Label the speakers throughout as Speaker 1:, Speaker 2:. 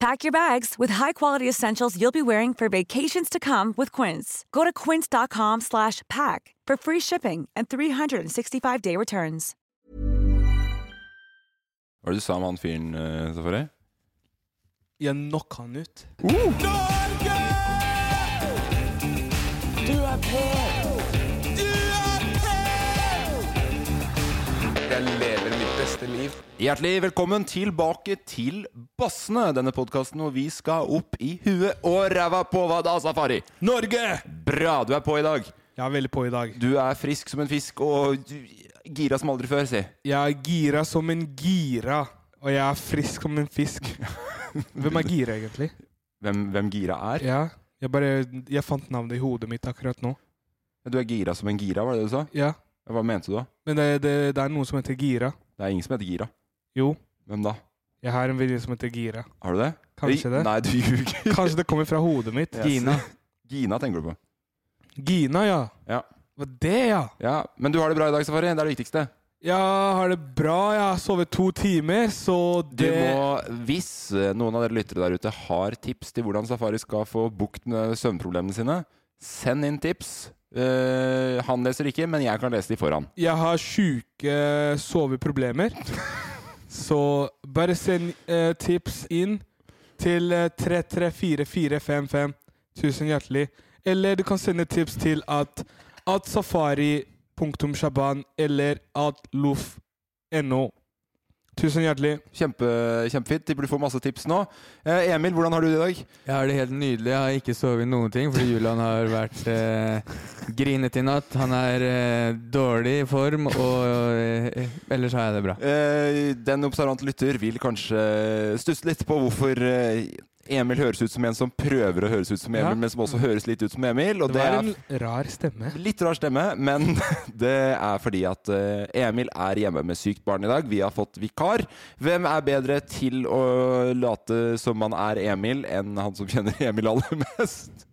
Speaker 1: Pack your bags with high-quality essentials you'll be wearing for vacations to come with Quince. Go to quince.com/pack slash pack for free shipping and 365-day returns.
Speaker 2: Hva var det du sa om han fyren, uh, Safari?
Speaker 3: Jeg knock han ut.
Speaker 4: Jeg lever mitt beste liv.
Speaker 2: Hjertelig velkommen tilbake til Bassene, denne podkasten hvor vi skal opp i huet og ræva på hva da, Safari?
Speaker 3: Norge!
Speaker 2: Bra, du er på i dag.
Speaker 3: Jeg er veldig på i dag.
Speaker 2: Du er frisk som en fisk og du- gira som aldri før, si.
Speaker 3: Jeg er gira som en gira, og jeg er frisk som en fisk. Hvem er gira, egentlig?
Speaker 2: Hvem, hvem gira er?
Speaker 3: Ja, jeg bare Jeg fant navnet i hodet mitt akkurat nå.
Speaker 2: Du er gira som en gira, var det det du sa?
Speaker 3: Ja,
Speaker 2: Hva mente du da?
Speaker 3: Men det, det, det er noen som heter Gira.
Speaker 2: Det er ingen som heter gira.
Speaker 3: Jo,
Speaker 2: Hvem da?
Speaker 3: jeg har en venninne som heter Gira.
Speaker 2: Har du det?
Speaker 3: Kanskje
Speaker 2: Oi,
Speaker 3: det.
Speaker 2: Nei, du ljuger.
Speaker 3: Kanskje det kommer fra hodet mitt.
Speaker 2: Yes. Gina tenker du på.
Speaker 3: Gina, ja.
Speaker 2: Ja.
Speaker 3: Hva det, ja?
Speaker 2: ja. Men du har det bra i dag, Safari. Det er det viktigste.
Speaker 3: Jeg har det bra. Jeg har sovet to timer, så
Speaker 2: Du
Speaker 3: det
Speaker 2: må, hvis eh, noen av dere lyttere der ute har tips til hvordan Safari skal få bukt med søvnproblemene sine, send inn tips. Eh, han leser ikke, men jeg kan lese de for han.
Speaker 3: Jeg har sjuke soveproblemer. Så bare send eh, tips inn til eh, 334455. Tusen hjertelig. Eller du kan sende tips til at at safari.shaban eller at loff.no. Tusen hjertelig.
Speaker 2: Kjempe, kjempefint. De burde få masse tips nå. Eh, Emil, hvordan har du det i dag?
Speaker 5: Jeg har det helt nydelig. Jeg har ikke sovet noen ting fordi Julian har vært eh, grinet i natt. Han er eh, dårlig i form, og eh, ellers har jeg det bra.
Speaker 2: Eh, den observante lytter vil kanskje stusse litt på hvorfor eh, Emil høres ut som en som prøver å høres ut som Emil,
Speaker 3: Ja.
Speaker 2: men som også høres litt ut som Emil. Og Mm.
Speaker 3: Det
Speaker 2: det er
Speaker 3: var en rar stemme.
Speaker 2: Litt rar stemme, men det er fordi at eh, Emil er hjemme med sykt barn i dag. Vi har fått vikar. Hvem er bedre til å late som man er Emil, enn han som kjenner Emil aller mest?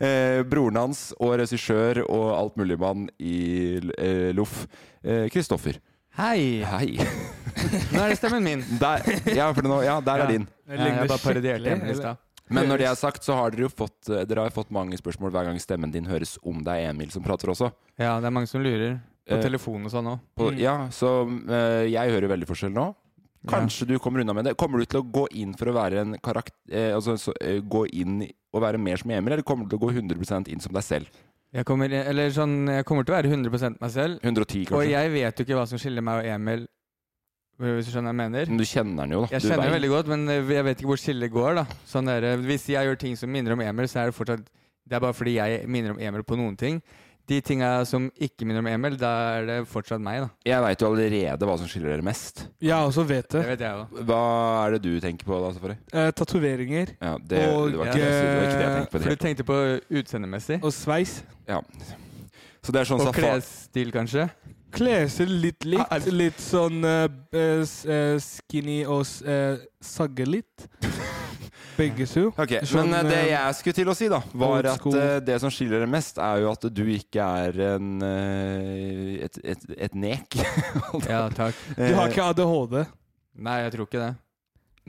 Speaker 2: Eh, broren hans og regissør og altmuligmann i eh, Loff, eh, Kristoffer.
Speaker 5: Hei!
Speaker 2: Hei.
Speaker 5: Nå er det stemmen min.
Speaker 2: Der, ja, for nå, ja, der
Speaker 5: Ja.
Speaker 2: er din.
Speaker 5: Jeg, jeg bare parodierte Emil i stad.
Speaker 2: Men når det er sagt, så har dere jo fått, eh, dere har jo fått mange spørsmål hver gang stemmen din høres om det er Emil som prater også.
Speaker 5: Ja, det er mange som lurer.
Speaker 2: Eh,
Speaker 5: På telefon og sånn òg.
Speaker 2: På,
Speaker 3: Mm.
Speaker 2: Ja, så eh, jeg hører veldig forskjell nå. Kanskje du kommer unna med det. Kommer du til å gå inn for å være en karakter... eh, altså så, eh, gå inn og være mer som Emil, eller kommer du til å gå 100 inn som deg selv?
Speaker 5: Jeg, kommer- eller sånn, jeg kommer til å være 100 meg selv.
Speaker 2: 110,
Speaker 5: Og
Speaker 2: kanskje.
Speaker 5: jeg vet jo ikke hva som skiller meg og Emil, eh, hvis du skjønner hva jeg mener.
Speaker 2: Men du kjenner den jo, da.
Speaker 5: Jeg
Speaker 2: Mm. Du
Speaker 5: kjenner
Speaker 2: vet.
Speaker 5: veldig godt, men eh, jeg vet ikke hvor skillet går. da sånn der, eh, Hvis jeg gjør ting som minner om Emil, så er det fortsatt Det er bare fordi jeg minner om Emil på noen ting. De tinga som ikke minner om Emil, da er det fortsatt meg, da.
Speaker 2: Jeg veit jo allerede hva som skiller dere mest.
Speaker 3: Jeg også vet det.
Speaker 5: Det vet jeg òg.
Speaker 2: Hva er det du tenker på da, Safari?
Speaker 3: Eh, Tatoveringer
Speaker 2: Ja, det,
Speaker 3: Og,
Speaker 2: det, var ikke, det, jeg skulle- det var ikke det jeg tenkte på. i det
Speaker 5: For
Speaker 2: hele
Speaker 5: du tenkte på utseendemessig?
Speaker 3: og sveis.
Speaker 2: tatt. Så det er sånn
Speaker 5: Og
Speaker 2: Safari
Speaker 5: klesstil, kanskje?
Speaker 3: Klesstil litt likt. Litt sånn eh, eh, s- eh, skinny og s- eh, sagge litt. Begge to.
Speaker 2: Ok,
Speaker 3: Sånn,
Speaker 2: Men eh, det
Speaker 3: eh,
Speaker 2: jeg skulle til å si, da, var
Speaker 3: old
Speaker 2: at
Speaker 3: school.
Speaker 2: eh, det som skiller det mest, er jo at du ikke er en eh, et, et, et nek.
Speaker 5: Ja, takk.
Speaker 3: Du har ikke ADHD.
Speaker 5: Nei, jeg tror ikke det.
Speaker 2: Eh,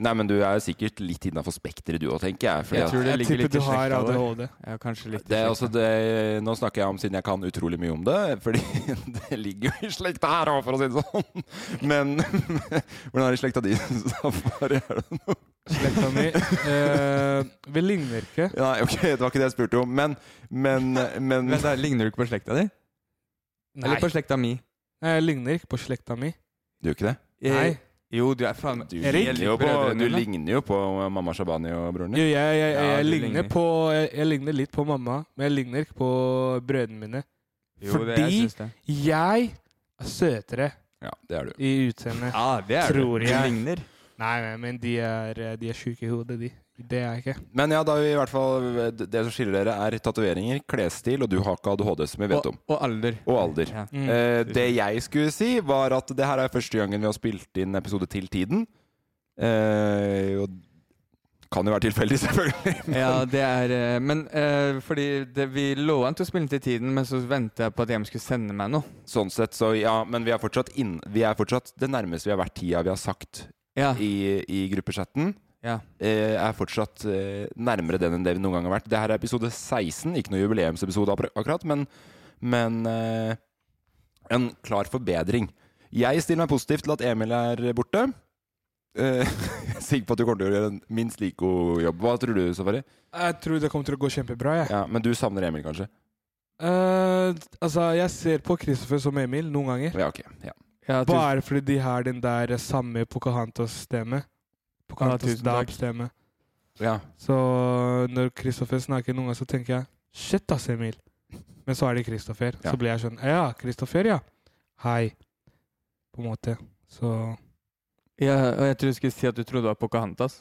Speaker 2: Nei, men du er jo sikkert litt innafor spekteret du òg, tenker jeg. fordi
Speaker 5: Jeg
Speaker 2: at-
Speaker 5: tror det
Speaker 3: Jeg
Speaker 5: ligger
Speaker 3: tipper
Speaker 5: litt i
Speaker 3: du har
Speaker 5: slekta vår.
Speaker 3: ADHD.
Speaker 5: Ja, kanskje litt i
Speaker 2: det er også
Speaker 5: slekta.
Speaker 2: det, nå snakker jeg om siden jeg kan utrolig mye om det, fordi det ligger jo i slekta her òg, for å si det sånn. Men hvordan er det i slekta di? Safari? Er det noe?
Speaker 3: Slekta mi. Eh, vi ligner ikke.
Speaker 2: Nei, ok, det var ikke det jeg spurte om. Men, men, men
Speaker 5: Men da ligner du ikke på slekta di? Eller på slekta mi?
Speaker 3: Nei, jeg ligner ikke på slekta mi.
Speaker 2: Du gjør ikke det?
Speaker 5: Eh,
Speaker 3: Nei.
Speaker 5: Jo, du er faen meg
Speaker 2: Du
Speaker 3: Erik?
Speaker 2: ligner jo på,
Speaker 5: Brødrene
Speaker 2: du
Speaker 5: mine.
Speaker 2: ligner jo på mamma Shabani og broren
Speaker 3: Jo,
Speaker 2: din.
Speaker 3: jeg, jeg, jeg,
Speaker 5: Ja, du
Speaker 3: ligner
Speaker 5: ligner.
Speaker 3: på jeg, jeg ligner litt på mamma, men jeg ligner ikke på brødrene mine.
Speaker 5: Jo, det, jeg
Speaker 3: Fordi-
Speaker 5: syns det.
Speaker 3: Jeg er søtere
Speaker 2: Ja, det er du.
Speaker 3: i utseendet.
Speaker 5: Ja, det er du.
Speaker 3: Tror jeg.
Speaker 5: Du ligner.
Speaker 3: Nei, nei, men de er, eh, de er sjuke i hodet, de. Det er jeg ikke.
Speaker 2: Men ja, da er vi i hvert fall det som skiller dere, er tatoveringer, klesstil, og du har ikke ADHD, som vi vet
Speaker 5: Og,
Speaker 2: om.
Speaker 5: og alder.
Speaker 2: Og alder.
Speaker 5: Ja.
Speaker 3: Mm.
Speaker 2: Eh, det jeg skulle si, var at det her er første gangen vi har spilt inn episode til tiden. Eh, og kan jo være tilfeldig, selvfølgelig.
Speaker 5: Ja, det er eh, Men eh, fordi det, vi lå an til å spille inn til tiden, men så venta jeg på at Emil skulle sende meg noe.
Speaker 2: Sånn sett, så ja. Men vi er fortsatt, inn, vi er fortsatt det nærmeste vi har vært tida vi har sagt
Speaker 5: Ja.
Speaker 2: i, i gruppechatten.
Speaker 5: ja.
Speaker 2: eh, er fortsatt eh, nærmere den enn det vi noen gang har vært. Det her er episode 16, ikke noe jubileumsepisode akkur- akkurat, men, men eh, en klar forbedring. Jeg stiller meg positivt til at Emil er borte. Eh, jeg er sikker på at du kommer til å gjøre en minst like god jobb. Hva tror du, Safari?
Speaker 3: Jeg tror det kommer til å gå kjempebra, jeg.
Speaker 2: Ja, men du savner Emil, kanskje?
Speaker 3: Eh, altså, jeg ser på Christopher som Emil noen ganger.
Speaker 2: Ja, ok. Ja.
Speaker 5: ja tusen-
Speaker 3: Bare fordi de har den der samme
Speaker 5: tusen
Speaker 3: Pocahontas-stemme.
Speaker 5: takk.
Speaker 3: Pocahontas-dab-stemme.
Speaker 2: ja.
Speaker 3: Så eh, når Kristoffer snakker noen ganger, så tenker jeg Shit, ass, Emil. Men så er det Kristoffer.
Speaker 2: Ja.
Speaker 3: Så blir jeg sånn Ja, Kristoffer, ja. Hei. På en måte. Så
Speaker 5: ja, og jeg tror du skulle si at du trodde det var Pocahontas.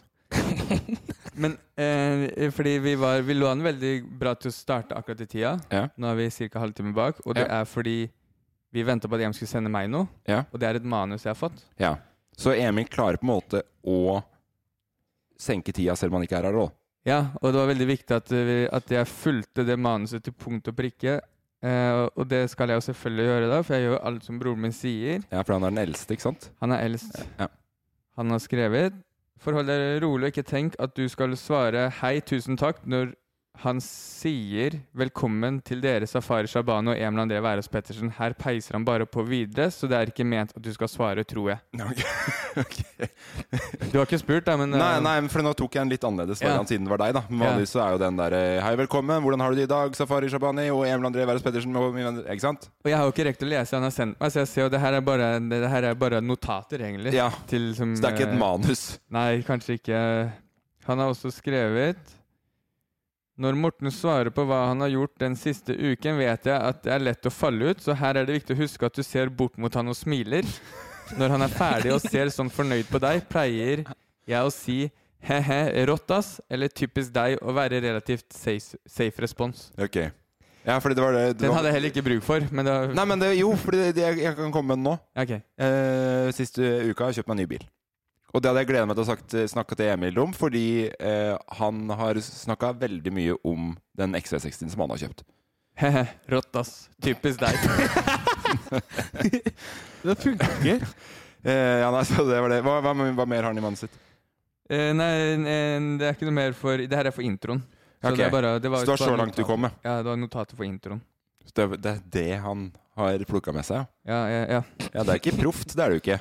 Speaker 5: Men eh, fordi vi var Vi lå an veldig bra til å starte akkurat i tida.
Speaker 2: Ja.
Speaker 5: Nå er vi ca. halvtime bak, og det
Speaker 2: Ja.
Speaker 5: er fordi vi venta på at Emil skulle sende meg noe.
Speaker 2: Ja.
Speaker 5: Og det er et manus jeg har fått.
Speaker 2: ja. Så Emil klarer på en måte å senke tida selv om han ikke er her, da.
Speaker 5: Ja, og det var veldig viktig at, eh, vi, at jeg fulgte det manuset til punkt og prikke. Eh, og det skal jeg jo selvfølgelig gjøre, da, for jeg gjør jo alt som broren min sier.
Speaker 2: Ja, for han er den eldste, ikke sant?
Speaker 5: Han er eldst.
Speaker 2: Ja.
Speaker 5: Han har skrevet Forhold deg rolig og ikke tenk at du skal svare hei, tusen takk når han sier velkommen til dere Safari Shabano og Emil André Wærås Pettersen. Her peiser han bare på videre, så det er ikke ment at du skal svare, tror jeg.
Speaker 2: ok.
Speaker 5: Du har ikke spurt, da, men eh,
Speaker 2: Nei, nei, men for nå tok jeg en litt annerledes
Speaker 5: Ja.
Speaker 2: variant siden det var deg, da. Men
Speaker 5: Ja.
Speaker 2: Vanligvis så er jo den der eh, Hei, velkommen, hvordan har du det i dag? Safari Shabani og Emil André Wærås Pettersen. og mine venner», Ikke sant?
Speaker 5: Og jeg har jo ikke rekt å lese han har sendt meg, så jeg ser jo det her er bare, det her er bare notater, egentlig.
Speaker 2: Ja.
Speaker 5: Til, som,
Speaker 2: Så det er ikke et
Speaker 5: eh,
Speaker 2: manus.
Speaker 5: Nei, kanskje ikke. Han har også skrevet Når Morten svarer på hva han har gjort den siste uken, vet jeg at det er lett å falle ut, så her er det viktig å huske at du ser bort mot han og smiler. Når han er ferdig og ser sånn fornøyd på deg, pleier jeg å si he-he, rått ass, eller typisk deg å være relativt safe, safe respons.
Speaker 2: Ok. Ja, fordi det var det det
Speaker 5: Den
Speaker 2: var-
Speaker 5: hadde jeg heller ikke bruk for, men det var
Speaker 2: Nei, men det, jo, fordi det, jeg, jeg kan komme med den nå.
Speaker 5: Ok.
Speaker 2: Eh, siste uka har jeg kjøpt meg en ny bil. Og det hadde jeg gledet meg til å sagt, eh, snakke til Emil om, fordi eh, han har snakka veldig mye om den XV60 som han har kjøpt.
Speaker 5: He-he, rått ass, typisk deg.
Speaker 3: Det funker.
Speaker 2: Eh, ja, nei, så det var det. Hva, hva, hva mer har han i mannen sitt?
Speaker 5: Eh, nei, nei, det er ikke noe mer for Det her er for introen. Så
Speaker 2: Ok.
Speaker 5: det er bare, det var,
Speaker 2: Så det var
Speaker 5: bare
Speaker 2: så langt du
Speaker 5: notater.
Speaker 2: kom, ja.
Speaker 5: Ja, det var notater for introen.
Speaker 2: Så Det, er- det er det han har plukka med seg?
Speaker 5: Ja, ja, ja.
Speaker 2: Ja, det er ikke proft, det er det jo ikke.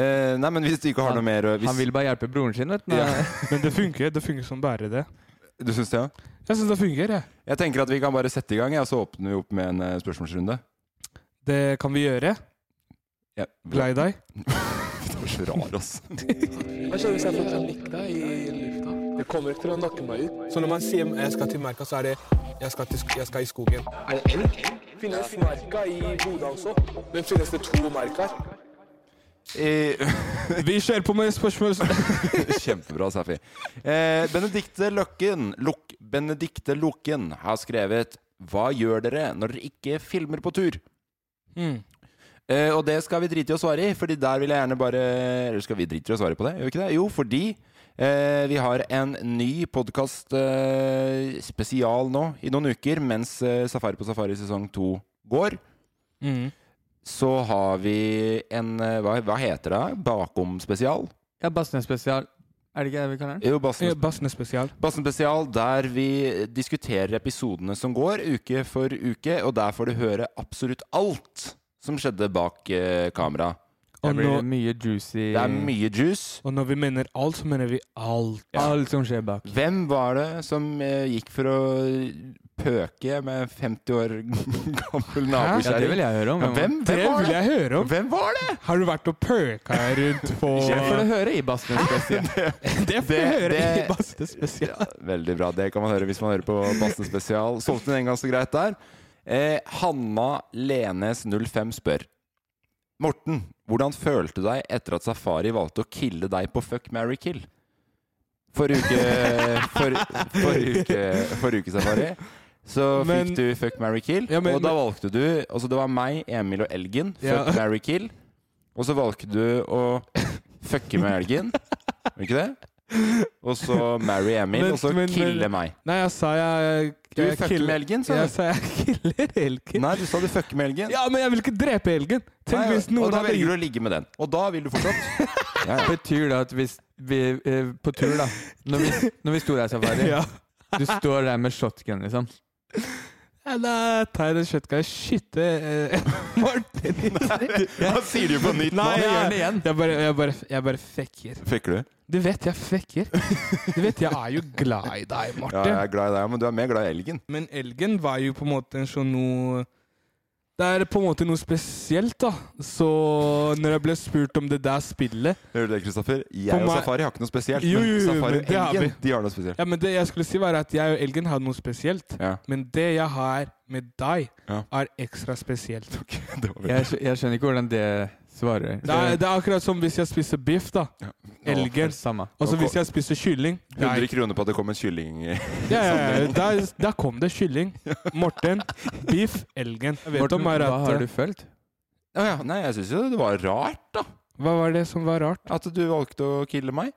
Speaker 2: Eh, nei, men hvis du ikke har noe mer å- hvis,
Speaker 5: Han ville bare hjelpe broren sin, vet du.
Speaker 2: Ja.
Speaker 3: Men det funker. Det funker som bare det.
Speaker 2: Du syns det, ja?
Speaker 3: Jeg syns det funker, jeg.
Speaker 2: Jeg tenker at vi kan bare sette i gang, ja, så åpner vi opp med en eh, spørsmålsrunde.
Speaker 3: Det kan vi gjøre.
Speaker 2: Ja,
Speaker 3: Glad i deg.
Speaker 2: Det var så rar, ass.
Speaker 6: Hva skjer hvis jeg får panikk i lufta? Det kommer til å nakke meg ut. Så når man sier jeg skal til merka, så er det jeg skal, i skogen. Er det elg? Finnes merka i Bodø også? Men finnes det to merker?
Speaker 2: Eh,
Speaker 3: Vi kjører på med spørsmål.
Speaker 2: Kjempebra, Safi. Eh, Benedikte Løkken Luk, Benedikte Lukken har skrevet Hva gjør dere når dere ikke filmer på tur?
Speaker 3: Mm.
Speaker 2: Eh, og det skal vi drite i å svare i, Fordi der vil jeg gjerne bare Eller skal vi drite i å svare på det? Gjør vi ikke det? Jo, fordi Eh, vi har en ny podkast eh, spesial nå i noen uker, mens eh, Safari på Safari sesong to går.
Speaker 3: Mhm.
Speaker 2: Så har vi en eh, Hva, hva heter det? Bakom-spesial?
Speaker 5: Ja, Bassnes-spesial. Er det ikke det vi kaller den?
Speaker 2: Jo, Bassen,
Speaker 3: Eh, Bassene spesial.
Speaker 2: Bassen Spesial, der vi diskuterer episodene som går, uke for uke. Og der får du høre absolutt alt som skjedde bak eh, kamera.
Speaker 5: Der
Speaker 3: Og,
Speaker 5: blir det
Speaker 3: nå,
Speaker 5: mye juicy
Speaker 2: Det er mye juice.
Speaker 3: og når vi mener alt, så mener vi alt.
Speaker 5: Alt som skjer bak.
Speaker 2: Hvem var det som eh, gikk for å pøke med 50 år gammel
Speaker 5: Ja, det vil
Speaker 2: nabokjerring?
Speaker 5: jeg høre om.
Speaker 2: Ja, hvem,
Speaker 3: Det
Speaker 2: hvem var
Speaker 3: vil
Speaker 2: det?
Speaker 3: jeg høre om.
Speaker 2: Hvem var det?
Speaker 3: Har du vært og pøka rundt på
Speaker 5: Det får du høre i Bassnes spesial.
Speaker 3: Det får du
Speaker 2: Det-
Speaker 3: høre i
Speaker 2: det-
Speaker 3: Bassene spesial.
Speaker 2: Ja, veldig bra. Det kan man høre hvis man hører på Basten spesial. Solgte den en gang så greit der. Eh, Hanna Lenes 05 spør Morten, hvordan følte du deg etter at Safari valgte å kille deg på Fuck, marry, kill? Forrige uke, for, forrige uke, forrige uke Safari, så
Speaker 3: Men-
Speaker 2: fikk du Fuck, marry, kill.
Speaker 3: Ja, men-
Speaker 2: og da valgte du altså Det var meg, Emil og Elgen. Fuck,
Speaker 3: Ja.
Speaker 2: marry, kill. Og så valgte du å fucke med Elgen. Var det ikke det? Og så marry Emil,
Speaker 3: Men-
Speaker 2: og så
Speaker 3: men-
Speaker 2: kille
Speaker 3: men-
Speaker 2: meg.
Speaker 3: Nei, jeg sa jeg,
Speaker 2: Du
Speaker 3: jeg
Speaker 2: fucker med elgen, sa du.
Speaker 3: Jeg sa jeg killer elgen.
Speaker 2: Nei, du sa du fucker med Elgen.
Speaker 3: Ja, men jeg vil ikke drepe elgen! Tenk
Speaker 2: Nei,
Speaker 3: hvis
Speaker 2: og
Speaker 3: noen
Speaker 2: da
Speaker 3: hadde
Speaker 2: velger du å ligge med den. Og da vil du fortsatt ja, ja.
Speaker 5: Betyr det at hvis vi eh, På tur, da. Når vi, når vi sto der, Safari.
Speaker 3: Ja.
Speaker 5: Du står der med shotgun, liksom.
Speaker 3: Ja, Da tar jeg den kjøttkaia og skyter eh, Martin i trynet.
Speaker 2: Hva sier du på nytt nå?
Speaker 3: Nei,
Speaker 5: gjør
Speaker 3: jeg,
Speaker 5: den igjen.
Speaker 3: jeg, bare, jeg, bare, jeg bare fekker.
Speaker 2: Fucker du?
Speaker 3: Du vet jeg fekker. Du vet jeg er jo glad i deg,
Speaker 2: Ja,
Speaker 3: Martin.
Speaker 2: jeg er glad i deg, men du er mer glad i Elgen.
Speaker 3: Men elgen var jo på en måte en sånn noe Det er på en måte noe spesielt, da. Så når jeg ble spurt om det der spillet
Speaker 2: Hører du det, Kristoffer? Jeg
Speaker 3: For
Speaker 2: og
Speaker 3: meg-
Speaker 2: Safari har ikke noe spesielt.
Speaker 3: Jo, jo,
Speaker 2: men
Speaker 3: jo,
Speaker 2: Safari
Speaker 3: men
Speaker 2: og
Speaker 3: det har
Speaker 2: Elgen,
Speaker 3: vi.
Speaker 2: de har noe spesielt.
Speaker 3: Ja, men Det jeg skulle si, var at jeg og Elgen hadde noe spesielt.
Speaker 2: Ja.
Speaker 3: Men det jeg har med deg,
Speaker 2: Ja.
Speaker 3: er ekstra spesielt.
Speaker 2: Det var
Speaker 5: Jeg, skj- jeg skjønner ikke hvordan det svarer.
Speaker 3: Det er, det er akkurat som hvis jeg spiser biff, da. Elgen.
Speaker 5: Samme.
Speaker 3: Og så
Speaker 2: Nå
Speaker 3: hvis jeg spiser kylling det er-
Speaker 2: 100 kroner på at det kom en kylling
Speaker 3: ja, ja, ja, der, der kom det kylling. Morten, biff, elgen. Jeg vet
Speaker 5: Morten,
Speaker 3: om er
Speaker 5: hva
Speaker 3: at, eh,
Speaker 5: har du følt?
Speaker 2: Å ja, Nei, jeg syns jo det var rart, da.
Speaker 3: Hva var det som var rart?
Speaker 2: At du valgte å kille meg.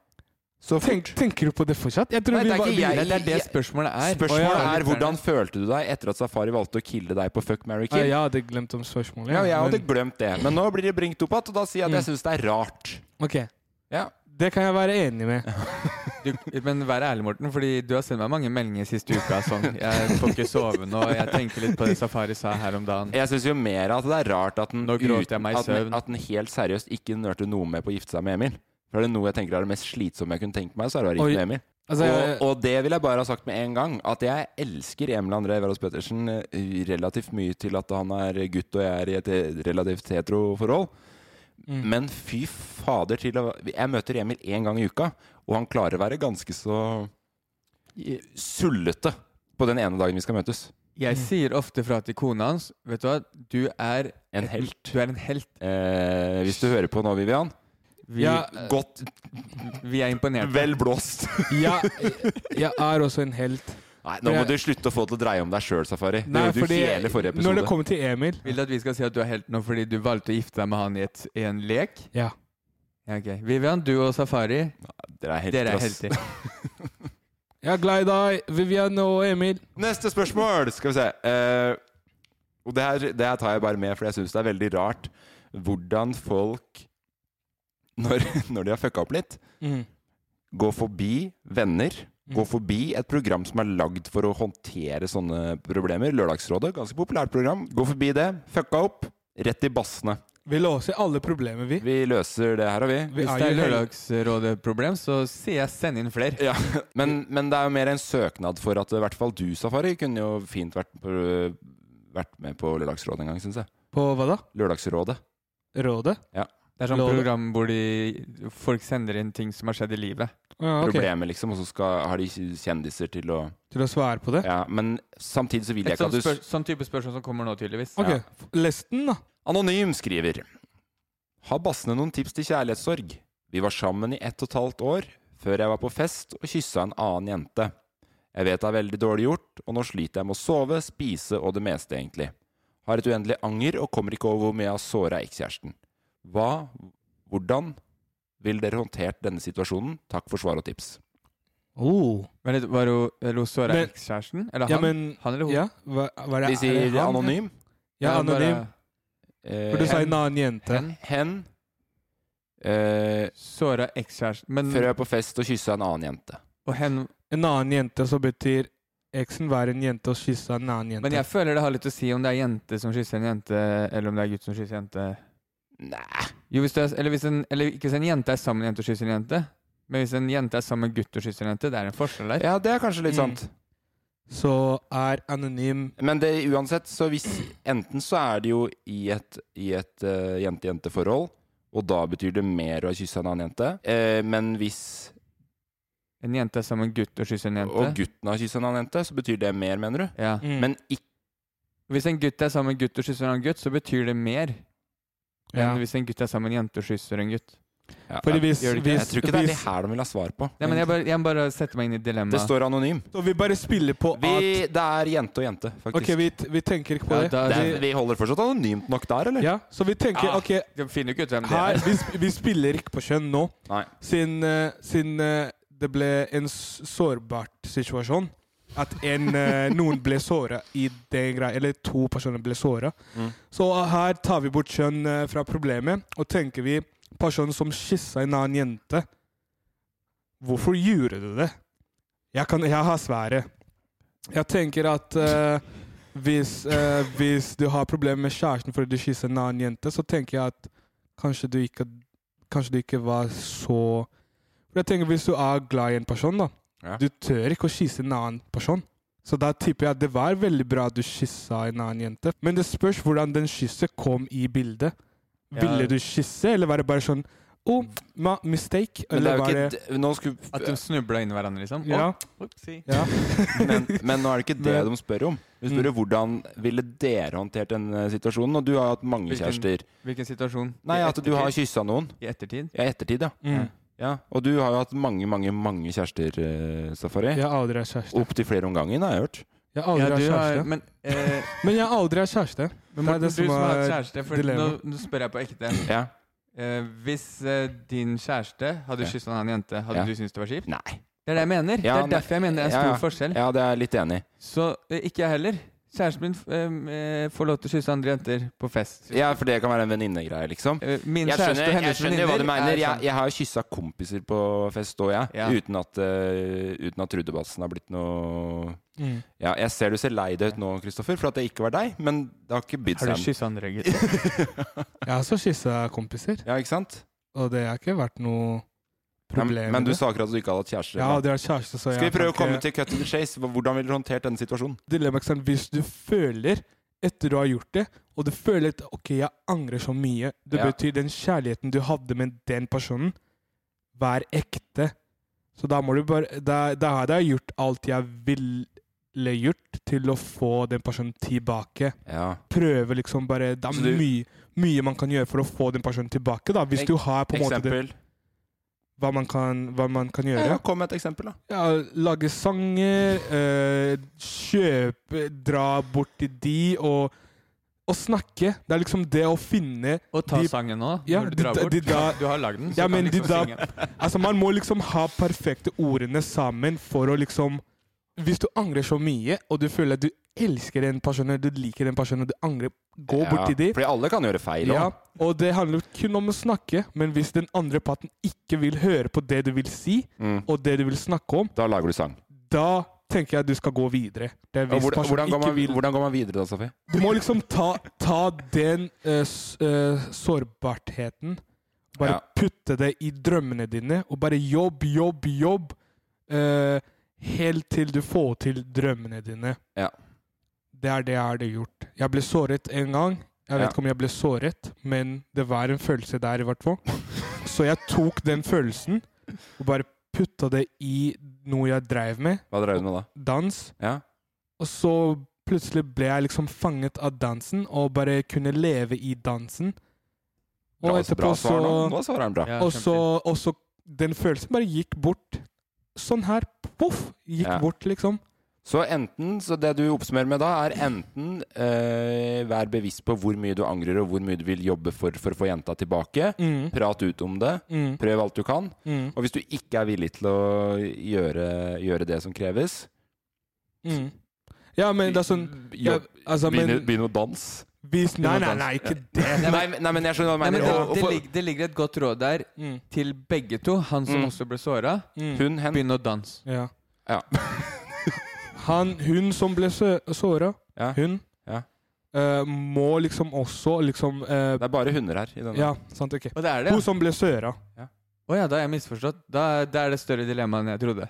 Speaker 2: Så fort.
Speaker 3: Tenk, tenker du på det fortsatt? Jeg tror
Speaker 2: Nei,
Speaker 3: vi
Speaker 2: det er
Speaker 3: var-
Speaker 2: ikke
Speaker 3: vi-
Speaker 2: jeg.
Speaker 5: Nei, det er det
Speaker 2: jeg-
Speaker 5: spørsmålet er.
Speaker 2: Spørsmålet
Speaker 3: Å, ja.
Speaker 2: er hvordan følte du deg etter at Safari valgte å kille deg på Fuck, marry,
Speaker 3: Nei,
Speaker 2: kill?
Speaker 3: jeg hadde glemt om spørsmålet.
Speaker 2: Ja, jeg hadde
Speaker 3: men-
Speaker 2: glemt det, men nå blir det bringt opp igjen, og da sier jeg at jeg
Speaker 3: Mm.
Speaker 2: syns det er rart.
Speaker 3: Ok.
Speaker 2: Ja.
Speaker 3: Det kan jeg være enig med.
Speaker 5: Du, men vær ærlig, Morten, fordi du har sendt meg mange meldinger siste uka. Sånn. Jeg får ikke sove nå. Jeg tenker litt på det Safari sa her om dagen.
Speaker 2: Jeg syns jo mer at det er rart at den,
Speaker 5: Nå gråter jeg meg i
Speaker 2: at den,
Speaker 5: søvn.
Speaker 2: at den helt seriøst ikke nølte noe med på å gifte seg med Emil. For er det noe jeg tenker er det mest slitsomme jeg kunne tenkt meg, så er det å være
Speaker 3: Oi.
Speaker 2: gift med Emil.
Speaker 3: Altså, jeg,
Speaker 2: og, og det vil jeg bare ha sagt med en gang, at jeg elsker Emil André Verås Pettersen eh, relativt mye til at han er gutt og jeg er i et eh, relativt heteroforhold.
Speaker 3: Mm.
Speaker 2: Men fy fader til å Jeg møter Emil én gang i uka, og han klarer å være ganske så eh, sullete på den ene dagen vi skal møtes.
Speaker 5: Jeg sier ofte fra til kona hans Vet du hva, du er
Speaker 2: En helt.
Speaker 5: Du er en helt.
Speaker 2: Eh, hvis du hører på nå, Vivian.
Speaker 5: Vi,
Speaker 3: Ja.
Speaker 2: Godt,
Speaker 5: vi er imponerte.
Speaker 2: vel blåst.
Speaker 3: jeg, jeg er også en helt.
Speaker 2: Nei, nå må du slutte å få det til å dreie om deg sjøl, Safari. Det
Speaker 3: Nei,
Speaker 2: gjorde du
Speaker 3: fordi
Speaker 2: hele forrige
Speaker 3: Når det
Speaker 2: episode.
Speaker 3: kommer til Emil
Speaker 5: Vil du at vi skal si at du er helt nå fordi du valgte å gifte deg med han i, et, i en lek?
Speaker 3: Ja.
Speaker 5: Ja, ok. Vivian, du og Safari,
Speaker 2: Dere er
Speaker 5: dere
Speaker 2: helter,
Speaker 5: er
Speaker 2: ass.
Speaker 5: helter.
Speaker 3: Jeg er glad i deg, Vivian og Emil.
Speaker 2: Neste spørsmål! Skal vi se. Eh, og det her, det her tar jeg bare med, for jeg syns det er veldig rart hvordan folk, når, når de har fucka opp litt, gå forbi venner.
Speaker 3: Mm.
Speaker 2: Gå forbi et program som er lagd for å håndtere sånne problemer. Lørdagsrådet, ganske populært program. Gå forbi det, fucka opp, rett i bassene.
Speaker 3: Vi låser alle problemer, vi.
Speaker 2: Vi løser det her, har vi.
Speaker 3: Vi
Speaker 5: Hvis
Speaker 3: er
Speaker 5: det er
Speaker 3: jo helt-
Speaker 5: Lørdagsrådet-problem, så sier jeg send inn flere.
Speaker 2: Ja, men, men det er jo mer en søknad for at i hvert fall du, Safari, kunne jo fint vært, på, vært med på Lørdagsrådet en gang, syns jeg.
Speaker 3: På hva da?
Speaker 2: Lørdagsrådet.
Speaker 3: Rådet?
Speaker 5: Det er sånn
Speaker 3: Lov-
Speaker 5: program hvor de, folk sender inn ting som har skjedd i livet.
Speaker 3: Ja, ok.
Speaker 2: Problemet, liksom, og så skal, har de kjendiser til å
Speaker 3: Til å svare på det?
Speaker 2: Ja, men samtidig så vil jeg
Speaker 5: Et
Speaker 2: ikke
Speaker 5: sånn,
Speaker 2: at du
Speaker 5: spør, sånn type spørsmål som kommer nå, tydeligvis.
Speaker 3: Ok,
Speaker 5: Ja.
Speaker 3: les den, da.
Speaker 2: Anonym skriver Har bassene noen tips til kjærlighetssorg? Vi var sammen i ett og et halvt år før jeg var på fest og kyssa en annen jente. Jeg vet det er veldig dårlig gjort, og nå sliter jeg med å sove, spise og det meste, egentlig. Har et uendelig anger og kommer ikke over hvor mye jeg har såra ekskjæresten. Hva, hvordan ville dere håndtert denne situasjonen? Takk for svar og tips.
Speaker 3: Oh.
Speaker 5: Men det var jo Rosora
Speaker 3: Men-
Speaker 5: ekskjæresten? Eller
Speaker 3: Ja,
Speaker 5: han?
Speaker 3: men-
Speaker 5: han eller hun?
Speaker 3: Ja, hva, hva er
Speaker 2: De
Speaker 3: det? er
Speaker 2: sier
Speaker 3: det han?
Speaker 2: anonym. Eh,
Speaker 3: Ja,
Speaker 5: Ja, bare-
Speaker 3: anonym. For du sa en annen jente.
Speaker 2: Hen. hen. Eh,
Speaker 5: Såra ekskjæresten. Men
Speaker 2: før jeg er på fest og kyssa en annen jente.
Speaker 5: og hen
Speaker 3: En annen jente som betyr eksen var en jente og kyssa en annen jente.
Speaker 5: Men jeg føler det har litt å si om det er jente som kysser en jente, eller om det er gutt som kysser en jente.
Speaker 2: Nei.
Speaker 5: Jo, hvis det er, eller, hvis en, eller ikke hvis en jente er sammen med en jente og kysser en jente. Men hvis en jente er sammen med en gutt og kysser en jente, det er en forskjell der.
Speaker 2: Ja, det er kanskje litt
Speaker 3: Mm.
Speaker 2: sant.
Speaker 3: Så er anonym
Speaker 2: Men det, uansett, så hvis Enten så er det jo i et, i et eh, jente-jente-forhold, og da betyr det mer å ha kyssa en annen jente. Eh, men hvis
Speaker 5: En jente er sammen med en gutt og kysser en jente.
Speaker 2: Og gutten har kyssa en annen jente, så betyr det mer, mener du?
Speaker 5: Ja.
Speaker 3: Mm.
Speaker 2: Men ikke
Speaker 5: Hvis en gutt er sammen med en gutt og kysser en annen gutt, så betyr det mer enn
Speaker 3: ja.
Speaker 5: hvis en gutt er sammen med en jente og kysser en gutt.
Speaker 2: ja, jeg,
Speaker 3: Fordi hvis,
Speaker 5: gjør det ikke.
Speaker 3: hvis,
Speaker 2: jeg tror ikke det er det
Speaker 3: hvis-
Speaker 2: her de vil ha svar på.
Speaker 5: Nei, men jeg, bare, jeg må bare sette meg inn i dilemmaet.
Speaker 2: Det står anonym.
Speaker 3: Så vi bare spiller på
Speaker 2: Vi,
Speaker 3: at
Speaker 2: det er jente og jente, faktisk.
Speaker 3: Ok, vi, vi tenker ikke på
Speaker 5: Ja,
Speaker 3: det.
Speaker 5: da-
Speaker 2: det er,
Speaker 3: vi-
Speaker 2: vi holder fortsatt anonymt nok der, eller?
Speaker 3: Ja, så vi tenker
Speaker 5: Ah,
Speaker 3: ok,
Speaker 5: Du finner jo ikke ut hvem det
Speaker 3: her,
Speaker 5: er.
Speaker 3: vi, sp- vi spiller ikke på kjønn nå.
Speaker 2: Nei.
Speaker 3: Siden, eh, siden eh, det ble en s- sårbart situasjon. At en, eh, noen ble såra i det greia, eller to personer ble såra. Så her tar vi bort kjønn eh, fra problemet, og tenker vi personen som kyssa en annen jente Hvorfor gjorde du det? Jeg, kan, jeg har svaret. Jeg tenker at eh, hvis, eh, hvis du har problemer med kjæresten fordi du kysser en annen jente, så tenker jeg at kanskje du ikke kanskje du ikke var så For jeg tenker Hvis du er glad i en person, da
Speaker 2: Ja.
Speaker 3: Du tør ikke å kysse en annen person. Så da tipper jeg at det var veldig bra at du kyssa en annen jente. Men det spørs hvordan den kysset kom i bildet.
Speaker 5: Ja.
Speaker 3: Ville du kysse, eller var det bare sånn Oh, ma mistake.
Speaker 2: Men det er
Speaker 3: Eller
Speaker 2: jo
Speaker 3: var det
Speaker 2: ikke d- nå skulle,
Speaker 5: At de snubla inn i hverandre, liksom.
Speaker 3: Ja.
Speaker 5: Å, oppsi.
Speaker 3: ja.
Speaker 2: men, men nå er det ikke det
Speaker 3: Men-
Speaker 2: de spør om. De spør jo hvordan ville dere håndtert den eh, situasjonen? Og du har hatt mange
Speaker 5: Hvilken-
Speaker 2: kjærester.
Speaker 5: Hvilken situasjon?
Speaker 2: Nei,
Speaker 5: I
Speaker 2: at du har
Speaker 5: ettertid?
Speaker 2: kyssa noen.
Speaker 5: I ettertid?
Speaker 2: Ja, i ettertid, ja.
Speaker 3: Mm.
Speaker 2: ja. Og du har jo hatt mange, mange mange kjærester, eh, Safari.
Speaker 3: Jeg har aldri hatt kjæreste.
Speaker 2: Opptil flere om gangen, har jeg hørt.
Speaker 3: Jeg har aldri hatt kjæreste.
Speaker 5: men eh,
Speaker 3: Men jeg har aldri hatt kjæreste. Hvem er
Speaker 5: Morten,
Speaker 3: det
Speaker 5: du
Speaker 3: som
Speaker 5: som har hatt
Speaker 3: har
Speaker 5: kjæreste, for nå,
Speaker 3: dilemma.
Speaker 5: nå spør jeg på ekte.
Speaker 2: Ja.
Speaker 5: Eh, hvis eh, din kjæreste hadde
Speaker 2: Ja.
Speaker 5: kyssa en annen jente, hadde
Speaker 2: Ja.
Speaker 5: du syntes det var kjipt?
Speaker 2: Nei.
Speaker 5: Det er det jeg mener.
Speaker 2: Ja,
Speaker 5: det er
Speaker 2: nei.
Speaker 5: derfor jeg mener det er
Speaker 2: Ja,
Speaker 5: stor
Speaker 2: ja.
Speaker 5: forskjell.
Speaker 2: Ja, det er jeg litt enig i.
Speaker 5: Så eh, ikke jeg heller. Kjæresten min eh, eh, får lov til å kysse andre jenter på fest.
Speaker 2: Ja, for det kan være en venninnegreie, liksom.
Speaker 5: Eh, Min
Speaker 2: Jeg
Speaker 5: kjæreste
Speaker 2: skjønner,
Speaker 5: og
Speaker 2: jeg
Speaker 5: hennes
Speaker 2: skjønner hva du
Speaker 5: venninner
Speaker 2: mener.
Speaker 5: er sånn.
Speaker 2: Jeg,
Speaker 5: sammen.
Speaker 2: jeg har kyssa kompiser på fest òg, jeg.
Speaker 5: Ja.
Speaker 2: Uten at, eh, uten at trudebassen har blitt noe
Speaker 3: Mm.
Speaker 2: Ja, jeg ser du ser lei deg ut nå, Kristoffer, for at det ikke var deg. Men det har ikke bydd
Speaker 5: Har
Speaker 2: seg.
Speaker 5: du
Speaker 2: en-
Speaker 5: kyssa andre gutter?
Speaker 3: Jeg har også kyssa kompiser,
Speaker 2: Ja, ikke sant?
Speaker 3: og det har ikke vært
Speaker 2: Ja,
Speaker 3: noe problem.
Speaker 2: men
Speaker 3: med
Speaker 2: du
Speaker 3: det.
Speaker 2: sa akkurat at du ikke hadde hatt kjæreste.
Speaker 3: Jeg har aldri hatt kjæreste, så
Speaker 2: Skal vi
Speaker 3: jeg kan
Speaker 2: prøve å
Speaker 3: ikke-
Speaker 2: komme til cut to the chase? Hva- Hvordan ville du håndtert denne situasjonen?
Speaker 3: dilemma, ikke sant? Hvis du føler etter du har gjort det, og du føler at ok, jeg angrer så mye Det
Speaker 2: Ja.
Speaker 3: betyr den kjærligheten du hadde med den personen, vær ekte. Så da må du bare Da, da hadde jeg gjort alt jeg ville gjort til å få den personen tilbake.
Speaker 2: Ja.
Speaker 3: Prøve liksom bare Det
Speaker 2: Så
Speaker 3: er
Speaker 2: du-
Speaker 3: mye, mye man kan gjøre for å få den personen tilbake, da. Hvis
Speaker 2: Ek-
Speaker 3: du har på en måte det,
Speaker 2: Eksempel.
Speaker 3: hva, man kan, hva man kan gjøre.
Speaker 2: Ja, kom med et eksempel, da.
Speaker 3: Ja, lage sanger, eh, kjøpe, dra bort til de og, og snakke. Det er liksom det å finne
Speaker 5: Og ta
Speaker 3: De-
Speaker 5: sangen nå,
Speaker 3: Ja,
Speaker 5: når du
Speaker 3: de-
Speaker 5: drar
Speaker 3: de-
Speaker 5: bort.
Speaker 3: de da-
Speaker 5: du har lagd den, så
Speaker 3: Ja,
Speaker 5: kan
Speaker 3: men
Speaker 5: du
Speaker 3: de
Speaker 5: liksom
Speaker 3: da-
Speaker 5: synge den.
Speaker 3: Altså, man må liksom ha perfekte ordene sammen for å liksom Hvis du angrer så mye, og du føler at du elsker den personen, du liker den personen, og du angrer Gå bort til de.
Speaker 2: Fordi alle kan gjøre feil òg.
Speaker 3: Ja, og det handler kun om å snakke, men hvis den andre parten ikke vil høre på det du vil si,
Speaker 2: Mm.
Speaker 3: og det du vil snakke om,
Speaker 2: Da lager du sang.
Speaker 3: da tenker jeg at du skal gå videre. Det er
Speaker 2: Ja,
Speaker 3: hvis
Speaker 2: Hvordan,
Speaker 3: personen
Speaker 2: hvordan, går
Speaker 3: ikke
Speaker 2: man,
Speaker 3: vil-
Speaker 2: hvordan går man videre da, Safi?
Speaker 3: Du må liksom ta, ta den eh, s- eh, sårbarheten, bare
Speaker 2: Ja.
Speaker 3: putte det i drømmene dine, og bare jobb, jobb, jobb, eh, helt til du får til drømmene dine.
Speaker 2: Ja.
Speaker 3: Det er det jeg har gjort. Jeg ble såret en gang. Jeg vet
Speaker 2: Ja.
Speaker 3: ikke om jeg ble såret, men det var en følelse der, i hvert fall. Så jeg tok den følelsen og bare putta det i noe jeg dreiv med,
Speaker 2: Hva dreier du med da?
Speaker 3: dans.
Speaker 2: Ja.
Speaker 3: Og så plutselig ble jeg liksom fanget av dansen og bare kunne leve i dansen. Og
Speaker 2: Bra, bra
Speaker 3: etterpå så
Speaker 2: svar nå. Nå svarer han bra.
Speaker 5: Ja,
Speaker 3: Og så og så Den følelsen bare gikk bort. Sånn her. Poff! Gikk
Speaker 2: Ja.
Speaker 3: bort, liksom.
Speaker 2: Så enten, så det du oppsummerer med da, er enten eh, vær bevisst på hvor mye du angrer, og hvor mye du vil jobbe for for å få jenta tilbake.
Speaker 3: Mm.
Speaker 2: Prat ut om det.
Speaker 3: Mm.
Speaker 2: Prøv alt du kan.
Speaker 3: Mm.
Speaker 2: Og hvis du ikke er villig til å gjøre, gjøre det som kreves,
Speaker 3: Mm. Ja, men det er sånn ja,
Speaker 2: jobb,
Speaker 3: altså,
Speaker 2: begynn,
Speaker 3: men,
Speaker 2: begynn å danse.
Speaker 3: vis, Nei, nei, nei, ikke det.
Speaker 2: Nei, men- nei, men jeg skjønner hva du
Speaker 5: Nei, men
Speaker 2: mener.
Speaker 5: det,
Speaker 2: Og- og
Speaker 5: det,
Speaker 2: for-
Speaker 5: ligger, det ligger et godt råd der
Speaker 3: Mm.
Speaker 5: til begge to. Han som
Speaker 2: Mm.
Speaker 5: også ble såra.
Speaker 3: Mm.
Speaker 2: Hun, hen.
Speaker 5: Begynn å danse.
Speaker 3: Ja.
Speaker 2: Ja.
Speaker 3: Han, hun som ble såra,
Speaker 2: Ja.
Speaker 3: hun,
Speaker 2: Ja.
Speaker 3: eh, må liksom også liksom eh,
Speaker 2: Det er bare hunder her. I denne.
Speaker 3: Ja, sant, ok.
Speaker 5: Og det er det.
Speaker 3: Hun som ble såra.
Speaker 5: Å ja, da har jeg misforstått. Da, da er det større dilemma enn jeg trodde.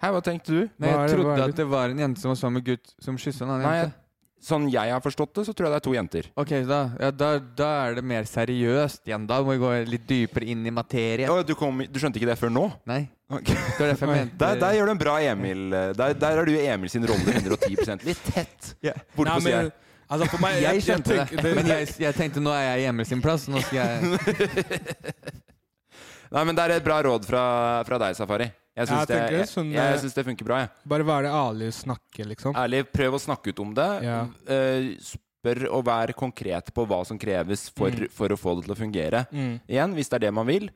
Speaker 2: Hei, hva tenkte du?
Speaker 5: Nei,
Speaker 3: Hva
Speaker 5: jeg
Speaker 3: er det- hva er
Speaker 5: trodde
Speaker 3: det?
Speaker 5: at det var en jente som var sammen med gutt som kyssa en annen
Speaker 2: Nei, jeg-
Speaker 5: jente.
Speaker 2: Sånn jeg har forstått det, så tror jeg det er to jenter.
Speaker 5: Ok, da, ja, da, da er det mer seriøst igjen. Da må vi gå litt dypere inn i materie.
Speaker 2: Å, du, kom, du skjønte ikke det før nå?
Speaker 5: Nei,
Speaker 2: Ok.
Speaker 5: det var derfor jeg mente
Speaker 2: Der, der gjør du en bra Emil. eh, Der, der er du i Emil sin rolle 110 Litt tett. Borte på siden.
Speaker 3: altså for meg
Speaker 5: Jeg skjønte
Speaker 3: tenker-
Speaker 5: det, men jeg, jeg tenkte nå er jeg hjemme sin plass. Nå skal jeg
Speaker 2: Nei, men det er et bra råd fra, fra deg, Safari. Jeg
Speaker 3: Ja,
Speaker 2: syns det,
Speaker 3: jeg tenker
Speaker 2: jeg,
Speaker 3: sånn, eh,
Speaker 2: jeg synes det funker bra. Jeg.
Speaker 3: Bare hva er det Ali snakker, liksom?
Speaker 2: Ærlig, prøv å snakke ut om det.
Speaker 3: Ja.
Speaker 2: Eh, Spør og vær konkret på hva som kreves for,
Speaker 3: Mm.
Speaker 2: for å få det til å fungere.
Speaker 3: Mm.
Speaker 2: Igjen, hvis det er det man vil.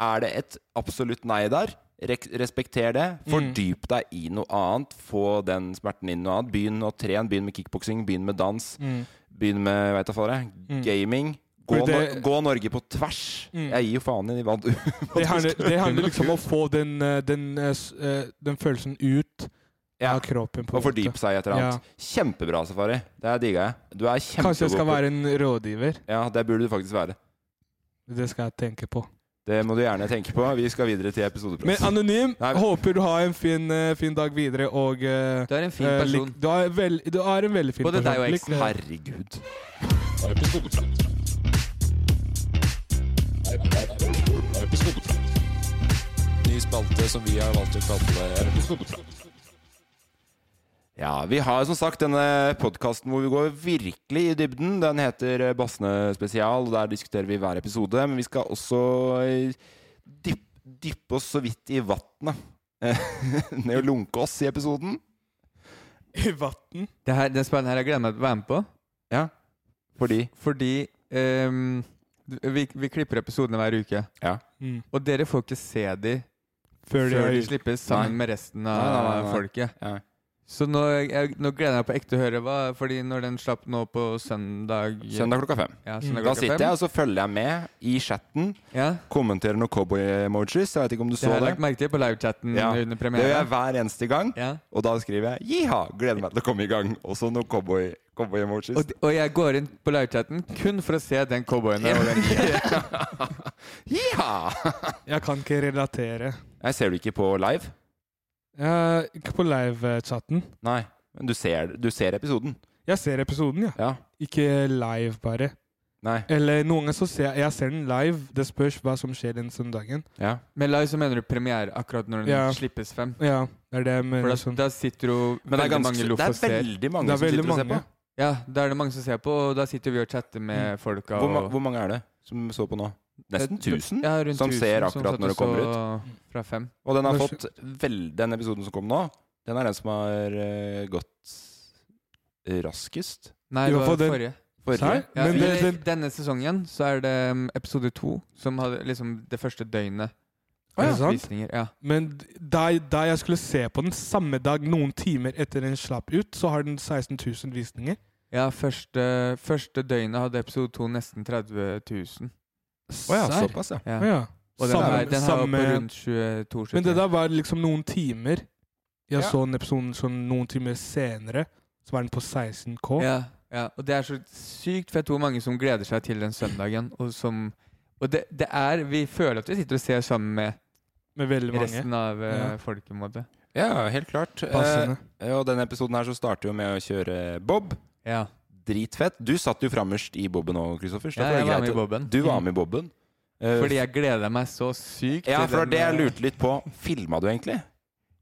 Speaker 2: Er det et absolutt nei der, rek- respekter det. Fordyp deg i noe annet. Få den smerten inn i noe annet. Begynn å trene. Begynn med kickboksing. Begynn med dans.
Speaker 3: Mm.
Speaker 2: Begynn med vet jeg, hva det er,
Speaker 3: Mm.
Speaker 2: gaming. Gå,
Speaker 3: For
Speaker 2: Nor-
Speaker 3: det-
Speaker 2: gå Norge på tvers.
Speaker 3: Mm.
Speaker 2: Jeg gir jo faen i hva du hva
Speaker 3: Det
Speaker 2: du
Speaker 3: handler,
Speaker 2: skal
Speaker 3: det handler
Speaker 2: gjøre.
Speaker 3: liksom om å få den, eh, den, eh, s- eh, den følelsen ut
Speaker 2: Ja.
Speaker 3: av kroppen.
Speaker 2: Og
Speaker 3: på en måte.
Speaker 2: fordype seg i et eller annet. Kjempebra, Safari. Det digga jeg. Du er kjempegod
Speaker 3: Kanskje jeg skal
Speaker 2: på-
Speaker 3: være en rådgiver.
Speaker 2: Ja, det burde du faktisk være.
Speaker 3: Det skal jeg tenke på.
Speaker 2: Det må du gjerne tenke på. Vi skal videre til episodeplass.
Speaker 3: Men Anonym,
Speaker 2: Nei, men-
Speaker 3: håper du har en fin, eh, fin dag videre og eh,
Speaker 5: Du er en fin
Speaker 3: eh,
Speaker 5: person.
Speaker 3: lik- du, er vel- du er en veldig fin
Speaker 5: Både
Speaker 3: person.
Speaker 5: deg og
Speaker 3: Lik- eh,
Speaker 5: eksen.
Speaker 2: Herregud.
Speaker 4: Ny spalte som vi har valgt å kalle
Speaker 2: Ja, vi har som sagt denne podkasten hvor vi går virkelig i dybden. Den heter eh, Bassene spesial, og der diskuterer vi hver episode. Men vi skal også eh, dyp- dyppe oss så vidt i vannet. Eh, Ned og lunke oss i episoden.
Speaker 3: I vatten.
Speaker 5: det her, Den spalten her har jeg gleder meg til å være med på,
Speaker 2: Fordi
Speaker 5: fordi ehm, vi, vi klipper episodene hver uke.
Speaker 3: Mm.
Speaker 5: Og dere får ikke se de
Speaker 3: Før
Speaker 5: før de
Speaker 3: det er
Speaker 5: slippes sammen med resten av
Speaker 2: Nei, nei, nei, nei.
Speaker 5: folket.
Speaker 2: Ja.
Speaker 5: Så nå, jeg, nå gleder jeg meg på ekte å høre hva Fordi når den slapp nå på søndag
Speaker 2: søndag klokka fem.
Speaker 5: Ja, søndag
Speaker 2: Mm. Da
Speaker 5: klokka
Speaker 2: sitter
Speaker 5: fem.
Speaker 2: jeg altså. og så følger jeg med i chatten.
Speaker 5: Ja,
Speaker 2: Kommenterer noen cowboy-emojis. Jeg vet ikke om du
Speaker 5: det
Speaker 2: så
Speaker 5: har jeg
Speaker 2: det.
Speaker 5: lagt merke til på livechatten
Speaker 2: Ja. Det
Speaker 5: under
Speaker 2: gjør jeg
Speaker 5: premieren.
Speaker 2: hver eneste gang.
Speaker 5: Ja.
Speaker 2: Og da skriver jeg 'jiha', gleder meg til å komme i gang. Også noen cowboy- cowboy-emojis.
Speaker 5: Og, d- og jeg går inn på livechatten kun for å se den cowboyen. der, og den-
Speaker 2: Jiha!
Speaker 3: Jeg kan ikke relatere.
Speaker 2: Jeg ser du ikke på live?
Speaker 3: Jeg, ikke på live-chatten.
Speaker 2: Nei. Men du ser, du ser episoden?
Speaker 3: Jeg ser episoden, ja.
Speaker 2: Ja.
Speaker 3: Ikke live, bare.
Speaker 2: Nei.
Speaker 3: Eller noen ganger så ser jeg, jeg ser den live. Det spørs hva som skjer den søndagen.
Speaker 2: Ja.
Speaker 5: Med live så mener du premiere akkurat når den
Speaker 3: Ja.
Speaker 5: slippes frem.
Speaker 3: Ja, det er det jeg
Speaker 5: For
Speaker 3: mener.
Speaker 5: da,
Speaker 3: Sånn.
Speaker 5: da sitter jo
Speaker 2: Men det er,
Speaker 5: veldig mange
Speaker 2: ganske,
Speaker 5: loff
Speaker 2: det
Speaker 5: og
Speaker 2: er
Speaker 5: ser.
Speaker 2: veldig mange
Speaker 3: Det er
Speaker 2: som
Speaker 3: veldig
Speaker 2: sitter og ser på.
Speaker 3: mange.
Speaker 5: Ja, da er det mange som ser på, og da sitter vi og chatter med folka.
Speaker 2: Hvor, ma
Speaker 5: og-
Speaker 2: hvor mange er det som så på nå? Eh, Nesten 1000?
Speaker 5: Ja, rundt
Speaker 2: som
Speaker 5: 1000
Speaker 2: ser
Speaker 5: som
Speaker 2: akkurat
Speaker 5: satt
Speaker 2: når
Speaker 5: og
Speaker 2: det kommer
Speaker 5: så Fra fem.
Speaker 2: Og den har
Speaker 3: Men-
Speaker 2: fått vel, den episoden som kom nå, den er den som har eh, gått raskest.
Speaker 5: Nei,
Speaker 3: I
Speaker 5: det
Speaker 3: hvert
Speaker 5: var
Speaker 3: fall den-
Speaker 5: forrige.
Speaker 3: Serr?
Speaker 2: Forrige.
Speaker 5: Ja,
Speaker 3: Men det,
Speaker 5: eller
Speaker 3: den,
Speaker 5: denne sesongen så er det mm, episode to som hadde liksom det første døgnet.
Speaker 3: Å, ja.
Speaker 5: av
Speaker 3: Sant?
Speaker 5: Visninger, ja.
Speaker 3: men da, da jeg skulle se på den samme dag, noen timer etter den slapp ut, så har den 16 000 visninger.
Speaker 5: ja første, første døgnet hadde episode to nesten 30 000.
Speaker 2: Å ja,
Speaker 3: Serr?
Speaker 2: såpass, ja.
Speaker 5: Ja.
Speaker 3: Å ja.
Speaker 5: Og den,
Speaker 3: Samme-
Speaker 5: er, den her var
Speaker 3: samme-
Speaker 5: på rundt 22
Speaker 3: Men det der var liksom noen timer.
Speaker 2: Ja.
Speaker 3: Jeg så den episoden sånn noen timer senere, så var den på 16K.
Speaker 5: Ja, ja, og det er så sykt fett hvor mange som gleder seg til den søndagen. Og, som, og det, det er Vi føler at vi sitter og ser sammen med
Speaker 3: Med veldig mange.
Speaker 5: resten av eh,
Speaker 3: Ja.
Speaker 5: folket. på en måte.
Speaker 2: ja, helt klart. Eh,
Speaker 3: Passende.
Speaker 2: og denne episoden her så starter jo med å kjøre bob.
Speaker 5: Ja.
Speaker 2: Dritfett. Du satt jo frammest i boben òg, Kristoffer. så
Speaker 5: Ja,
Speaker 2: derfor er
Speaker 5: jeg
Speaker 2: det
Speaker 5: var
Speaker 2: greit
Speaker 5: med i
Speaker 2: å-
Speaker 5: Bobben.
Speaker 2: Du var med i boben. Eh,
Speaker 5: Fordi jeg gleder meg så sykt.
Speaker 2: ja,
Speaker 5: til
Speaker 2: for det var
Speaker 5: den,
Speaker 2: det jeg
Speaker 5: eh,
Speaker 2: lurte litt på. Filma du egentlig?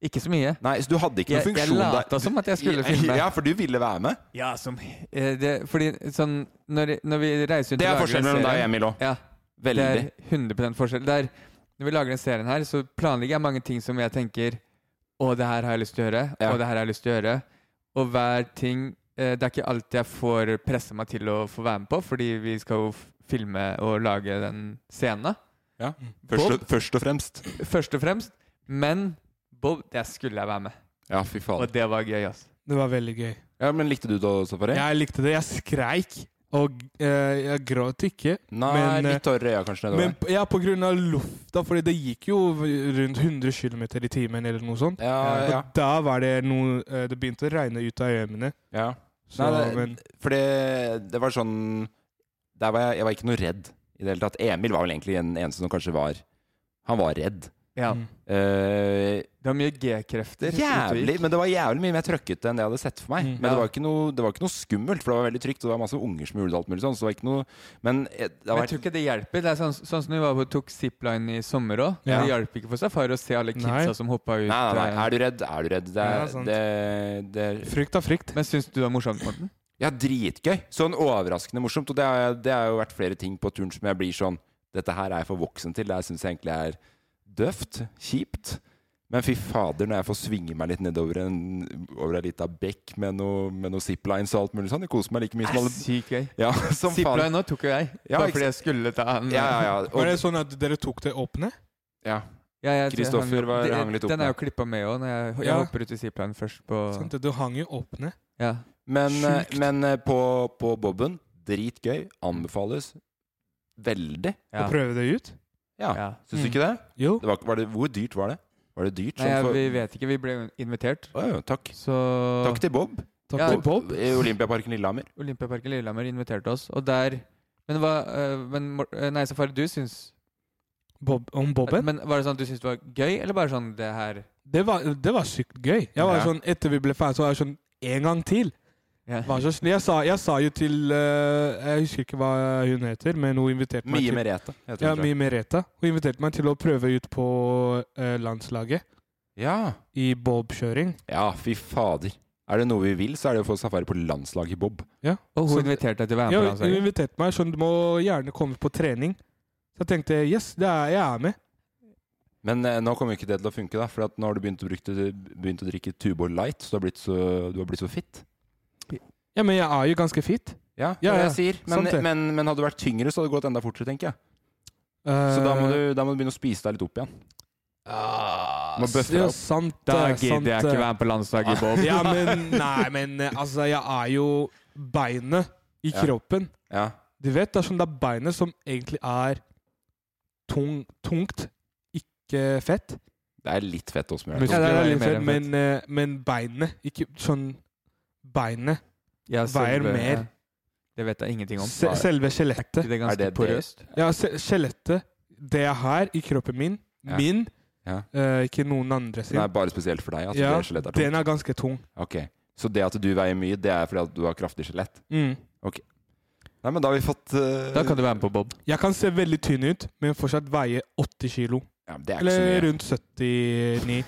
Speaker 5: Ikke så mye.
Speaker 2: Nei, så du hadde ikke noen
Speaker 5: Jeg, jeg
Speaker 2: funksjon
Speaker 5: lata som at jeg skulle filme.
Speaker 2: Ja, for du ville være med.
Speaker 5: Ja, som eh, det, Fordi sånn Når, når vi reiser rundt
Speaker 2: Det er
Speaker 5: og lager
Speaker 2: forskjellen
Speaker 5: den
Speaker 2: mellom deg og
Speaker 5: serien-
Speaker 2: Emil òg.
Speaker 5: Ja,
Speaker 2: Veldig.
Speaker 5: Det er 100 forskjell. Det er, når vi lager den serien her, så planlegger jeg mange ting som jeg tenker Å, det her har jeg lyst til å gjøre.
Speaker 2: Ja.
Speaker 5: Og det her har jeg lyst til å gjøre. Og hver ting eh, Det er ikke alt jeg får pressa meg til å få være med på, fordi vi skal jo f- filme og lage den scenen.
Speaker 2: Ja. Først, og,
Speaker 5: Bob?
Speaker 2: først og fremst.
Speaker 5: Først og fremst. Men Bob, der skulle jeg være med.
Speaker 2: Ja, fy faen.
Speaker 5: Og det var gøy, ass.
Speaker 3: Det var veldig gøy.
Speaker 2: Ja, men likte du det også, Safari?
Speaker 3: Jeg likte det. Jeg skreik. Og eh, jeg gråt ikke.
Speaker 2: Nei,
Speaker 3: men, eh,
Speaker 2: litt tørre øyne kanskje nedover.
Speaker 3: Men p- ja, på grunn av lufta, fordi det gikk jo v- rundt 100 km i timen eller noe sånt. Eh,
Speaker 2: ja, ja, ja.
Speaker 3: Og da var det noe eh, Det begynte å regne ut av øynene.
Speaker 2: ja.
Speaker 3: Så,
Speaker 2: Nei, det-
Speaker 3: men
Speaker 2: For det, det var sånn der var jeg, jeg var ikke noe redd i det hele tatt. Emil var vel egentlig den eneste som kanskje var Han var redd.
Speaker 5: Ja.
Speaker 3: Mm.
Speaker 2: Eh,
Speaker 5: Det var mye G-krefter. ute og
Speaker 2: jævlig,
Speaker 5: gikk.
Speaker 2: men det var jævlig mye mer trøkkete enn det jeg hadde sett for meg.
Speaker 3: Mm.
Speaker 2: Men
Speaker 5: Ja.
Speaker 2: det, var ikke noe, det var ikke noe skummelt, for det var veldig trygt. Og det var masse unger som gjorde alt mulig sånn. Så det var ikke noe Men eh, det
Speaker 5: Men
Speaker 2: har
Speaker 5: jeg tror
Speaker 2: vært
Speaker 5: ikke det hjelper. Det er sånn, sånn som vi var på, tok zipline i sommer òg.
Speaker 3: Ja.
Speaker 5: Det hjalp ikke for Safari å se alle kidsa
Speaker 3: Nei.
Speaker 5: som hoppa
Speaker 2: Nei,
Speaker 5: ut.
Speaker 2: nei, nei.
Speaker 5: eh.
Speaker 2: Er du redd? Er du redd? Det
Speaker 3: Ja,
Speaker 2: er,
Speaker 3: sant.
Speaker 2: det, det er
Speaker 3: frykt av frykt.
Speaker 5: eh, Men syns du det var morsomt, Morten?
Speaker 2: Ja, dritgøy. Sånn overraskende morsomt. Og det har, det har jo vært flere ting på turen som jeg blir sånn Dette her er jeg for voksen til. Det her syns jeg egentlig er døvt. Kjipt. Men fy fader, når jeg får svinge meg litt nedover en, over ei lita bekk med noe, med noe ziplines og alt mulig sånn. Jeg koser meg like mye som
Speaker 5: Det er
Speaker 2: alle
Speaker 5: sykt gøy.
Speaker 2: Ja, som
Speaker 5: Zipline
Speaker 2: faen.
Speaker 5: nå tok jo jeg,
Speaker 2: Ja,
Speaker 5: bare
Speaker 2: ikke
Speaker 5: fordi jeg skulle ta den.
Speaker 2: Ja, ja, ja.
Speaker 3: Var Mm. det
Speaker 2: Og,
Speaker 3: sånn at dere tok det åpne?
Speaker 2: ja.
Speaker 5: Ja, jeg- jeg
Speaker 2: Kristoffer
Speaker 5: hang-
Speaker 2: var-
Speaker 5: det-
Speaker 2: hang litt opp
Speaker 5: Den er jo
Speaker 2: med.
Speaker 5: klippa med òg, når jeg, jeg
Speaker 3: Ja.
Speaker 5: hopper ut i zipline først på
Speaker 3: Sant? Du hang jo åpne.
Speaker 5: Ja.
Speaker 2: Men, eh,
Speaker 3: Sjukt.
Speaker 2: men eh, på, på Bobben, dritgøy. Anbefales veldig.
Speaker 5: ja.
Speaker 3: Og prøve det ut?
Speaker 2: Ja.
Speaker 5: ja.
Speaker 2: Syns du
Speaker 3: Mm.
Speaker 2: ikke det?
Speaker 3: Jo.
Speaker 2: det, var, var det? Hvor dyrt var det? Var det dyrt?
Speaker 5: Nei,
Speaker 2: Sånn
Speaker 5: jeg,
Speaker 2: for,
Speaker 5: vi vet ikke. Vi ble invitert,
Speaker 2: Å, ja, takk.
Speaker 5: så
Speaker 2: Takk til Bob.
Speaker 3: Takk
Speaker 5: Ja,
Speaker 3: til Bob.
Speaker 2: I Olympiaparken Lillehammer.
Speaker 5: Olympiaparken Lillehammer inviterte oss, og der Men, hva, eh, men Mor- eh, nei, Safari, du syns
Speaker 3: Bob. Om Bobben?
Speaker 5: Men var det sånn at du syntes det var gøy, eller bare sånn det her
Speaker 3: Det var, det var sykt gøy. Jeg var
Speaker 2: Ja.
Speaker 3: sånn, Etter vi ble ferdig, så var jeg sånn En gang til!
Speaker 5: ja.
Speaker 3: Var så snill. Jeg, sa, jeg sa jo til eh, Jeg husker ikke hva hun heter, men hun inviterte meg
Speaker 2: Mye
Speaker 3: til
Speaker 2: Merete. heter
Speaker 3: Ja,
Speaker 2: hun, tror jeg.
Speaker 3: Mie Merete. Hun inviterte meg til å prøve ut på eh, landslaget
Speaker 2: ja.
Speaker 3: i bobkjøring.
Speaker 2: ja, fy fader. Er det noe vi vil, så er det å få safari på landslaget i Bob.
Speaker 5: Og hun
Speaker 3: Så-
Speaker 5: inviterte deg til å være med
Speaker 3: Ja,
Speaker 5: på
Speaker 3: hun
Speaker 5: landslaget?
Speaker 3: inviterte meg, så du må gjerne komme på trening. Så jeg tenkte yes, det er, jeg er med.
Speaker 2: Men eh, nå kommer jo ikke det til å funke, da. For at nå har du begynt å, bruke, begynt å drikke Tuborg Light, så du har blitt så, du har blitt så fit.
Speaker 3: Ja, men jeg er jo ganske fit.
Speaker 2: Ja, det
Speaker 3: Ja,
Speaker 2: er det jeg
Speaker 3: ja,
Speaker 2: sier. Men,
Speaker 3: sant det.
Speaker 2: men, men hadde du vært tyngre, så hadde det gått enda fortere, tenker jeg.
Speaker 3: Eh,
Speaker 2: Så da må du, da må du begynne å spise deg litt opp igjen.
Speaker 3: ah,
Speaker 2: må bøffe deg
Speaker 3: ja,
Speaker 2: opp.
Speaker 3: Sant,
Speaker 5: Da
Speaker 3: eh, sant,
Speaker 5: gidder jeg ikke
Speaker 3: eh.
Speaker 5: være med på landslaget, Bob.
Speaker 3: Ja, men Nei, men eh, altså, jeg er jo beinet i
Speaker 2: Ja.
Speaker 3: kroppen.
Speaker 2: Ja.
Speaker 3: Du vet, det er sånn det er beinet som egentlig er tung, tungt, ikke fett.
Speaker 2: Det er litt fett også,
Speaker 5: Men-
Speaker 2: men
Speaker 3: Ja, det er
Speaker 5: Muskler veier
Speaker 3: litt fett,
Speaker 5: mer enn
Speaker 3: men, eh, men beinene Ikke sånn Beinene.
Speaker 5: Ja,
Speaker 3: Veier
Speaker 5: selve-
Speaker 3: mer.
Speaker 5: Det vet jeg ingenting om.
Speaker 3: Se, selve skjelettet.
Speaker 5: det er
Speaker 2: Er
Speaker 5: ganske
Speaker 2: det det?
Speaker 5: porøst?
Speaker 3: Ja, se- skjelettet. Det er her, i kroppen min.
Speaker 2: Ja.
Speaker 3: Min.
Speaker 2: Ja.
Speaker 3: eh, ikke noen andre
Speaker 2: det
Speaker 3: sin.
Speaker 2: er bare spesielt for deg at
Speaker 3: ja,
Speaker 2: det skjelettet er tungt.
Speaker 3: den er ganske tung.
Speaker 2: Ok, Så det at du veier mye, det er fordi at du har kraftig skjelett?
Speaker 3: Mm.
Speaker 2: Nei, men da har vi fått eh,
Speaker 5: Da kan du være med på Bob.
Speaker 3: Jeg kan se veldig tynn ut, men fortsatt veie 80 kilo.
Speaker 2: ja, men Det er ikke så mye.
Speaker 3: Eller rundt 79.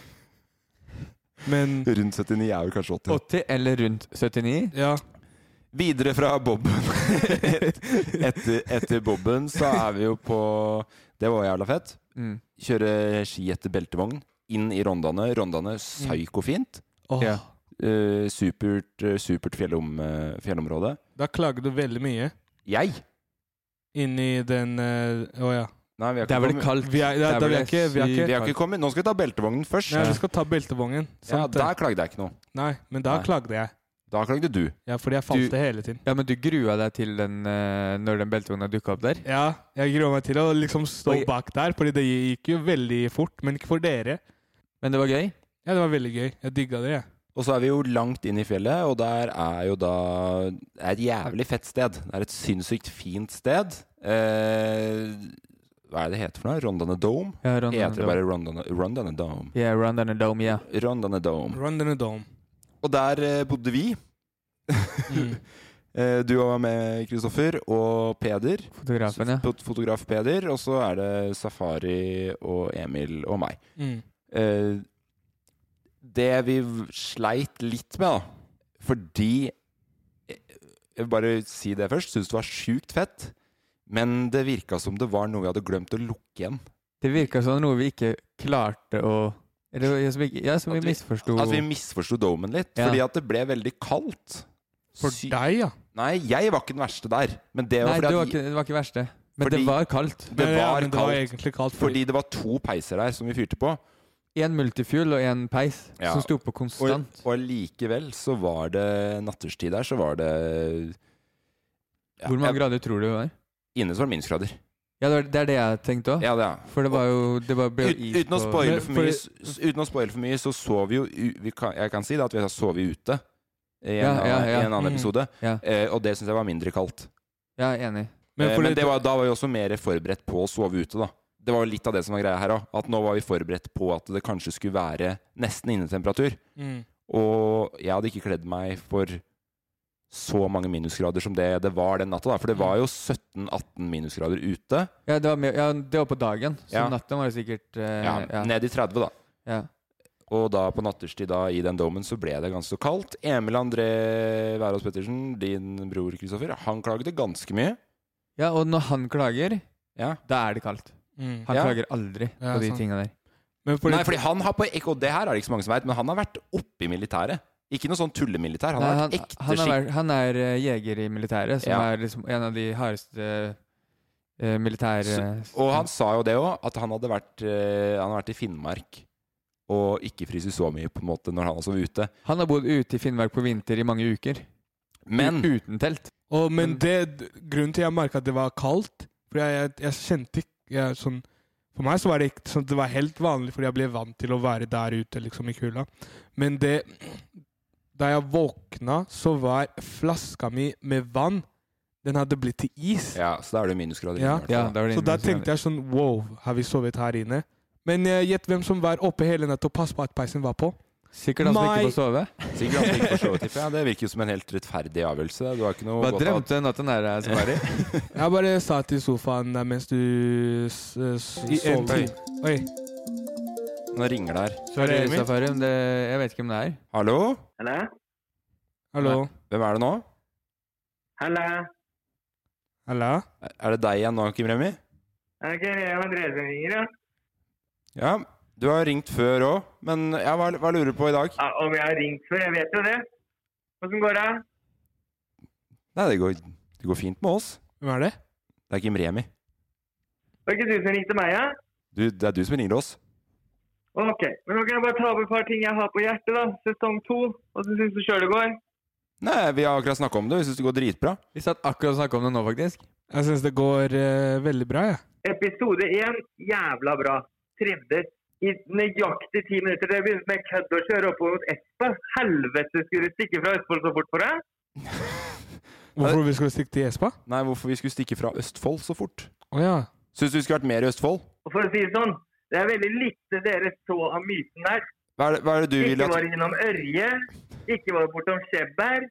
Speaker 3: Men
Speaker 2: Rundt 79 er jo kanskje 80.
Speaker 5: 80 eller rundt 79?
Speaker 3: ja.
Speaker 2: Videre fra Bobben. etter, etter Bobben så er vi jo på Det var jævla fett.
Speaker 5: Mm.
Speaker 2: Kjøre ski etter beltevogn. Inn i Rondane. Rondane psykofint.
Speaker 3: Åh,
Speaker 5: Ja.
Speaker 2: Eh, supert eh, supert fjellom, eh, fjellområde.
Speaker 3: Da klager du veldig mye
Speaker 2: Jeg?
Speaker 3: inni den eh, Å ja.
Speaker 2: Nei, vi har
Speaker 5: Det
Speaker 2: ikke
Speaker 5: er vel
Speaker 2: kommet.
Speaker 5: kaldt.
Speaker 3: Vi er- ja, da
Speaker 5: vel
Speaker 3: vi er ikke- vi er
Speaker 5: sykt
Speaker 2: Vi har ikke
Speaker 5: kaldt.
Speaker 2: kommet. Nå skal vi ta beltevognen først.
Speaker 3: Nei, vi skal ta beltevognen.
Speaker 2: ja,
Speaker 3: Sant, eh.
Speaker 2: Der klagde jeg ikke noe.
Speaker 3: Nei, men da
Speaker 2: Nei.
Speaker 3: klagde jeg.
Speaker 2: Da klagde du.
Speaker 3: Ja, fordi jeg falt
Speaker 5: Du-
Speaker 3: det hele tiden.
Speaker 5: Ja, men du grua deg til den eh, når den beltevogna dukka opp der?
Speaker 3: Ja, jeg gruer meg til å liksom stå
Speaker 5: Oi.
Speaker 3: bak der, fordi det gikk jo veldig fort. Men ikke for dere.
Speaker 5: Men det var gøy?
Speaker 3: Ja, det var veldig gøy. Jeg digga det, jeg.
Speaker 2: Og så er vi jo langt inn i fjellet, og der er jo da Det er et jævlig fett sted. Det er et sinnssykt fint sted. Eh, hva er det det heter for noe? Rondane Dome?
Speaker 5: Ja, run
Speaker 2: Det heter det
Speaker 5: dome.
Speaker 2: bare Rondane, Rondane Dome.
Speaker 5: Yeah, run down a dome, yeah.
Speaker 2: Rondane Dome.
Speaker 3: Run in a dome.
Speaker 2: Og der eh, bodde vi.
Speaker 3: Mm.
Speaker 2: Eh, du var med, Kristoffer, og Peder.
Speaker 5: Fotografen, ja.
Speaker 2: Fot- Fotograf Peder. Og så er det Safari og Emil og meg.
Speaker 3: Mm.
Speaker 2: Eh, det vi v- sleit litt med, da Fordi eh, Jeg vil bare si det først. Syns det var sjukt fett. Men det virka som det var noe vi hadde glemt å lukke igjen.
Speaker 5: Det virka som noe vi ikke klarte å Eller jeg som, ikke, jeg som vi misforsto
Speaker 2: At Altså, vi misforsto domen litt.
Speaker 5: Ja.
Speaker 2: Fordi at det ble veldig kaldt.
Speaker 3: For deg, ja.
Speaker 2: Nei, jeg var ikke den verste der. Men det var
Speaker 5: Nei, det
Speaker 2: fordi
Speaker 5: var,
Speaker 2: at
Speaker 5: ikke, det var ikke verste. Men
Speaker 2: Fordi-
Speaker 5: det var kaldt.
Speaker 2: det
Speaker 3: ja,
Speaker 2: var
Speaker 3: men det var
Speaker 2: kaldt.
Speaker 3: egentlig kaldt.
Speaker 2: Fordi det var to peiser der som vi fyrte på.
Speaker 5: Én multifuel og én peis
Speaker 2: Ja.
Speaker 5: som sto på
Speaker 2: Og,
Speaker 5: konstant.
Speaker 2: og likevel så var det natterstid der, så var det ja,
Speaker 5: Hvor mange
Speaker 2: jeg-
Speaker 5: grader tror du det var?
Speaker 2: Inne så var det minusgrader.
Speaker 5: Ja, det, var, det er det jeg tenkte òg.
Speaker 2: Ja, det er.
Speaker 5: For det var jo det var, ble jo
Speaker 2: Ut,
Speaker 5: is
Speaker 2: uten, å
Speaker 5: på-
Speaker 2: spoile
Speaker 3: Men
Speaker 2: for
Speaker 3: for-
Speaker 2: mye, s- s- uten å spoile for mye, så sov vi jo u- vi kan, Jeg kan si det at vi har sovet ute i en,
Speaker 5: Ja, ja,
Speaker 2: annen-
Speaker 5: ja. Mm.
Speaker 2: I en annen
Speaker 3: Mhm.
Speaker 2: episode,
Speaker 5: Ja.
Speaker 2: eh, og det syns jeg var mindre kaldt.
Speaker 5: Ja, jeg er enig.
Speaker 3: Men
Speaker 2: eh,
Speaker 3: fordi
Speaker 2: men det var, da var vi også mer forberedt på å sove ute, da. Det var jo litt av det som var greia her òg. At nå var vi forberedt på at det kanskje skulle være nesten innetemperatur.
Speaker 3: mm.
Speaker 2: Og jeg hadde ikke kledd meg for så mange minusgrader som det det var den natta, da.
Speaker 5: Mm.
Speaker 2: For det var jo 17-18 minusgrader ute.
Speaker 5: Ja, det var, mer- ja, det var på dagen, så
Speaker 2: Ja.
Speaker 5: natten var jo sikkert eh,
Speaker 2: Ja,
Speaker 5: ja, ja,
Speaker 2: Ned i 30, da.
Speaker 5: ja.
Speaker 2: Og da på natterstid da, i den dommen så ble det ganske så kaldt. Emil André Wærås Pettersen, din bror Kristoffer, han klagde ganske mye.
Speaker 5: og når han klager,
Speaker 2: Ja.
Speaker 5: da er det kaldt.
Speaker 3: Mm.
Speaker 5: Han
Speaker 2: Ja.
Speaker 5: klager aldri
Speaker 3: Ja,
Speaker 5: på de
Speaker 3: sant.
Speaker 5: tinga der.
Speaker 3: Men fordi,
Speaker 2: Nei, fordi han har på ikke- Og det her er det ikke så mange som vet, men han har vært oppe i militæret. Ikke noe sånn tullemilitær. Han har
Speaker 5: Nei,
Speaker 2: vært ekte
Speaker 5: han, er,
Speaker 2: skikk...
Speaker 5: vært- han er eh, jeger i militæret, som
Speaker 2: Ja.
Speaker 5: er liksom en av de hardeste eh, militære...
Speaker 2: Og han sa jo det òg, at han hadde vært, eh, han har vært i Finnmark og ikke fryst så mye på en måte når han har sovet ute.
Speaker 5: Han har bodd ute i Finnmark på vinter i mange uker.
Speaker 2: Men
Speaker 5: U- Uten telt.
Speaker 3: og, men
Speaker 2: Mm.
Speaker 5: Men-
Speaker 3: det, grunnen til jeg merka at det var kaldt For jeg, jeg, jeg kjente ikke jeg, sånn, For meg så var det ikke sånn at det var helt vanlig, fordi jeg ble vant til å være der ute liksom i kulda. Men det Da jeg våkna, så var flaska mi med vann Den hadde blitt til is.
Speaker 2: Ja, så da er det minusgrader.
Speaker 3: Ja.
Speaker 2: inne i hvert fall,
Speaker 5: Ja,
Speaker 2: da.
Speaker 5: da var det
Speaker 3: Så da tenkte jeg sånn Wow, har vi sovet her inne? Men eh, gjett hvem som var oppe hele natta og passet på at peisen var på.
Speaker 5: Sikkert han som
Speaker 3: Mai-
Speaker 5: ikke får sove.
Speaker 2: Sikkert han fikk forstå, tipper jeg. Det virker jo som en helt rettferdig avgjørelse. Du har ikke noe
Speaker 5: Hva
Speaker 2: godt av-
Speaker 5: drømte du natten der, eh, Safari?
Speaker 3: Jeg bare sa til sofaen der mens du s eh, s
Speaker 2: I en
Speaker 3: sover.
Speaker 2: time.
Speaker 3: Oi.
Speaker 2: Nå ringer det her.
Speaker 5: Sorry,
Speaker 3: Emil.
Speaker 5: Safari, men det, jeg vet ikke hvem det er.
Speaker 2: Hallo?
Speaker 3: Hallo.
Speaker 2: Hvem er det nå?
Speaker 3: Hallo?
Speaker 2: Er- Er det deg igjen nå, Kim Remi? Ja, du har ringt før òg, men ja, hva, hva lurer du på i dag?
Speaker 7: Ah, om jeg har ringt før, jeg vet jo det. Åssen går det?
Speaker 2: Nei, det går, det går fint med oss.
Speaker 3: Hvem er det?
Speaker 2: Det er Kim Remi.
Speaker 7: Var det ikke du som ringte meg, ja?
Speaker 2: Du, det er du som ringer oss.
Speaker 7: Ok, men nå kan jeg bare ta opp et par ting jeg har på hjertet, da. Sesong to. Åssen syns du sjøl det går?
Speaker 2: Nei, vi har akkurat snakka om det. Vi syns det går dritbra.
Speaker 5: Vi satt akkurat og snakka om det nå, faktisk.
Speaker 3: Jeg syns det går eh, veldig bra, jeg.
Speaker 7: Episode én, jævla bra. Trivdes. I nøyaktig ti minutter til jeg begynte med kødd å kjøre oppover mot Espa. Helvete, skulle du stikke fra Østfold så fort for deg?
Speaker 3: Hvorfor vi skulle stikke til Espa?
Speaker 2: Nei, hvorfor vi skulle stikke fra Østfold så fort?
Speaker 3: Å ja.
Speaker 2: Syns du vi skulle vært mer i Østfold?
Speaker 7: Og for å si det sånn, det er veldig lite dere så av myten der.
Speaker 2: Hva er det, hva er det du vil
Speaker 7: Ikke
Speaker 2: at
Speaker 7: var innom Ørje, ikke var bortom Skjebberg,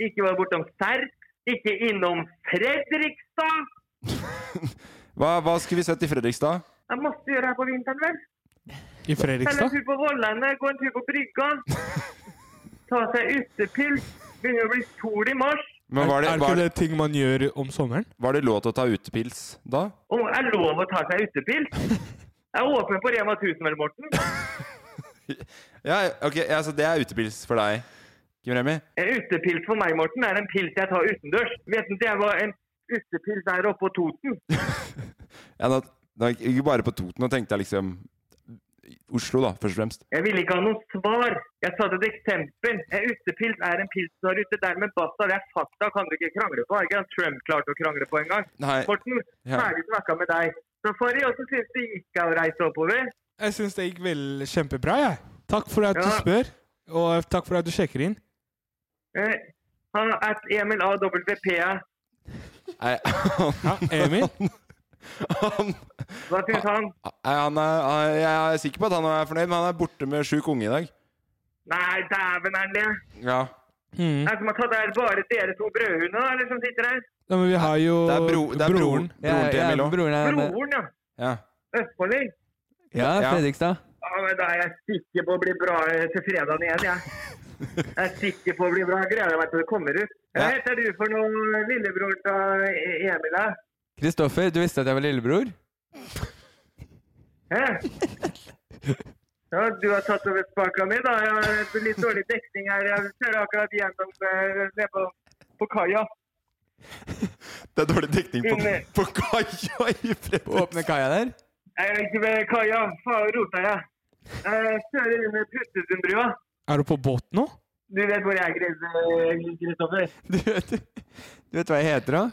Speaker 7: ikke var bortom Serp, ikke innom Fredrikstad.
Speaker 2: Hva, hva skulle vi sett i Fredrikstad?
Speaker 7: Det er masse å gjøre her på vinteren, vel?
Speaker 3: I
Speaker 7: Eller en
Speaker 3: Fredrikstad?
Speaker 7: tur på Vollane, gå en tur på brygga. Ta seg utepils. Begynner å bli sol i mars.
Speaker 2: Men var det,
Speaker 3: er ikke
Speaker 2: var,
Speaker 3: det ting man gjør om sommeren?
Speaker 2: var det lov til å ta utepils da?
Speaker 7: Og er lov å ta seg utepils? Jeg er åpen på Rema 1000, vel, Morten.
Speaker 2: Ja, ok, ja, så det er utepils for deg, Kim Remi?
Speaker 7: En utepils for meg, Morten, er en pils jeg tar utendørs. Vet ikke jeg var en utepils der oppe på Toten.
Speaker 2: Ja, da, da, ikke bare på Toten, nå tenkte jeg liksom Oslo, da, først og fremst.
Speaker 7: Jeg ville ikke ha noe svar. Jeg satte et eksempel. En utepils er en pils du har ute. Dermed basta. Det er fakta. Kan du ikke krangle på? Har ikke han Trump klart å krangle på engang?
Speaker 2: Nei,
Speaker 7: Morten,
Speaker 2: Ja.
Speaker 7: ferdig snakka med deg. Safari, åssen syns du gikk av å reise oppover?
Speaker 3: Jeg syns det gikk vel kjempebra, jeg. Takk for at du
Speaker 7: Ja.
Speaker 3: spør, og takk for at du sjekker inn.
Speaker 7: Eh, Han er at Emil AWP.
Speaker 2: nei
Speaker 3: Ja, Emil?
Speaker 2: han,
Speaker 7: Hva syns han?
Speaker 2: nei, han er, han- Jeg er sikker på at han er fornøyd, men han er borte med sjuk unge i dag.
Speaker 7: Nei, dæven er han det.
Speaker 2: Ja.
Speaker 3: Mm.
Speaker 7: Er det som har tatt der bare dere to brødhundene da, eller som sitter her?
Speaker 3: Ja, men vi har jo
Speaker 2: Det er, bro, det er broren.
Speaker 3: broren.
Speaker 5: Ja,
Speaker 2: Broren til
Speaker 5: ja,
Speaker 2: Emil òg.
Speaker 5: broren er med.
Speaker 7: Broren, ja.
Speaker 2: Ja.
Speaker 7: Østfolding.
Speaker 5: Ja,
Speaker 2: Ja.
Speaker 5: Fredrikstad.
Speaker 7: Ja, men Da er jeg sikker på å bli bra eh, til fredagen igjen, jeg. Jeg er sikker på å bli bra. Jeg Gleder meg til det kommer ut. Hva
Speaker 2: Ja.
Speaker 7: heter du for noe, lillebror til E- Emil? da?
Speaker 5: Kristoffer, du visste at jeg var lillebror?
Speaker 7: Hæ? Ja, du har tatt over spaka mi, da. Jeg har litt dårlig dekning her. Jeg kjører akkurat gjennom eh, ned på, på kaia.
Speaker 2: Det er dårlig dekning på,
Speaker 7: Inne.
Speaker 2: på kaia i Fredrikstad.
Speaker 5: Åpne kaia der?
Speaker 7: Jeg er ikke ved kaia. Faen, rota jeg. Jeg kjører under Puttesundbrua.
Speaker 3: Er du på båt nå?
Speaker 7: Du vet hvor jeg er, Chris- Kristoffer?
Speaker 5: Du vet hva jeg heter, da?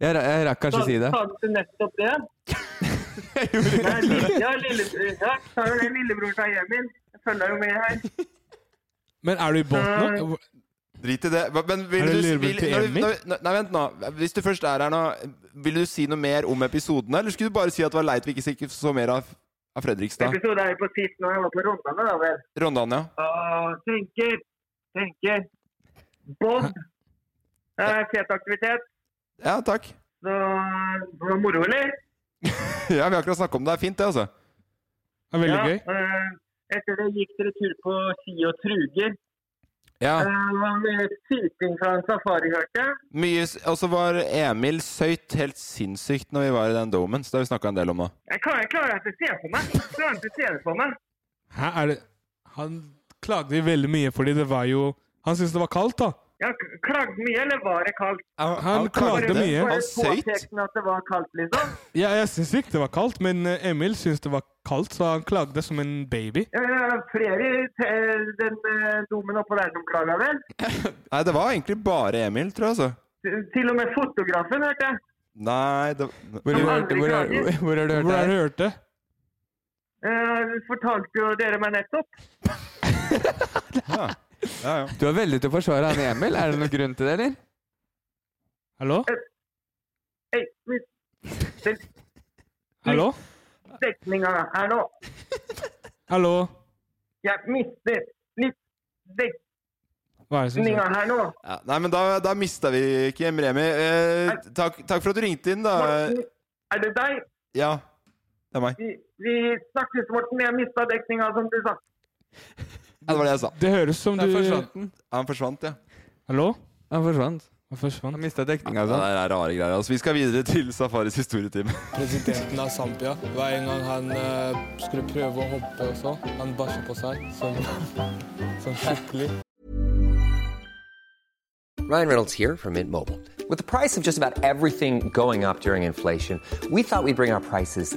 Speaker 5: Jeg, ra- jeg rakk kanskje si det.
Speaker 7: Sa du nettopp det? Ja, lille- ja, lillebror. Ja, sa jo det. Lillebror sa Emil. Jeg følger jo med her.
Speaker 3: Men er du i båt nå?
Speaker 2: Drit i det. Hva- Men vil
Speaker 3: Er det
Speaker 2: du, vil,
Speaker 3: lillebror til
Speaker 2: når du,
Speaker 3: Emil?
Speaker 2: når, når- nei, vent nå. Hvis du først er her nå, vil du si noe mer om episoden, eller skulle du bare si at det var leit vi ikke sikk- så mer av, av Fredrikstad?
Speaker 7: Episode er jo på sist når jeg var på Rondane, da vel.
Speaker 2: Rondane, ja.
Speaker 7: Og tenker, tenker. Bob. Eh, Fet aktivitet.
Speaker 2: Ja, takk.
Speaker 7: Så det var moro, eller?
Speaker 2: Ja, vi har akkurat snakket om det. Det er fint, det, altså.
Speaker 3: Det er
Speaker 7: Ja, eh, etter det gikk dere tur på ski og truger.
Speaker 2: Ja.
Speaker 7: Eh, det var mye syting fra en safari, hørte jeg.
Speaker 2: Mye s- Og så var Emil søyt helt sinnssykt når vi var i den domen, så det har vi snakka en del om nå.
Speaker 7: Jeg klarer, jeg klarer ikke å se for meg. Jeg klarer ikke å se det for meg.
Speaker 3: Hæ, er det Han klagde veldig mye fordi det var jo Han syntes det var kaldt, da.
Speaker 7: Jeg k- klagde mye, eller var det kaldt?
Speaker 2: Han,
Speaker 3: klagde mye.
Speaker 7: Var
Speaker 3: Han
Speaker 7: det
Speaker 3: søyt.
Speaker 7: påtekten at det var kaldt, liksom?
Speaker 3: Ja, jeg syns ikke det var kaldt, men eh, Emil syntes det var kaldt, så han klagde som en baby.
Speaker 7: Eh, flere i te- den eh, domen oppå der som klaga, vel?
Speaker 2: Nei, det var egentlig bare Emil, tror jeg, altså.
Speaker 7: Til- Til og med fotografen, hørte jeg.
Speaker 2: Nei, det
Speaker 5: Hvor,
Speaker 7: Han
Speaker 5: hvor,
Speaker 7: aldri
Speaker 5: hvor, har-
Speaker 7: klager.
Speaker 5: hvor har du hørt
Speaker 3: Hvor
Speaker 5: det?
Speaker 3: har du
Speaker 5: her?
Speaker 3: hørt det?
Speaker 7: Eh, fortalte jo dere meg nettopp.
Speaker 2: Ja, ja.
Speaker 5: Du er veldig til å forsvare han Emil. Er det noen grunn til det, eller?
Speaker 3: Hallo?
Speaker 7: Eh, Hei, hvis den
Speaker 3: Hallo?
Speaker 7: dekninga er nå
Speaker 3: Hallo?
Speaker 7: Jeg mister litt dekninga
Speaker 3: Hva er det som skjer?
Speaker 7: her nå.
Speaker 2: Ja, nei, men da, da mista vi ikke Remi. Eh, takk, takk for at du ringte inn,
Speaker 3: Eh,
Speaker 2: da.
Speaker 7: Morten, er det deg?
Speaker 2: Ja, det er meg.
Speaker 7: Vi, vi snakkes, Morten. Jeg mista dekninga, som du sa.
Speaker 2: Ja, det var det jeg sa.
Speaker 3: Det høres som du
Speaker 5: Der forsvant den.
Speaker 2: Han forsvant, ja.
Speaker 3: Hallo?
Speaker 5: Han forsvant.
Speaker 3: Han forsvant.
Speaker 5: Han mista
Speaker 2: Ja,
Speaker 5: dekninga
Speaker 2: det er rare greier. Altså, vi skal videre til Safaris historietime.
Speaker 6: Presidenten av Zambia. Hver en gang han eh, skulle prøve å hoppe og så, han bæsja på seg som, som skikkelig.
Speaker 8: Ryan Reynolds here from Mint Mobile. With the price of just about everything going up during inflation, we thought we'd bring our prices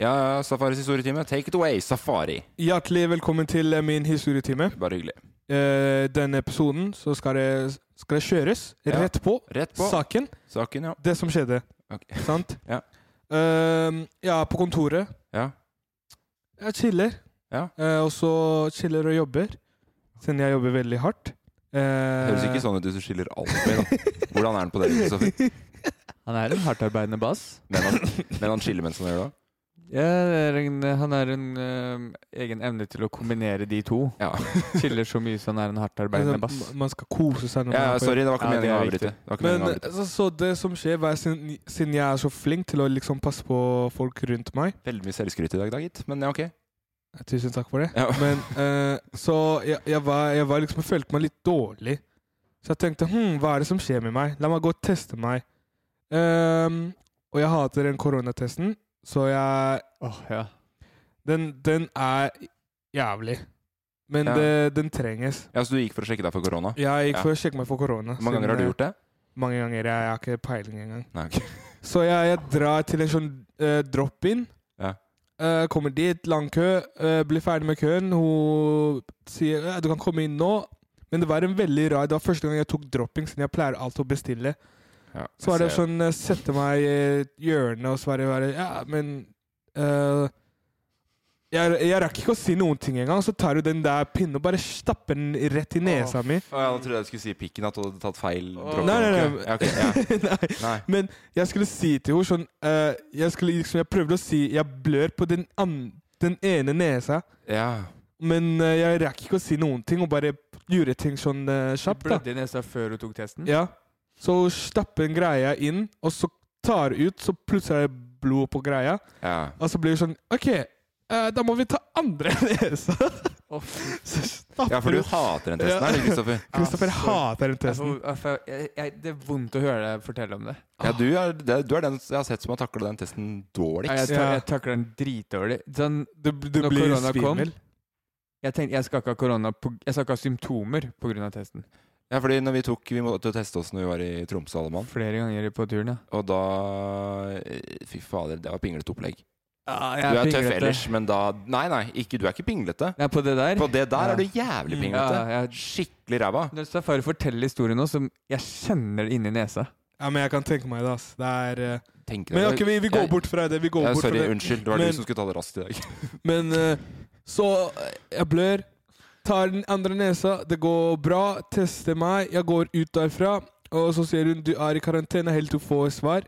Speaker 2: Ja, ja, Safaris historietime. Take it away, Safari.
Speaker 3: Hjertelig velkommen til eh, min historietime.
Speaker 2: Bare hyggelig.
Speaker 3: Eh, denne episoden så skal det, skal det kjøres
Speaker 2: Ja,
Speaker 3: rett, på
Speaker 2: rett på.
Speaker 3: saken.
Speaker 2: Saken, ja.
Speaker 3: Det som skjedde.
Speaker 2: Ok.
Speaker 3: Sant?
Speaker 2: Ja.
Speaker 3: Eh, jeg er på kontoret.
Speaker 2: Ja.
Speaker 3: Jeg chiller. Eh, og så chiller og jobber, siden jeg jobber veldig hardt. Eh,
Speaker 2: Høres ikke sånn ut hvis du skiller albuer, da. Hvordan er han på det? Kristoffer?
Speaker 5: Han er en hardtarbeidende bass.
Speaker 2: Men han, men han chiller mens han gjør det? da?
Speaker 5: Ja, det er en, han har en øhm, egen evne til å kombinere de to. Chiller så mye så han er en hardtarbeidende
Speaker 3: Altså,
Speaker 5: bass.
Speaker 3: ma- Man skal kose seg. når
Speaker 5: Ja,
Speaker 3: man er
Speaker 5: ja,
Speaker 3: på
Speaker 5: sorry,
Speaker 3: jobb.
Speaker 5: det var ikke Ja, meningen å det er avbryte. viktig. Det var ikke
Speaker 3: Men
Speaker 5: meningen å avbryte.
Speaker 3: så, så det som skjer, hver, siden, siden jeg er så flink til å liksom passe på folk rundt meg
Speaker 2: Veldig mye selvskryt i dag, da, gitt. Men ja, ok.
Speaker 3: Tusen takk for det. Men eh, Så jeg, jeg, var, jeg var liksom jeg følte meg litt dårlig. Så jeg tenkte hm, hva er det som skjer med meg? La meg gå og teste meg. Ehm, og jeg hater den koronatesten, så jeg den, den er jævlig. Men
Speaker 2: Ja.
Speaker 3: det, den trenges.
Speaker 2: Ja, Så du gikk for å sjekke deg for korona?
Speaker 3: Jeg gikk for å
Speaker 2: Ja.
Speaker 3: sjekke meg for korona.
Speaker 2: Hvor mange
Speaker 3: siden
Speaker 2: ganger har du
Speaker 3: jeg-
Speaker 2: gjort det?
Speaker 3: Mange ganger. Jeg, jeg har ikke peiling engang.
Speaker 2: Nei, ok.
Speaker 3: Så jeg, jeg drar til en sånn eh, drop-in.
Speaker 2: Ja.
Speaker 3: Eh, kommer dit, lang kø. eh, blir ferdig med køen. Hun sier «Ja, du kan komme inn nå. Men det var en veldig rar Det var første gang jeg tok dropping, siden jeg pleier alltid å bestille. så var det
Speaker 2: ser det.
Speaker 3: sånn eh, Sette meg i et hjørne og svare bare Ja, men eh, jeg, jeg rakk ikke å si noen ting engang, så tar du den der pinnen og bare stapper den rett i nesa mi.
Speaker 2: Å, ja, da trodde jeg du skulle si pikken, at du hadde tatt feil. dropp.
Speaker 3: Nei, nei, nei.
Speaker 2: Ja, ok, ja. nei.
Speaker 3: Men jeg skulle si til henne sånn eh, jeg, skulle, liksom, jeg prøvde å si Jeg blør på den, an, den ene nesa,
Speaker 2: Ja.
Speaker 3: men eh, jeg rakk ikke å si noen ting, og bare gjorde ting sånn eh, kjapt. da
Speaker 5: Blødde i nesa før du tok testen?
Speaker 3: Ja. Så hun stapper en greia inn, og så tar hun ut, så plutselig er det blod på greia.
Speaker 2: Ja.
Speaker 3: Og så blir hun sånn OK, eh, da må vi ta andre nesa. Så stapper
Speaker 2: Ja, for du
Speaker 3: hun-
Speaker 2: hater den testen her, du, Kristoffer.
Speaker 3: Kristoffer hater den
Speaker 5: Altså, Jeg
Speaker 3: testen.
Speaker 5: får- jeg får- jeg- jeg- Det er vondt å høre deg fortelle om det.
Speaker 2: Ja, du er, det- du er den jeg har sett som har takla den testen
Speaker 5: Nei, Jeg,
Speaker 2: dårligst.
Speaker 5: ta- jeg takler den dritdårlig. Sånn,
Speaker 3: du
Speaker 5: når
Speaker 3: blir
Speaker 5: korona kom,
Speaker 3: svimmel.
Speaker 5: Jeg tenkte jeg skal ikke ha korona på, Jeg skal ikke ha symptomer pga. testen.
Speaker 2: Ja, fordi når vi tok Vi måtte teste oss når vi var i Tromsø, alle mann.
Speaker 5: Flere ganger på turen, ja.
Speaker 2: Og da eh, Fy fader, det var pinglete opplegg.
Speaker 5: Ja, jeg
Speaker 2: du
Speaker 5: er
Speaker 2: er tøff
Speaker 5: pinglete.
Speaker 2: ellers, men da Nei, nei, ikke, du er ikke pinglete.
Speaker 5: Nei, på det der
Speaker 2: På det der
Speaker 5: Ja.
Speaker 2: er du jævlig
Speaker 5: Mm.
Speaker 2: pinglete.
Speaker 5: Ja, jeg-
Speaker 2: Skikkelig ræva.
Speaker 5: Når Safari forteller historien nå, som jeg kjenner det inni nesa
Speaker 3: Ja, men jeg kan tenke meg det, ass. Det er eh,
Speaker 2: Tenker
Speaker 3: Men
Speaker 2: jeg-
Speaker 3: ok, vi, vi går
Speaker 2: jeg-
Speaker 3: bort fra det. Vi går
Speaker 2: Ja,
Speaker 3: bort
Speaker 2: sorry,
Speaker 3: fra det.
Speaker 2: unnskyld. Det var
Speaker 3: men,
Speaker 2: du som skulle ta det raskt i dag.
Speaker 3: Men eh, så eh, Jeg blør. Tar den andre nesa. Det går bra. Tester meg. Jeg går ut derfra. Og så sier hun du er i karantene helt til du får svar.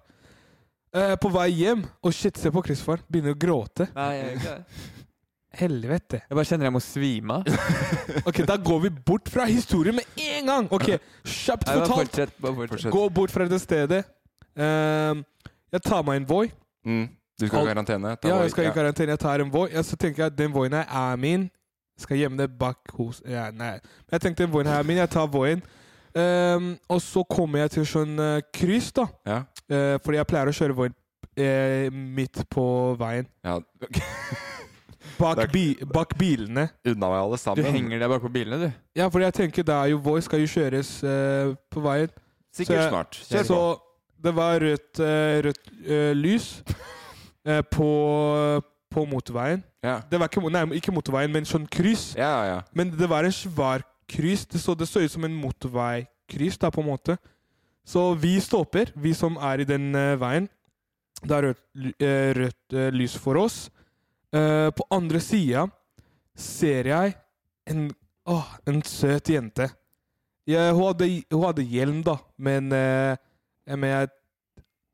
Speaker 3: Eh, på vei hjem Og shit, se på Christopher. Begynner å gråte.
Speaker 5: Nei, jeg gjør ikke det.
Speaker 3: Helvete.
Speaker 5: Jeg bare kjenner jeg må svime av.
Speaker 3: Ok, Da går vi bort fra historien med en gang! Ok, Kjapt
Speaker 5: Nei, bare
Speaker 3: fortalt.
Speaker 5: fortsett, bare fortsett.
Speaker 3: Gå bort fra det stedet. Ehm, jeg tar meg en Voi.
Speaker 2: Mm. Du skal i
Speaker 3: Alt-
Speaker 2: karantene? Ta
Speaker 3: Ja,
Speaker 2: Voi,
Speaker 3: jeg skal i
Speaker 2: ja.
Speaker 3: karantene. Jeg tar en Voi. Ja, så tenker jeg at den Voien her er min. Skal gjemme det bak hos ja, Nei. Men jeg tenkte den Voien her er min. Jeg tar Voien. Ehm, og så kommer jeg til sånn eh, kryss, da.
Speaker 2: Ja.
Speaker 3: Eh, fordi jeg pleier å kjøre Voien eh, midt på veien.
Speaker 2: ja.
Speaker 3: Bak, bi bak bilene.
Speaker 2: Unna meg alle
Speaker 5: Du
Speaker 2: sammen.
Speaker 5: henger deg bakpå bilene, du.
Speaker 3: Ja, for jeg tenker det er jo Voi skal jo kjøres eh, på veien.
Speaker 2: Sikkert
Speaker 3: jeg-
Speaker 2: snart. Kjør
Speaker 3: så det var rødt, eh, rødt eh, lys eh, på, på motorveien.
Speaker 2: Ja.
Speaker 3: Det var ikke, mo- nei, ikke motorveien, men sånn kryss.
Speaker 2: Ja, ja.
Speaker 3: Men det var en svær kryss. Det så, det så ut som en motorveikryss, da, på en måte. Så vi stopper, vi som er i den eh, veien. Det er rødt, ly- eh, rødt eh, lys for oss. Eh, på andre sida ser jeg en, åh, en søt jente. Jeg, hun, hadde, hun hadde hjelm, da, men, eh, men jeg,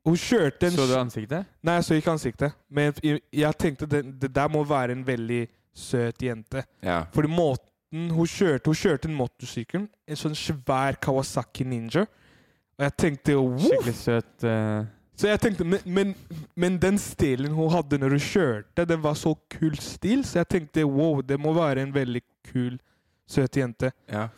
Speaker 3: Hun kjørte en
Speaker 5: Så du
Speaker 3: sj-
Speaker 5: ansiktet?
Speaker 3: Nei, jeg så ikke ansiktet. Men jeg, jeg tenkte det, det der må være en veldig søt jente.
Speaker 2: Ja.
Speaker 3: Fordi måten hun kjørte Hun kjørte en motorsykkel, en sånn svær Kawasaki Ninja. Og jeg tenkte jo
Speaker 5: Skikkelig søt eh,
Speaker 3: Så jeg tenkte, men, men, men den stilen hun hadde når hun kjørte, den var så kul stil, så jeg tenkte wow, det må være en veldig kul, søt jente.
Speaker 2: Ja.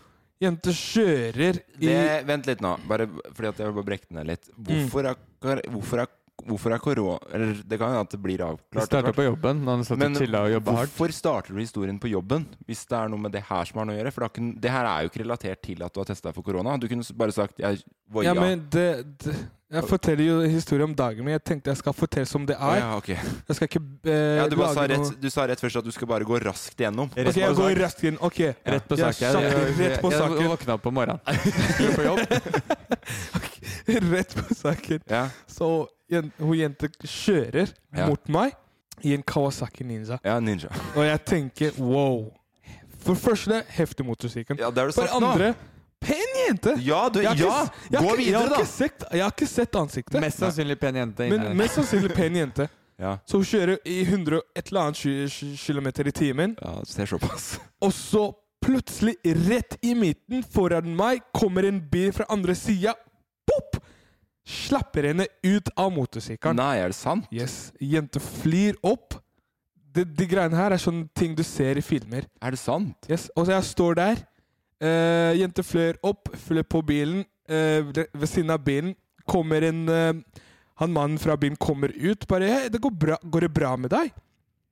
Speaker 3: Jente kjører i
Speaker 2: Det, vent litt nå, bare fordi at jeg vil bare brekke den ned litt. Hvorfor er, kar- hvorfor er, hvorfor er korona Eller det kan hende at det blir
Speaker 5: Vi
Speaker 2: avklart.
Speaker 5: starta
Speaker 2: etter
Speaker 5: på
Speaker 2: hvert.
Speaker 5: jobben, når han satt
Speaker 2: Men
Speaker 5: og chilla og jobba hardt.
Speaker 2: hvorfor starter du historien på jobben hvis det er noe med det her som har noe å gjøre? For det, har ikke, det her er jo ikke relatert til at du har testa for korona. Du kunne s- bare sagt jeg voia.
Speaker 3: Ja, men det, det Jeg forteller jo historie om dagen min. Jeg tenkte jeg skal fortelle som det
Speaker 2: Å
Speaker 3: er.
Speaker 2: ja, ok.
Speaker 3: Jeg skal ikke eh,
Speaker 2: ja, du, bare sa
Speaker 3: lage
Speaker 2: rett,
Speaker 3: noe
Speaker 2: du sa rett først at du skal bare gå raskt igjennom.
Speaker 3: Ok, jeg går raskt inn. Ok.
Speaker 5: Rett på
Speaker 3: Jeg
Speaker 5: saken.
Speaker 3: satt Rett på
Speaker 5: Jeg, jeg
Speaker 3: saken.
Speaker 5: våkna opp om morgenen. Skulle på jobb.
Speaker 3: Rett på saken.
Speaker 2: Ja.
Speaker 3: Så jen- hun jente kjører
Speaker 2: Ja.
Speaker 3: mot meg. i en Kawasaki Ninja.
Speaker 2: Ja, ninja.
Speaker 3: Og jeg tenker wow. For det første, heftig motorsykkelen.
Speaker 2: Ja, det har du
Speaker 3: For
Speaker 2: sagt nå.
Speaker 3: andre, pen jente!
Speaker 2: Ja, du,
Speaker 3: Jeg har ikke
Speaker 2: ja.
Speaker 3: s- jeg har
Speaker 2: Gå
Speaker 3: ikke-
Speaker 2: videre,
Speaker 3: jeg
Speaker 2: da.
Speaker 3: har ikke sett, jeg har ikke sett ansiktet.
Speaker 5: Mest sannsynlig pen jente.
Speaker 3: Men
Speaker 5: inne.
Speaker 3: mest sannsynlig pen jente.
Speaker 2: Ja.
Speaker 3: Så hun kjører i 100 og et eller annet km i timen.
Speaker 2: Ja, det ser såpass.
Speaker 3: Og så plutselig, rett i midten foran meg, kommer en bil fra andre sida. Pop! Slapper henne ut av motorsykkelen.
Speaker 2: Nei, er det sant?
Speaker 3: Yes. Jente flyr opp. De, de greiene her er sånne ting du ser i filmer.
Speaker 2: Er det sant?
Speaker 3: Yes. Og så jeg står der. Eh, jente flør opp, flør på bilen. Eh, ved- ved siden av bilen kommer en eh, Han mannen fra bilen kommer ut. Bare «Hei, det går, bra. 'Går det bra med deg?'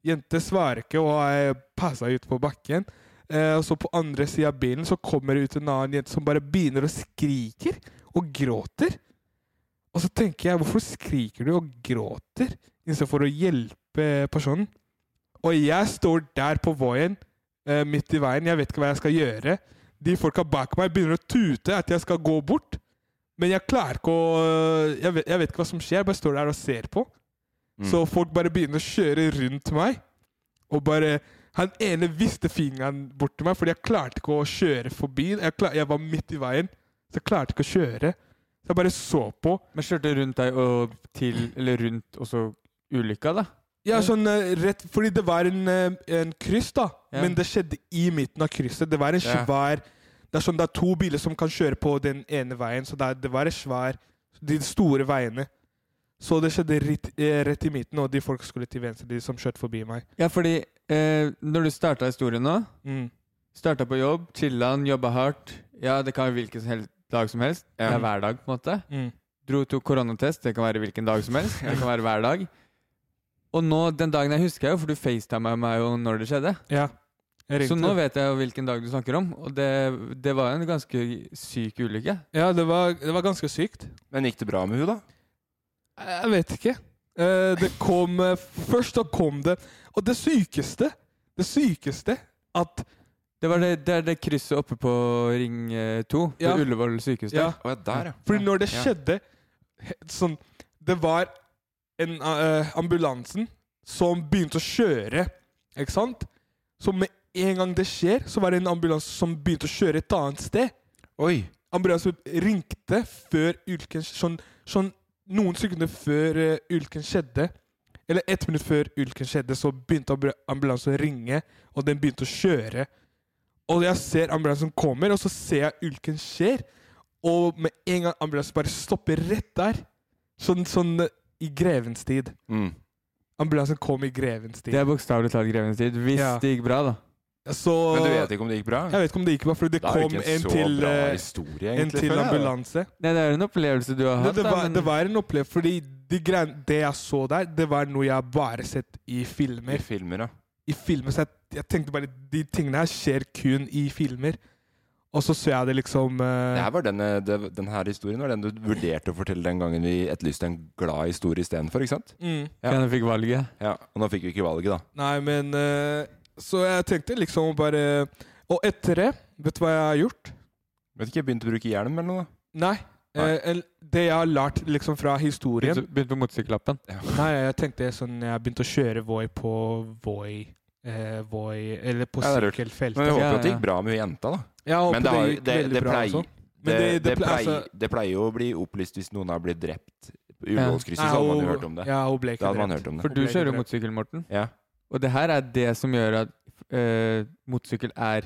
Speaker 3: Jente svarer ikke og er passa ut på bakken. Eh, og så på andre sida av bilen så kommer det ut en annen jente som bare begynner å skrike og gråter. Og så tenker jeg, hvorfor skriker du og gråter istedenfor å hjelpe personen? Og jeg står der på Voien, eh, midt i veien, jeg vet ikke hva jeg skal gjøre. De folka bak meg begynner å tute at jeg skal gå bort. Men jeg klarer ikke å eh, Jeg vet, jeg vet ikke hva som skjer, jeg bare står der og ser på. Så folk bare begynner å kjøre rundt meg. Og bare Han ene viste fingeren bort til meg, fordi jeg klarte ikke å kjøre forbi. Jeg, klar, jeg var midt i veien, så jeg klarte ikke å kjøre. Så jeg bare så på.
Speaker 5: Men kjørte rundt deg og til Eller rundt også ulykka, da?
Speaker 3: Ja, sånn eh, rett Fordi det var en, eh, en kryss, da.
Speaker 5: Ja.
Speaker 3: Men det skjedde i midten av krysset. Det var en
Speaker 5: Ja.
Speaker 3: svær Det er sånn det er to biler som kan kjøre på den ene veien, så det, er, det var en svær De store veiene. Så det skjedde rett, eh, rett i midten, og de folk skulle til venstre, de som kjørte forbi meg.
Speaker 5: Ja, fordi eh, når du starta historien nå
Speaker 3: Mm.
Speaker 5: Starta på jobb, chilla'n, jobba hardt. Ja, det kan være hvilken som helst dag som helst. Det er hver dag, på en måte.
Speaker 3: Mm.
Speaker 5: Dro tok koronatest. Det kan være hvilken dag som helst. Det kan være hver dag. Og nå, den dagen jeg husker jeg jo, for du facetima meg jo når det skjedde.
Speaker 3: Ja. Jeg
Speaker 5: Så
Speaker 3: ringte.
Speaker 5: nå vet jeg jo hvilken dag du snakker om, og det, det var en ganske syk ulykke.
Speaker 3: Ja, det var, det var ganske sykt.
Speaker 2: Men gikk det bra med hun da?
Speaker 3: Jeg vet ikke. Eh, Det kom eh, Først da kom det Og det sykeste Det sykeste at
Speaker 5: Det var det, det, er det krysset oppe på Ring 2 på
Speaker 3: Ja.
Speaker 5: Ullevål sykehus.
Speaker 3: Ja.
Speaker 2: Å, ja, der, ja.
Speaker 3: Fordi når det
Speaker 5: Ja.
Speaker 3: skjedde he- sånn, Det var en, eh, ambulansen som begynte å kjøre, ikke sant? Så med en gang det skjer, så var det en ambulanse som begynte å kjøre et annet sted.
Speaker 2: Oi.
Speaker 3: Ambulansen ringte før ulykken sånn, sånn noen sekunder før eh, ulykken skjedde. Eller ett minutt før ulykken skjedde, så begynte ambu- ambulansen å ringe, og den begynte å kjøre. Og jeg ser ambulansen kommer, og så ser jeg ulykken skjer. Og med en gang ambulansen bare stopper rett der. Sånn, sånn eh, i grevens tid.
Speaker 2: Mm.
Speaker 3: Ambulansen kom i grevens tid.
Speaker 5: Det er bokstavelig talt grevens tid. Hvis
Speaker 3: Ja.
Speaker 5: det gikk bra, da.
Speaker 3: Så,
Speaker 2: Men du vet ikke om det gikk bra?
Speaker 3: Jeg vet ikke om det gikk bra, for det
Speaker 2: Da er det
Speaker 3: kom
Speaker 2: ikke
Speaker 3: en,
Speaker 2: en så
Speaker 3: til,
Speaker 2: bra
Speaker 3: eh,
Speaker 2: historie,
Speaker 3: en
Speaker 2: egentlig,
Speaker 3: til
Speaker 2: føler jeg, da.
Speaker 3: ambulanse.
Speaker 5: Nei, det er en opplevelse du har
Speaker 3: Det,
Speaker 5: hatt.
Speaker 3: det, var,
Speaker 5: da, men
Speaker 3: det var en opplevelse, fordi de grein, det jeg så der, det var noe jeg bare sett i
Speaker 2: I
Speaker 3: filmer.
Speaker 2: filmer, ja.
Speaker 3: I filmer, så jeg, jeg tenkte bare de tingene her skjer kun i filmer. Og så så jeg det liksom eh,
Speaker 2: Det her var denne, det, den her historien var den du vurderte å fortelle den gangen vi etterlyste en glad historie istedenfor, ikke sant?
Speaker 3: Mm.
Speaker 5: Ja, nå fikk valget.
Speaker 2: Ja, Og nå fikk vi ikke valget, da.
Speaker 3: Nei, men eh, Så jeg tenkte liksom bare Og etter det, vet du hva jeg har gjort?
Speaker 2: Vet ikke, jeg begynte å bruke hjelm eller noe? da.
Speaker 3: Nei.
Speaker 2: Nei.
Speaker 3: eh, el- det jeg har lært liksom fra historien
Speaker 5: Begynte, begynte på motorsykkellappen.
Speaker 3: Nei, jeg tenkte sånn Jeg begynte å kjøre Voi på Voi eh, Voi Eller på
Speaker 2: Ja, det er lurt.
Speaker 3: sykkelfeltet.
Speaker 2: Men vi håper
Speaker 5: Ja,
Speaker 2: at det
Speaker 5: ja.
Speaker 2: gikk bra med hun jenta, da.
Speaker 3: Jeg håper
Speaker 2: Men det, har,
Speaker 3: gikk
Speaker 2: det,
Speaker 3: veldig
Speaker 2: det,
Speaker 3: bra
Speaker 2: pleier,
Speaker 3: også. Men
Speaker 2: det,
Speaker 3: det-
Speaker 2: det,
Speaker 3: det ple-
Speaker 2: pleier,
Speaker 3: altså-
Speaker 2: det pleier jo å bli opplyst hvis noen har blitt drept. I
Speaker 5: Ja.
Speaker 2: Ullevålskrysset
Speaker 3: Nei,
Speaker 2: så hadde man jo
Speaker 3: hun-
Speaker 2: hørt om det.
Speaker 3: Ja, hun ble ikke
Speaker 2: Da hadde man
Speaker 3: drept.
Speaker 2: hørt om det.
Speaker 5: For du kjører jo motorsykkel, Morten.
Speaker 2: Ja.
Speaker 5: Og det her er det som gjør at eh, motorsykkel er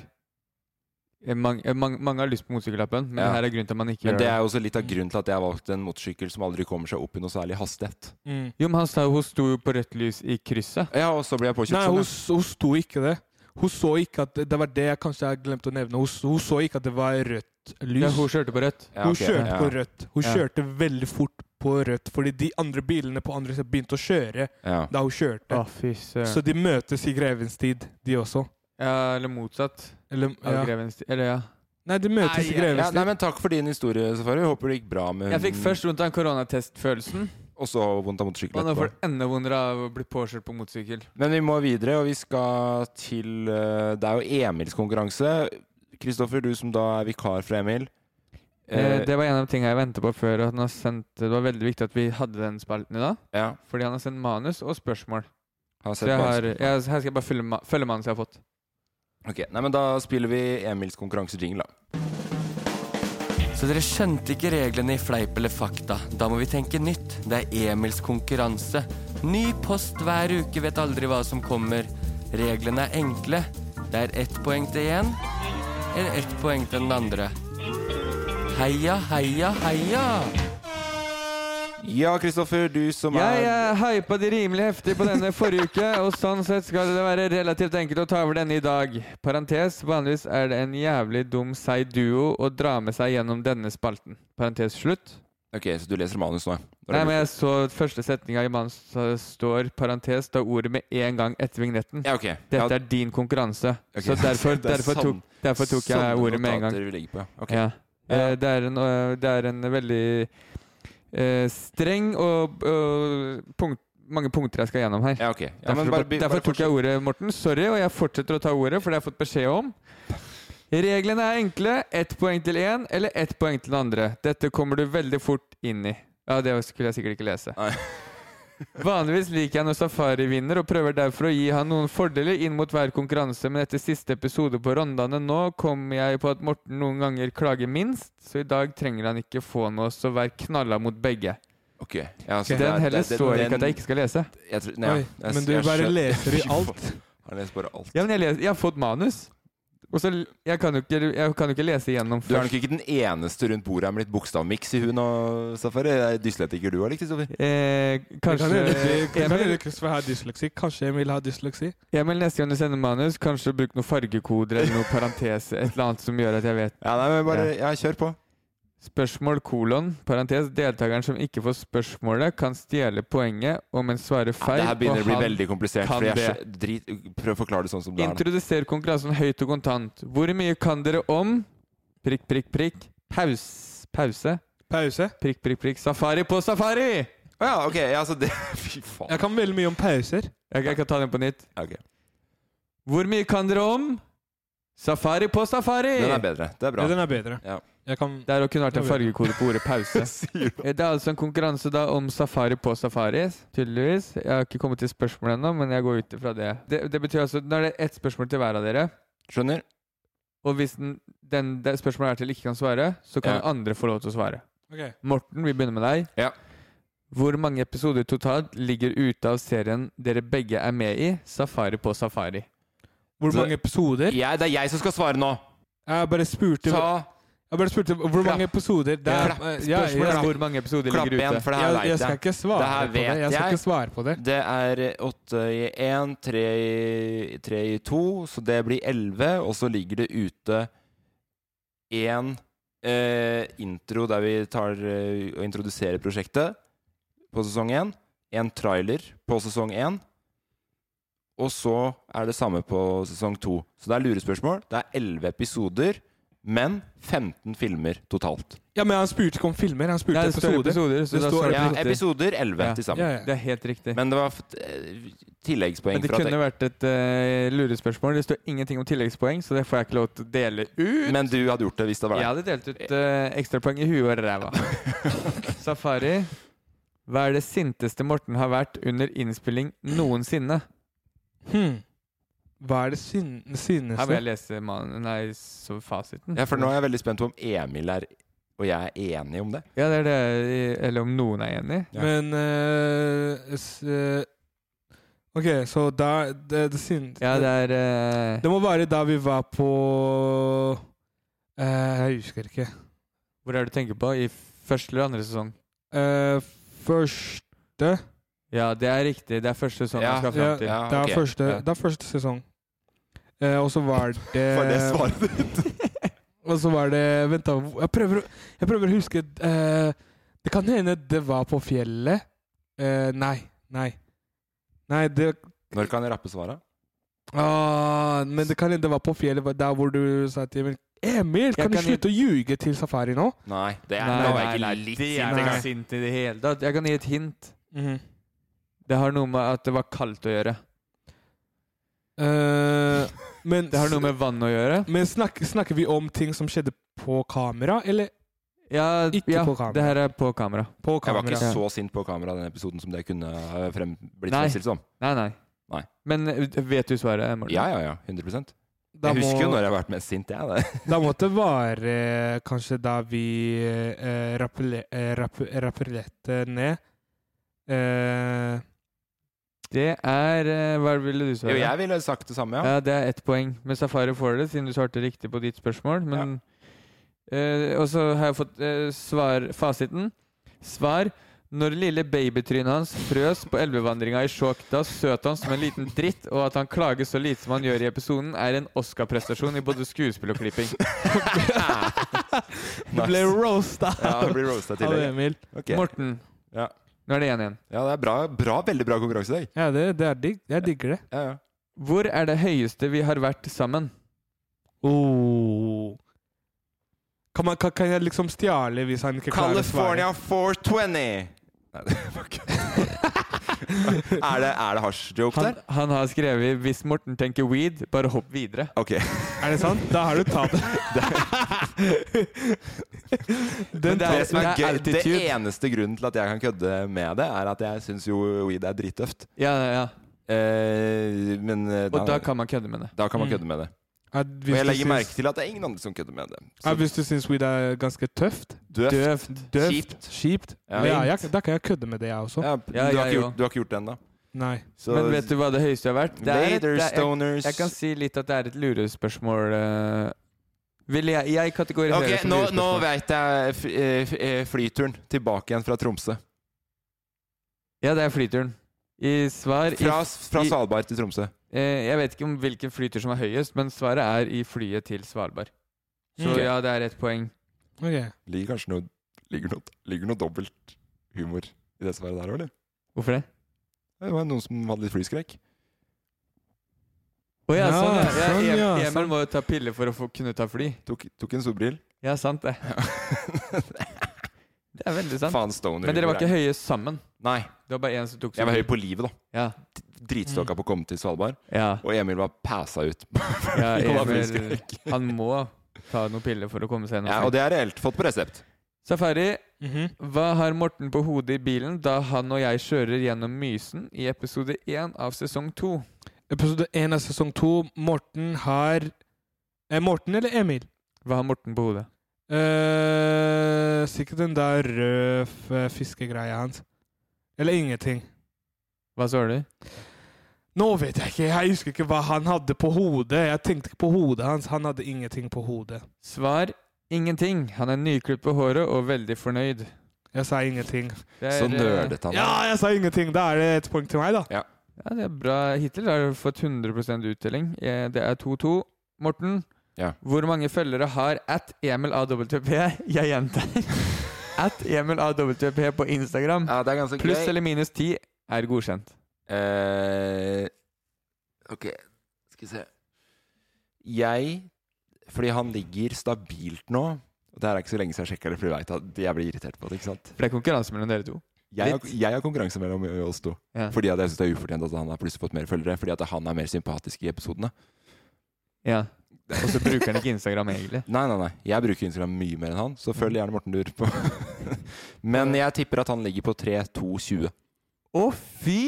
Speaker 5: eh, mang, eh, mang, Mange har lyst på motorsykkellappen, men
Speaker 2: Ja.
Speaker 5: det her er grunnen til at man ikke
Speaker 2: Men
Speaker 5: gjør
Speaker 2: det er jo også litt av grunnen til at jeg valgte en motorsykkel som aldri kommer seg opp i noe særlig hastighet.
Speaker 3: Mm.
Speaker 5: Jo, men han sa jo hun sto jo på rødt lys i krysset.
Speaker 2: Ja, og så ble jeg påkjørt
Speaker 3: Nei,
Speaker 2: sånn.
Speaker 3: hun,
Speaker 2: ja.
Speaker 3: s- hun sto ikke det. Hun så ikke at Det var det jeg kanskje jeg glemte å nevne. Hun, s- hun så ikke at det var rødt lys.
Speaker 5: Ja, hun kjørte på rødt.
Speaker 2: Ja,
Speaker 3: Hun
Speaker 2: ok,
Speaker 3: kjørte
Speaker 2: ja.
Speaker 3: på rødt. Hun
Speaker 5: Ja.
Speaker 3: kjørte veldig fort på rødt, fordi de andre bilene på andre siden begynte å kjøre
Speaker 2: Ja.
Speaker 3: da hun kjørte.
Speaker 5: Å, fy
Speaker 3: Så
Speaker 5: søren.
Speaker 3: de møtes i grevens tid, de også.
Speaker 5: Ja, eller motsatt.
Speaker 3: Eller,
Speaker 5: Av
Speaker 3: ja.
Speaker 5: grevens tid. Eller ja.
Speaker 3: Nei, de møtes i
Speaker 5: Nei, ja,
Speaker 2: Ja,
Speaker 3: grevens
Speaker 2: nei,
Speaker 3: tid.
Speaker 2: men takk for din historie, Safari. Håper det gikk bra med
Speaker 5: Jeg fikk først vondt av koronatestfølelsen,
Speaker 2: Og så vondt av
Speaker 5: og
Speaker 2: motorsykkelen
Speaker 5: nå
Speaker 2: etterpå.
Speaker 5: får jeg enda vondere av å bli påkjørt på motorsykkel.
Speaker 2: Men vi må videre, og vi skal til eh, Det er jo Emils konkurranse. Kristoffer, du som da er vikar for Emil.
Speaker 5: Eh, det var en av tingene jeg ventet på før. At han har sendt, det var veldig viktig at vi hadde den spalten i dag.
Speaker 2: Ja.
Speaker 5: Fordi han har sendt manus og spørsmål.
Speaker 2: Har
Speaker 5: Så
Speaker 2: sett
Speaker 5: jeg
Speaker 2: på
Speaker 5: har,
Speaker 2: hans-
Speaker 5: jeg, her skal jeg bare følge, ma- følge mannen som jeg har fått.
Speaker 2: Ok, nei, men Da spiller vi Emils konkurransejingle, da.
Speaker 9: Så dere skjønte ikke reglene i Fleip eller fakta. Da må vi tenke nytt. Det er Emils konkurranse. Ny post hver uke, vet aldri hva som kommer. Reglene er enkle. Det er ett poeng til én, eller ett poeng til den andre. Heia, heia, heia!
Speaker 2: Ja, Kristoffer, du som er
Speaker 5: Jeg eh, hypa de rimelig heftig på denne forrige uke, og sånn sett skal det være relativt enkelt å ta over denne i dag. Parentes, vanligvis er det en jævlig dum seig duo å dra med seg gjennom denne spalten. Parentes slutt.
Speaker 2: Ok, så du leser manus nå?
Speaker 5: Nei, men jeg så første setninga i manus så står parentes, da ordet med en gang etter vignetten.
Speaker 2: Ja, ok.
Speaker 5: Dette
Speaker 2: Ja.
Speaker 5: er din konkurranse,
Speaker 2: Ok,
Speaker 5: så derfor,
Speaker 2: det er
Speaker 5: derfor, tok,
Speaker 2: sånn-
Speaker 5: derfor tok
Speaker 2: sånne
Speaker 5: jeg ordet med en gang.
Speaker 2: notater vi ligger på, ja. Ok.
Speaker 5: Ja. Eh, Det, er en, øh, det er en veldig eh, streng og, og punkt, mange punkter jeg skal gjennom her.
Speaker 2: Ja, men
Speaker 5: derfor
Speaker 2: bare be-
Speaker 5: derfor
Speaker 2: bare
Speaker 5: tok jeg ordet, Morten. Sorry, og jeg fortsetter å ta ordet, for det har jeg fått beskjed om. Reglene er enkle. Ett poeng til én eller ett poeng til den andre. Dette kommer du veldig fort inn i. Ja, det skulle jeg sikkert ikke lese. Vanligvis liker jeg når Safari vinner, og prøver derfor å gi han noen fordeler inn mot hver konkurranse, men etter siste episode på Rondane nå kom jeg på at Morten noen ganger klager minst, så i dag trenger han ikke få noe, så vær knalla mot begge.
Speaker 2: Ok. Ja, altså,
Speaker 5: så den heller står ikke at jeg ikke skal lese.
Speaker 2: Jeg tror, nei, ja.
Speaker 5: Oi,
Speaker 2: Jeg-
Speaker 5: men du
Speaker 2: jeg
Speaker 5: bare
Speaker 2: skjønner-
Speaker 5: leser i
Speaker 2: Fy
Speaker 5: alt.
Speaker 2: faen. Han leser bare alt.
Speaker 5: Ja, men jeg, les, jeg har fått manus, og så l- jeg kan jo ikke, jeg kan jo ikke lese igjennom
Speaker 2: Du er nok ikke den eneste rundt bordet her med litt bokstavmiks i hun og Safari. Det er Dyslektiker du liksom, er, eller, Kristoffer?
Speaker 5: Eh,
Speaker 3: Kan
Speaker 5: kanskje
Speaker 3: hende- kan hende
Speaker 5: Emil,
Speaker 3: Kristoffer har dysleksi. Kanskje Emil har dysleksi.
Speaker 5: Emil, neste gang du sender manus, kanskje bruk noen fargekoder eller noen parentese, et eller annet som gjør at jeg vet.
Speaker 2: Ja, nei, men bare, ja, kjør på.
Speaker 5: Spørsmål kolon, parentes, deltakeren som ikke får spørsmålet, kan stjele poenget om en svarer
Speaker 2: Ja,
Speaker 5: feil.
Speaker 2: det her begynner å
Speaker 5: og
Speaker 2: bli
Speaker 5: han
Speaker 2: veldig komplisert.
Speaker 5: kan
Speaker 2: Fordi jeg,
Speaker 5: det.
Speaker 2: skjø- drit, prøv å forklare det sånn som det er. da.
Speaker 5: Introduser konkurransen høyt og kontant. Hvor mye kan dere om Prikk, prikk, prikk. Paus. Pause.
Speaker 3: Pause.
Speaker 5: Prikk, prikk, prikk. Safari på safari!
Speaker 2: Å ja, ok. Ja, så det Fy faen.
Speaker 3: Jeg kan veldig mye om pauser.
Speaker 5: Jeg, jeg kan ta den på nytt.
Speaker 2: Ok.
Speaker 5: Hvor mye kan dere om Safari på safari?
Speaker 2: Den er bedre. Det er bra.
Speaker 3: Ja, den er bedre.
Speaker 2: Ja.
Speaker 3: Jeg kan
Speaker 5: Det er å kunne vært en
Speaker 3: Den er bedre.
Speaker 5: fargekode på ordet pause. Eh, Det er altså en konkurranse da om safari på safari, tydeligvis. Jeg har ikke kommet til spørsmålet ennå, men jeg går ut ifra det. det. Det betyr altså Nå er det ett spørsmål til hver av dere.
Speaker 2: Skjønner.
Speaker 5: Og hvis den, den det spørsmålet er til ikke kan svare, så kan
Speaker 2: Ja.
Speaker 5: andre få lov til å svare.
Speaker 3: Ok.
Speaker 5: Morten, vi begynner med deg. Hvor mange episoder totalt ligger ute av serien dere begge er med i, Safari på safari?
Speaker 3: Hvor mange episoder?
Speaker 2: Jeg, det er jeg som skal svare nå!
Speaker 3: Jeg bare spurte
Speaker 2: Ta-
Speaker 3: Jeg bare spurte hvor mange episoder det er.
Speaker 2: Klapp.
Speaker 3: Ja, ja,
Speaker 2: Spørsmålet er hvor
Speaker 5: mange episoder
Speaker 2: Klapp
Speaker 3: ligger ute.
Speaker 2: igjen, for det her
Speaker 3: Jeg-
Speaker 2: vet
Speaker 3: jeg skal ikke svare
Speaker 2: Det her
Speaker 3: på det.
Speaker 2: vet
Speaker 3: Jeg skal ikke svare på det.
Speaker 2: Det er åtte i én, tre i- tre i to, så det blir elleve. Og så ligger det ute én eh, intro der vi tar eh, og introduserer prosjektet på sesong én. En trailer på sesong én. Og så er det samme på sesong to. Så det er lurespørsmål. Det er elleve episoder, men 15 filmer totalt.
Speaker 3: Ja, men han spurte ikke om filmer, han spurte episoder. det står
Speaker 2: ja, episoder 11 til sammen.
Speaker 3: Ja, ja.
Speaker 5: Det er helt riktig.
Speaker 2: Men det var f- eh, tilleggspoeng.
Speaker 5: Men det
Speaker 2: for at
Speaker 5: kunne vært et eh, lurespørsmål. Det står ingenting om tilleggspoeng, så det får jeg ikke lov til å dele ut.
Speaker 2: Men du hadde gjort det hvis det var
Speaker 5: Jeg hadde delt ut eh, ekstrapoeng i huet og ræva. Safari, hva er det sinteste Morten har vært under innspilling noensinne?
Speaker 3: Hmm. Hva er det sin sinneste
Speaker 5: Her vil jeg lese man nei, så fasiten.
Speaker 2: Ja, for nå er jeg veldig spent på om Emil er og jeg er enige om det.
Speaker 5: Ja, det er det. Eller om noen er enig.
Speaker 3: Men eh, s, eh, OK, så da Det, det, sin,
Speaker 5: Ja, det er eh,
Speaker 3: det må være da vi var på eh, Jeg husker ikke.
Speaker 5: Hvor er det du tenker på? I første eller andre sesong?
Speaker 3: Eh, første
Speaker 5: Ja, det er riktig. Det er første sesong jeg skal fram til.
Speaker 3: det, er første, det er første sesong. Eh, og så var det
Speaker 5: Var det svaret
Speaker 3: og så var det Vent, da. Jeg prøver, å- jeg prøver å huske eh, Det kan hende det var på fjellet. Eh, nei. Nei. Nei, det
Speaker 2: Når kan jeg rappe svaret?
Speaker 3: ah, Men det kan hende det var på fjellet, der hvor du sa til Emil Emil, kan
Speaker 5: Jeg
Speaker 3: du
Speaker 5: kan gi-
Speaker 3: slutte å ljuge til Safari nå?
Speaker 2: Nei, det er,
Speaker 5: Nei,
Speaker 2: nå er
Speaker 5: nei,
Speaker 2: jeg ikke
Speaker 5: nei,
Speaker 2: litt
Speaker 5: det
Speaker 2: sint
Speaker 5: er ikke
Speaker 2: engang.
Speaker 5: sint i det hele tatt. Jeg kan gi et hint.
Speaker 3: Mhm.
Speaker 5: Det har noe med at det var kaldt å gjøre.
Speaker 3: Eh, men
Speaker 5: Det har noe med vann å gjøre.
Speaker 3: Men snak, snakker vi om ting som skjedde på kamera, eller
Speaker 5: Ja,
Speaker 3: ikke
Speaker 5: ja,
Speaker 3: på kamera?
Speaker 5: det her er på kamera.
Speaker 3: På
Speaker 2: Jeg var
Speaker 3: kamera.
Speaker 2: ikke så sint på kamera i den episoden som det kunne ha frem, blitt
Speaker 5: Nei.
Speaker 2: fremstilt som.
Speaker 5: Nei, nei.
Speaker 2: Nei.
Speaker 5: Men eh, vet du svaret, Morten?
Speaker 2: Ja, ja, ja. 100
Speaker 3: Da
Speaker 2: Jeg husker jo
Speaker 3: må-
Speaker 2: når jeg har vært mest sint, jeg. Det.
Speaker 3: Da måtte det være eh, kanskje da vi eh, rappele- eh, rapp- rappellerte ned eh,
Speaker 5: Det er eh, Hva ville du svare?
Speaker 2: Jo, jeg ville sagt det samme, ja.
Speaker 5: Ja, Det er ett poeng. Men Safari får det, siden du svarte riktig på ditt spørsmål. Men eh, Og så har jeg fått eh, svar, fasiten. Svar når lille babytrynet hans frøs på elvevandringa i Sjåkta, søt han som en liten dritt, og at han klager så lite som han gjør i episoden, er en Oscar-prestasjon i både skuespill og klipping.
Speaker 3: Du ble roasta
Speaker 2: Ja, jeg ble roasta i
Speaker 3: av
Speaker 2: tillegg.
Speaker 3: Emil.
Speaker 2: Ok.
Speaker 5: Morten,
Speaker 2: Ja.
Speaker 5: nå er det 1-1.
Speaker 2: ja, det er bra, bra, veldig bra konkurranse i dag.
Speaker 3: Ja, det, det er digg. Jeg digger det.
Speaker 2: Ja, ja.
Speaker 5: Hvor er det høyeste vi har vært sammen?
Speaker 3: Oh. Kan, man, kan, kan jeg liksom stjele hvis han ikke klarer å svare?
Speaker 2: California 420! Nei, det fuck. er det, er det hasj-joke
Speaker 5: Han,
Speaker 2: der?
Speaker 5: han har skrevet 'Hvis Morten tenker weed, bare hopp videre'.
Speaker 2: Ok.
Speaker 3: Er det sant? Da har du tapt.
Speaker 5: Men
Speaker 3: Den
Speaker 5: det er-
Speaker 2: Det, som er
Speaker 5: det er
Speaker 2: gøy, det
Speaker 5: altitude.
Speaker 2: eneste grunnen til at jeg kan kødde med det, er at jeg syns jo weed er drittøft.
Speaker 5: Ja, ja, ja.
Speaker 2: Eh, men eh,
Speaker 5: Og da kan man kødde med det.
Speaker 2: da kan man
Speaker 3: Mm.
Speaker 2: kødde med det.
Speaker 3: At
Speaker 2: Og
Speaker 3: hvis
Speaker 2: jeg
Speaker 3: du
Speaker 2: legger
Speaker 3: syns-
Speaker 2: merke til at det er ingen andre som kødder med det. Så
Speaker 3: at hvis du syns weed er ganske tøft,
Speaker 2: døvt.
Speaker 5: Døvt.
Speaker 3: døvt,
Speaker 2: Kjipt.
Speaker 3: kjipt
Speaker 2: Ja.
Speaker 3: Men ja, jeg, Da kan jeg kødde med det, jeg også.
Speaker 2: Ja,
Speaker 5: Ja,
Speaker 2: du, har
Speaker 5: jeg
Speaker 2: ikke
Speaker 5: òg.
Speaker 2: gjort, du har ikke gjort det ennå.
Speaker 3: Nei.
Speaker 2: Så
Speaker 5: Men vet du hva det høyeste har vært? Det er et-
Speaker 2: Later,
Speaker 5: det er, jeg,
Speaker 2: stoners.
Speaker 5: jeg kan si litt at det er et lurespørsmål. eh. vil jeg, jeg kategoriserer
Speaker 2: Ok,
Speaker 5: det som
Speaker 2: nå, nå
Speaker 5: lurespørsmål.
Speaker 2: veit jeg f- eh, f- eh, flyturen tilbake igjen fra Tromsø.
Speaker 5: Ja, det er flyturen. I svar
Speaker 2: Fra,
Speaker 5: i,
Speaker 2: fra
Speaker 5: i-
Speaker 2: Svalbard til Tromsø.
Speaker 5: eh, Jeg vet ikke om hvilken flytur som er høyest, men svaret er i flyet til Svalbard. Så
Speaker 3: Mm.
Speaker 5: ja, det er ett poeng.
Speaker 3: Ok.
Speaker 2: Ligger kanskje noe Ligger noe, ligger noe dobbelt humor i det svaret der, eller?
Speaker 5: Hvorfor det?
Speaker 2: Det var noen som hadde litt flyskrekk.
Speaker 5: Å ja,
Speaker 3: Ja,
Speaker 5: sånn, ja. ja,
Speaker 3: sånn,
Speaker 5: Em-
Speaker 3: ja,
Speaker 5: Emil
Speaker 3: sant.
Speaker 5: må jo ta piller for å få, kunne ta fly.
Speaker 2: Tok, tok en solbril.
Speaker 5: Ja, sant det. Det er veldig sant.
Speaker 2: Faen, stoner.
Speaker 5: Men dere var
Speaker 2: humor
Speaker 5: ikke
Speaker 2: er-
Speaker 5: høye sammen.
Speaker 2: Nei.
Speaker 5: Det var bare én som tok
Speaker 2: Jeg var høy på livet, da.
Speaker 5: Ja. Mm.
Speaker 2: Dritstokka på å komme til Svalbard.
Speaker 5: ja.
Speaker 2: Og Emil var passa ut.
Speaker 5: Ja,
Speaker 2: Han var
Speaker 5: Emil,
Speaker 2: flyskrekk.
Speaker 5: han må ta noen piller for å komme seg
Speaker 2: ja, og
Speaker 5: gjennom.
Speaker 2: det er reelt fått på resept.
Speaker 5: Safari,
Speaker 3: Mhm.
Speaker 5: hva har Morten på hodet i bilen da han og jeg kjører gjennom Mysen i episode 1 av sesong 2?
Speaker 3: Episode én av sesong to. Morten har eh, Morten eller Emil?
Speaker 5: Hva har Morten på hodet?
Speaker 3: Eh, sikkert den der røde f- fiskegreia hans. Eller ingenting.
Speaker 5: Hva svarer du?
Speaker 3: Nå vet jeg ikke. Jeg husker ikke hva han hadde på hodet. Jeg tenkte ikke på hodet hans. Han hadde ingenting på hodet.
Speaker 5: Svar ingenting. Han er nyklipt på håret og veldig fornøyd.
Speaker 3: Jeg sa ingenting.
Speaker 5: Det
Speaker 2: Så
Speaker 5: eh,
Speaker 2: nerdete han
Speaker 3: Ja, jeg sa ingenting! Da er det et poeng til meg, da.
Speaker 5: Ja, det er bra. Hittil har du fått 100 uttelling. Eh, Det er 2-2. Morten,
Speaker 2: Ja.
Speaker 5: hvor mange følgere har at Emil AWP? Jeg gjentar. At Emil AWP på Instagram.
Speaker 2: Ja, det er ganske
Speaker 5: Pluss
Speaker 2: gøy.
Speaker 5: eller minus 10 er godkjent.
Speaker 2: Eh, ok, skal vi se. Jeg Fordi han ligger stabilt nå. Og det her er ikke så lenge siden jeg sjekka det, for jeg vet at jeg blir irritert på det. ikke sant?
Speaker 5: For det er konkurranse mellom dere to.
Speaker 2: Jeg har,
Speaker 5: Litt.
Speaker 2: jeg har konkurranse mellom oss to.
Speaker 5: Ja.
Speaker 2: Fordi at jeg syns det er ufortjent at han har plutselig fått mer følgere. Fordi at han er mer sympatisk i episodene.
Speaker 5: Ja. Og så bruker han ikke Instagram egentlig.
Speaker 2: Nei, nei, nei. Jeg bruker Instagram mye mer enn han, så følg gjerne Morten Dur på Men jeg tipper at han ligger på 3-2-20.
Speaker 5: Å, fy!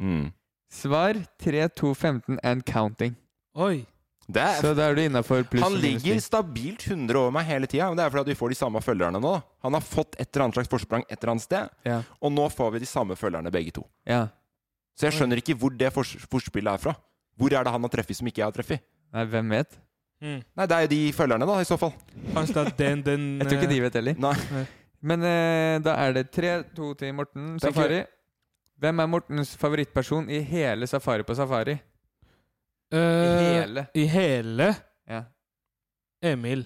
Speaker 2: Mm.
Speaker 5: Svar 3215 and counting.
Speaker 3: Oi.
Speaker 2: Det er
Speaker 5: Så da er du innafor pluss
Speaker 2: Han
Speaker 5: minus
Speaker 2: ligger
Speaker 5: 10.
Speaker 2: stabilt 100 over meg hele tida. Det er fordi at vi får de samme følgerne nå. da. Han har fått et eller annet slags forsprang et eller annet sted,
Speaker 5: Ja.
Speaker 2: og nå får vi de samme følgerne begge to.
Speaker 5: ja.
Speaker 2: Så jeg skjønner ikke hvor det fors forspillet er fra. Hvor er det han har treffet som ikke jeg har treffet?
Speaker 5: Nei, hvem vet? Mm.
Speaker 2: Nei, det er jo de følgerne, da, i så fall.
Speaker 3: Kanskje det er den, den
Speaker 5: Jeg tror ikke de
Speaker 3: eh,
Speaker 5: vet heller.
Speaker 2: Nei.
Speaker 5: Men eh, da er det 3-2 til Morten
Speaker 2: Thank
Speaker 5: Safari. Hvem er Mortens favorittperson i hele Safari på Safari? I
Speaker 3: eh,
Speaker 5: hele.
Speaker 3: I hele
Speaker 5: Ja.
Speaker 3: Emil.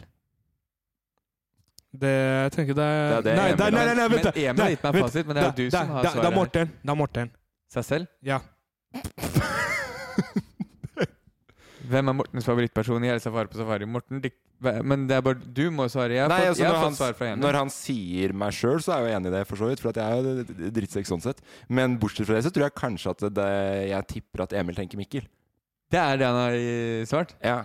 Speaker 3: Det jeg tenker det er,
Speaker 2: Det er det
Speaker 3: nei,
Speaker 2: Emil
Speaker 3: nei, nei, nei, nei,
Speaker 5: men
Speaker 3: vent da.
Speaker 5: Emil
Speaker 3: Nei,
Speaker 5: har gitt meg
Speaker 3: vent.
Speaker 5: fasit, men det er jo
Speaker 3: Da-
Speaker 5: du
Speaker 3: da-
Speaker 5: som har
Speaker 3: da- Det
Speaker 5: svaret.
Speaker 3: er Morten. Det er Morten.
Speaker 5: Seg selv?
Speaker 3: Ja.
Speaker 5: Hvem er Mortens favorittperson i hele Safari på Safari? Morten, dik hva- men det er bare du må svare. Jeg har
Speaker 2: Nei,
Speaker 5: fått,
Speaker 2: altså,
Speaker 5: jeg
Speaker 2: når,
Speaker 5: har
Speaker 2: han,
Speaker 5: fått svar fra Emil.
Speaker 2: når han sier meg sjøl, så er jeg jo enig i det, for så vidt. For at jeg er jo drittsekk sånn sett. Men bortsett fra det, så tror jeg kanskje at det, jeg tipper at Emil tenker Mikkel.
Speaker 5: Det er det han har eh, svart?
Speaker 2: Ja.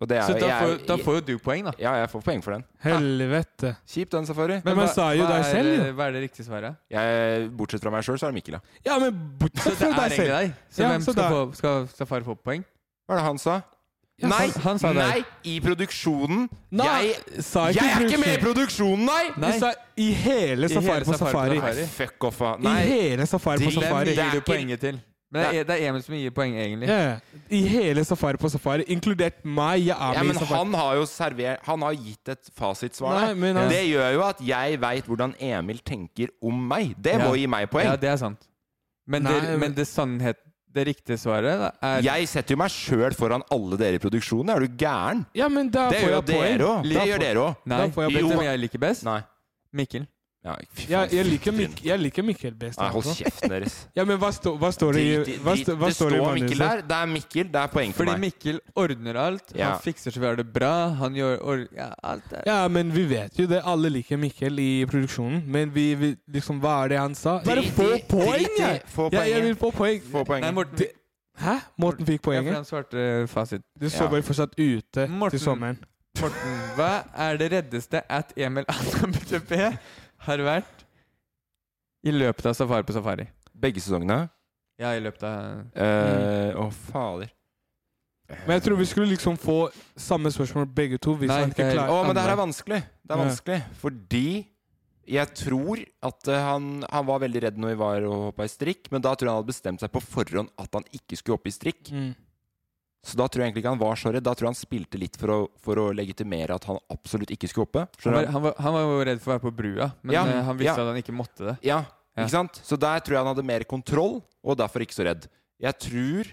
Speaker 2: Og det er
Speaker 5: så
Speaker 2: jo-
Speaker 5: da
Speaker 2: jeg er
Speaker 5: får,
Speaker 2: jo-
Speaker 5: da får jo du poeng, da.
Speaker 2: Ja, jeg får poeng for den.
Speaker 3: Helvete.
Speaker 2: Kjip den, Safari.
Speaker 3: Men man sa jo deg selv, jo.
Speaker 5: Hva er det riktige svaret?
Speaker 2: Jeg, bortsett fra meg sjøl, så er det Mikkel, ja.
Speaker 3: Ja, men bortsett
Speaker 5: Det
Speaker 3: fra
Speaker 5: er
Speaker 3: deg
Speaker 5: egentlig
Speaker 3: selv.
Speaker 5: deg. Så
Speaker 3: Ja,
Speaker 5: hvem
Speaker 3: så
Speaker 5: skal,
Speaker 3: da-
Speaker 5: få, skal Safari få poeng?
Speaker 2: Hva er det han sa?
Speaker 5: Ja,
Speaker 2: nei,
Speaker 5: han- han sa det.
Speaker 2: nei, i produksjonen.
Speaker 3: Nei,
Speaker 2: jeg
Speaker 3: sa ikke
Speaker 2: jeg er ikke
Speaker 3: produksjon.
Speaker 2: med i produksjonen, nei!
Speaker 3: Du sa i hele Safari på Safari.
Speaker 2: Nei, fuck off, ah.
Speaker 3: I
Speaker 2: Nei.
Speaker 3: hele Safari på
Speaker 2: Til-
Speaker 3: Safari.
Speaker 2: Det er
Speaker 5: Gir du
Speaker 2: ikke-
Speaker 5: poenget til? Men det er, det er Emil som gir poeng, egentlig.
Speaker 3: Ja, ja. I hele Safari på Safari, inkludert meg. Jeg er
Speaker 2: Ja,
Speaker 3: med
Speaker 2: men
Speaker 3: i Safari.
Speaker 2: han har jo servert Han har gitt et fasitsvar.
Speaker 3: Nei,
Speaker 2: der.
Speaker 3: men han-
Speaker 2: Det gjør jo at jeg veit hvordan Emil tenker om meg. Det må
Speaker 5: Ja.
Speaker 2: gi meg poeng.
Speaker 5: Ja, det er sant. Men,
Speaker 2: Nei,
Speaker 5: det,
Speaker 2: men-
Speaker 5: men det sannhet Det riktige svaret da, er
Speaker 2: Jeg setter jo meg sjøl foran alle dere i produksjonen. Er du gæren?
Speaker 3: Ja, men da
Speaker 2: Det
Speaker 3: får
Speaker 2: gjør
Speaker 3: jeg poeng.
Speaker 2: dere òg.
Speaker 3: Da
Speaker 2: Det
Speaker 3: får-
Speaker 2: gjør dere òg.
Speaker 5: Nei,
Speaker 3: Da får jeg
Speaker 5: vet
Speaker 2: poeng.
Speaker 5: du hvem jeg liker best?
Speaker 2: Nei.
Speaker 5: Mikkel.
Speaker 2: Ja, fy
Speaker 3: Ja,
Speaker 2: faen.
Speaker 3: jeg liker, Mik jeg liker Mikkel best.
Speaker 2: Nei, hold
Speaker 3: altså.
Speaker 2: kjeften deres.
Speaker 3: Ja, men hva, stå, hva står det i
Speaker 2: Drit i-
Speaker 3: hva
Speaker 2: drit-
Speaker 3: stå, hva
Speaker 2: det
Speaker 3: står det i
Speaker 2: står Mikkel
Speaker 3: manuset?
Speaker 2: der. Det er Mikkel. Det er poeng for
Speaker 5: Fordi
Speaker 2: meg.
Speaker 5: Mikkel ordner alt.
Speaker 2: Ja.
Speaker 5: Han fikser så vi har det bra. Han gjør or ja, alt er
Speaker 3: Ja, men vi vet jo det. Alle liker Mikkel i produksjonen. Men vi, vi liksom, hva er det han sa? Bare
Speaker 2: Drit i-
Speaker 3: få poeng,
Speaker 2: drit i-
Speaker 3: jeg!
Speaker 2: få
Speaker 3: Ja, jeg
Speaker 2: poenget.
Speaker 3: vil få poeng.
Speaker 2: Få poeng.
Speaker 5: Nei, Morten.
Speaker 3: Det- Hæ? Morten fikk
Speaker 5: Ja, for
Speaker 3: poenget.
Speaker 5: han svarte fasit.
Speaker 3: Du sover fortsatt ute
Speaker 5: Morten.
Speaker 3: til sommeren.
Speaker 5: Morten, hva er det reddeste at Emil Anambutp har vært i løpet av Safari på Safari?
Speaker 2: Begge sesongene.
Speaker 5: Ja, i løpet av
Speaker 2: Eh, Å, fader.
Speaker 3: Men jeg tror vi skulle liksom få samme spørsmål begge to. Hvis
Speaker 5: Nei,
Speaker 3: han
Speaker 5: ikke
Speaker 3: ikke
Speaker 5: helt.
Speaker 3: klarer
Speaker 2: Å, men det her er
Speaker 3: andre.
Speaker 2: vanskelig. Det er
Speaker 3: Ja.
Speaker 2: vanskelig fordi jeg tror at eh, han, han var veldig redd når vi var og hoppa i strikk, men da tror jeg han hadde bestemt seg på forhånd at han ikke skulle hoppe i strikk.
Speaker 3: Mm.
Speaker 2: Så da tror jeg egentlig ikke han var så redd. Da tror jeg han spilte litt for å, for å legitimere at han absolutt ikke skulle hoppe.
Speaker 5: han var,
Speaker 2: Skjønner du?
Speaker 5: han, var, han var jo redd for å være på brua, men
Speaker 2: Ja,
Speaker 5: eh, han visste
Speaker 2: ja.
Speaker 5: at han ikke måtte det.
Speaker 2: Ja,
Speaker 5: Ja.
Speaker 2: ikke sant? Så der tror jeg han hadde mer kontroll, og derfor ikke så redd. Jeg tror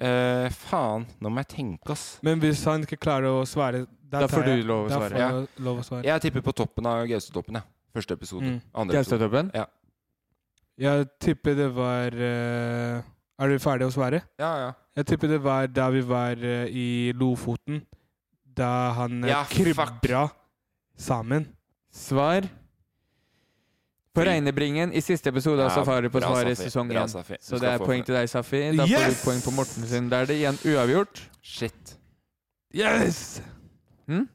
Speaker 2: eh, Faen, nå må jeg tenke, ass.
Speaker 3: Men hvis han ikke klarer å svare da,
Speaker 5: Da
Speaker 3: tar
Speaker 5: får du
Speaker 3: jeg-
Speaker 5: lov å
Speaker 3: da
Speaker 5: svare.
Speaker 3: får jeg lov å svare.
Speaker 2: Jeg tipper på toppen av Gaustatoppen, jeg. Første episode.
Speaker 3: Mm.
Speaker 2: Andre episode.
Speaker 5: Gaustatoppen?
Speaker 2: Ja.
Speaker 3: Jeg tipper det var eh, Er du ferdig å svare?
Speaker 2: Ja, ja.
Speaker 3: Jeg tipper det var da vi var eh, i Lofoten. Da han eh,
Speaker 2: Ja, fuck.
Speaker 3: krybra sammen.
Speaker 5: Svar på Regnebringen i siste episode av
Speaker 2: Ja,
Speaker 5: Safari på
Speaker 2: bra,
Speaker 5: Safari
Speaker 2: Safi.
Speaker 5: sesong
Speaker 2: Bra,
Speaker 5: 1.
Speaker 2: Safi. Du
Speaker 5: Så det
Speaker 2: skal
Speaker 5: er
Speaker 2: få
Speaker 5: poeng
Speaker 2: for
Speaker 5: til deg, Safi. Da får du
Speaker 3: Yes!
Speaker 5: poeng på Morten sin. Da er det igjen uavgjort.
Speaker 2: Shit.
Speaker 3: Yes!
Speaker 5: Hm?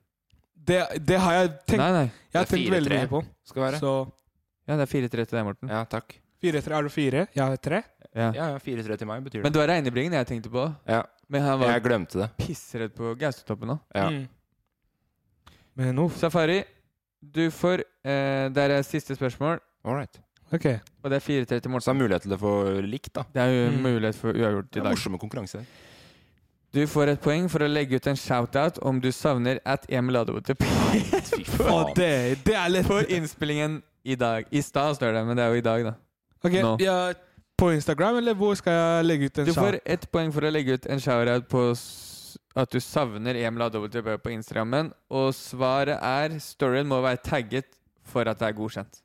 Speaker 3: Det, det har jeg tenkt,
Speaker 5: Nei, nei.
Speaker 3: jeg
Speaker 2: Det
Speaker 3: har
Speaker 2: er
Speaker 3: tenkt veldig
Speaker 2: 4-3.
Speaker 3: mye på.
Speaker 2: Skal være.
Speaker 3: Så
Speaker 5: Ja, det er 4-3 til deg, Morten.
Speaker 2: Ja, takk.
Speaker 3: fire tre. Er du fire? Jeg har tre.
Speaker 5: Ja.
Speaker 2: Ja, ja, 4-3 til meg betyr det.
Speaker 5: Men det var Regnebringen jeg tenkte på.
Speaker 2: Ja,
Speaker 5: Men han var
Speaker 2: jeg glemte det.
Speaker 5: pissredd på Gaustatoppen òg.
Speaker 2: Ja.
Speaker 3: Mm. Men uff.
Speaker 5: Safari, du får eh, Der er siste spørsmål,
Speaker 2: All right.
Speaker 3: OK.
Speaker 5: og det er 4-3 til
Speaker 2: Så
Speaker 5: Morten.
Speaker 2: er mulighet til å få likt, da.
Speaker 5: Det er jo
Speaker 3: Mm.
Speaker 5: mulighet for uavgjort
Speaker 2: Det
Speaker 5: i
Speaker 2: er
Speaker 5: dag.
Speaker 2: morsomme konkurranser.
Speaker 5: Du får et poeng for å legge ut en shout-out om du savner at Emil Adewood
Speaker 2: Fy
Speaker 3: Å,
Speaker 2: faen.
Speaker 3: det, det er lett.
Speaker 5: For innspillingen i dag. I stad står det, men det er jo i dag, da.
Speaker 3: Ok,
Speaker 5: Nå.
Speaker 3: ja, På Instagram, eller hvor skal jeg legge ut en
Speaker 5: Du
Speaker 3: sak?
Speaker 5: får ett poeng for å legge ut en shout-out på s- at du savner Emil Adewood på Instagrammen, og svaret er storyen må være tagget for at det er godkjent.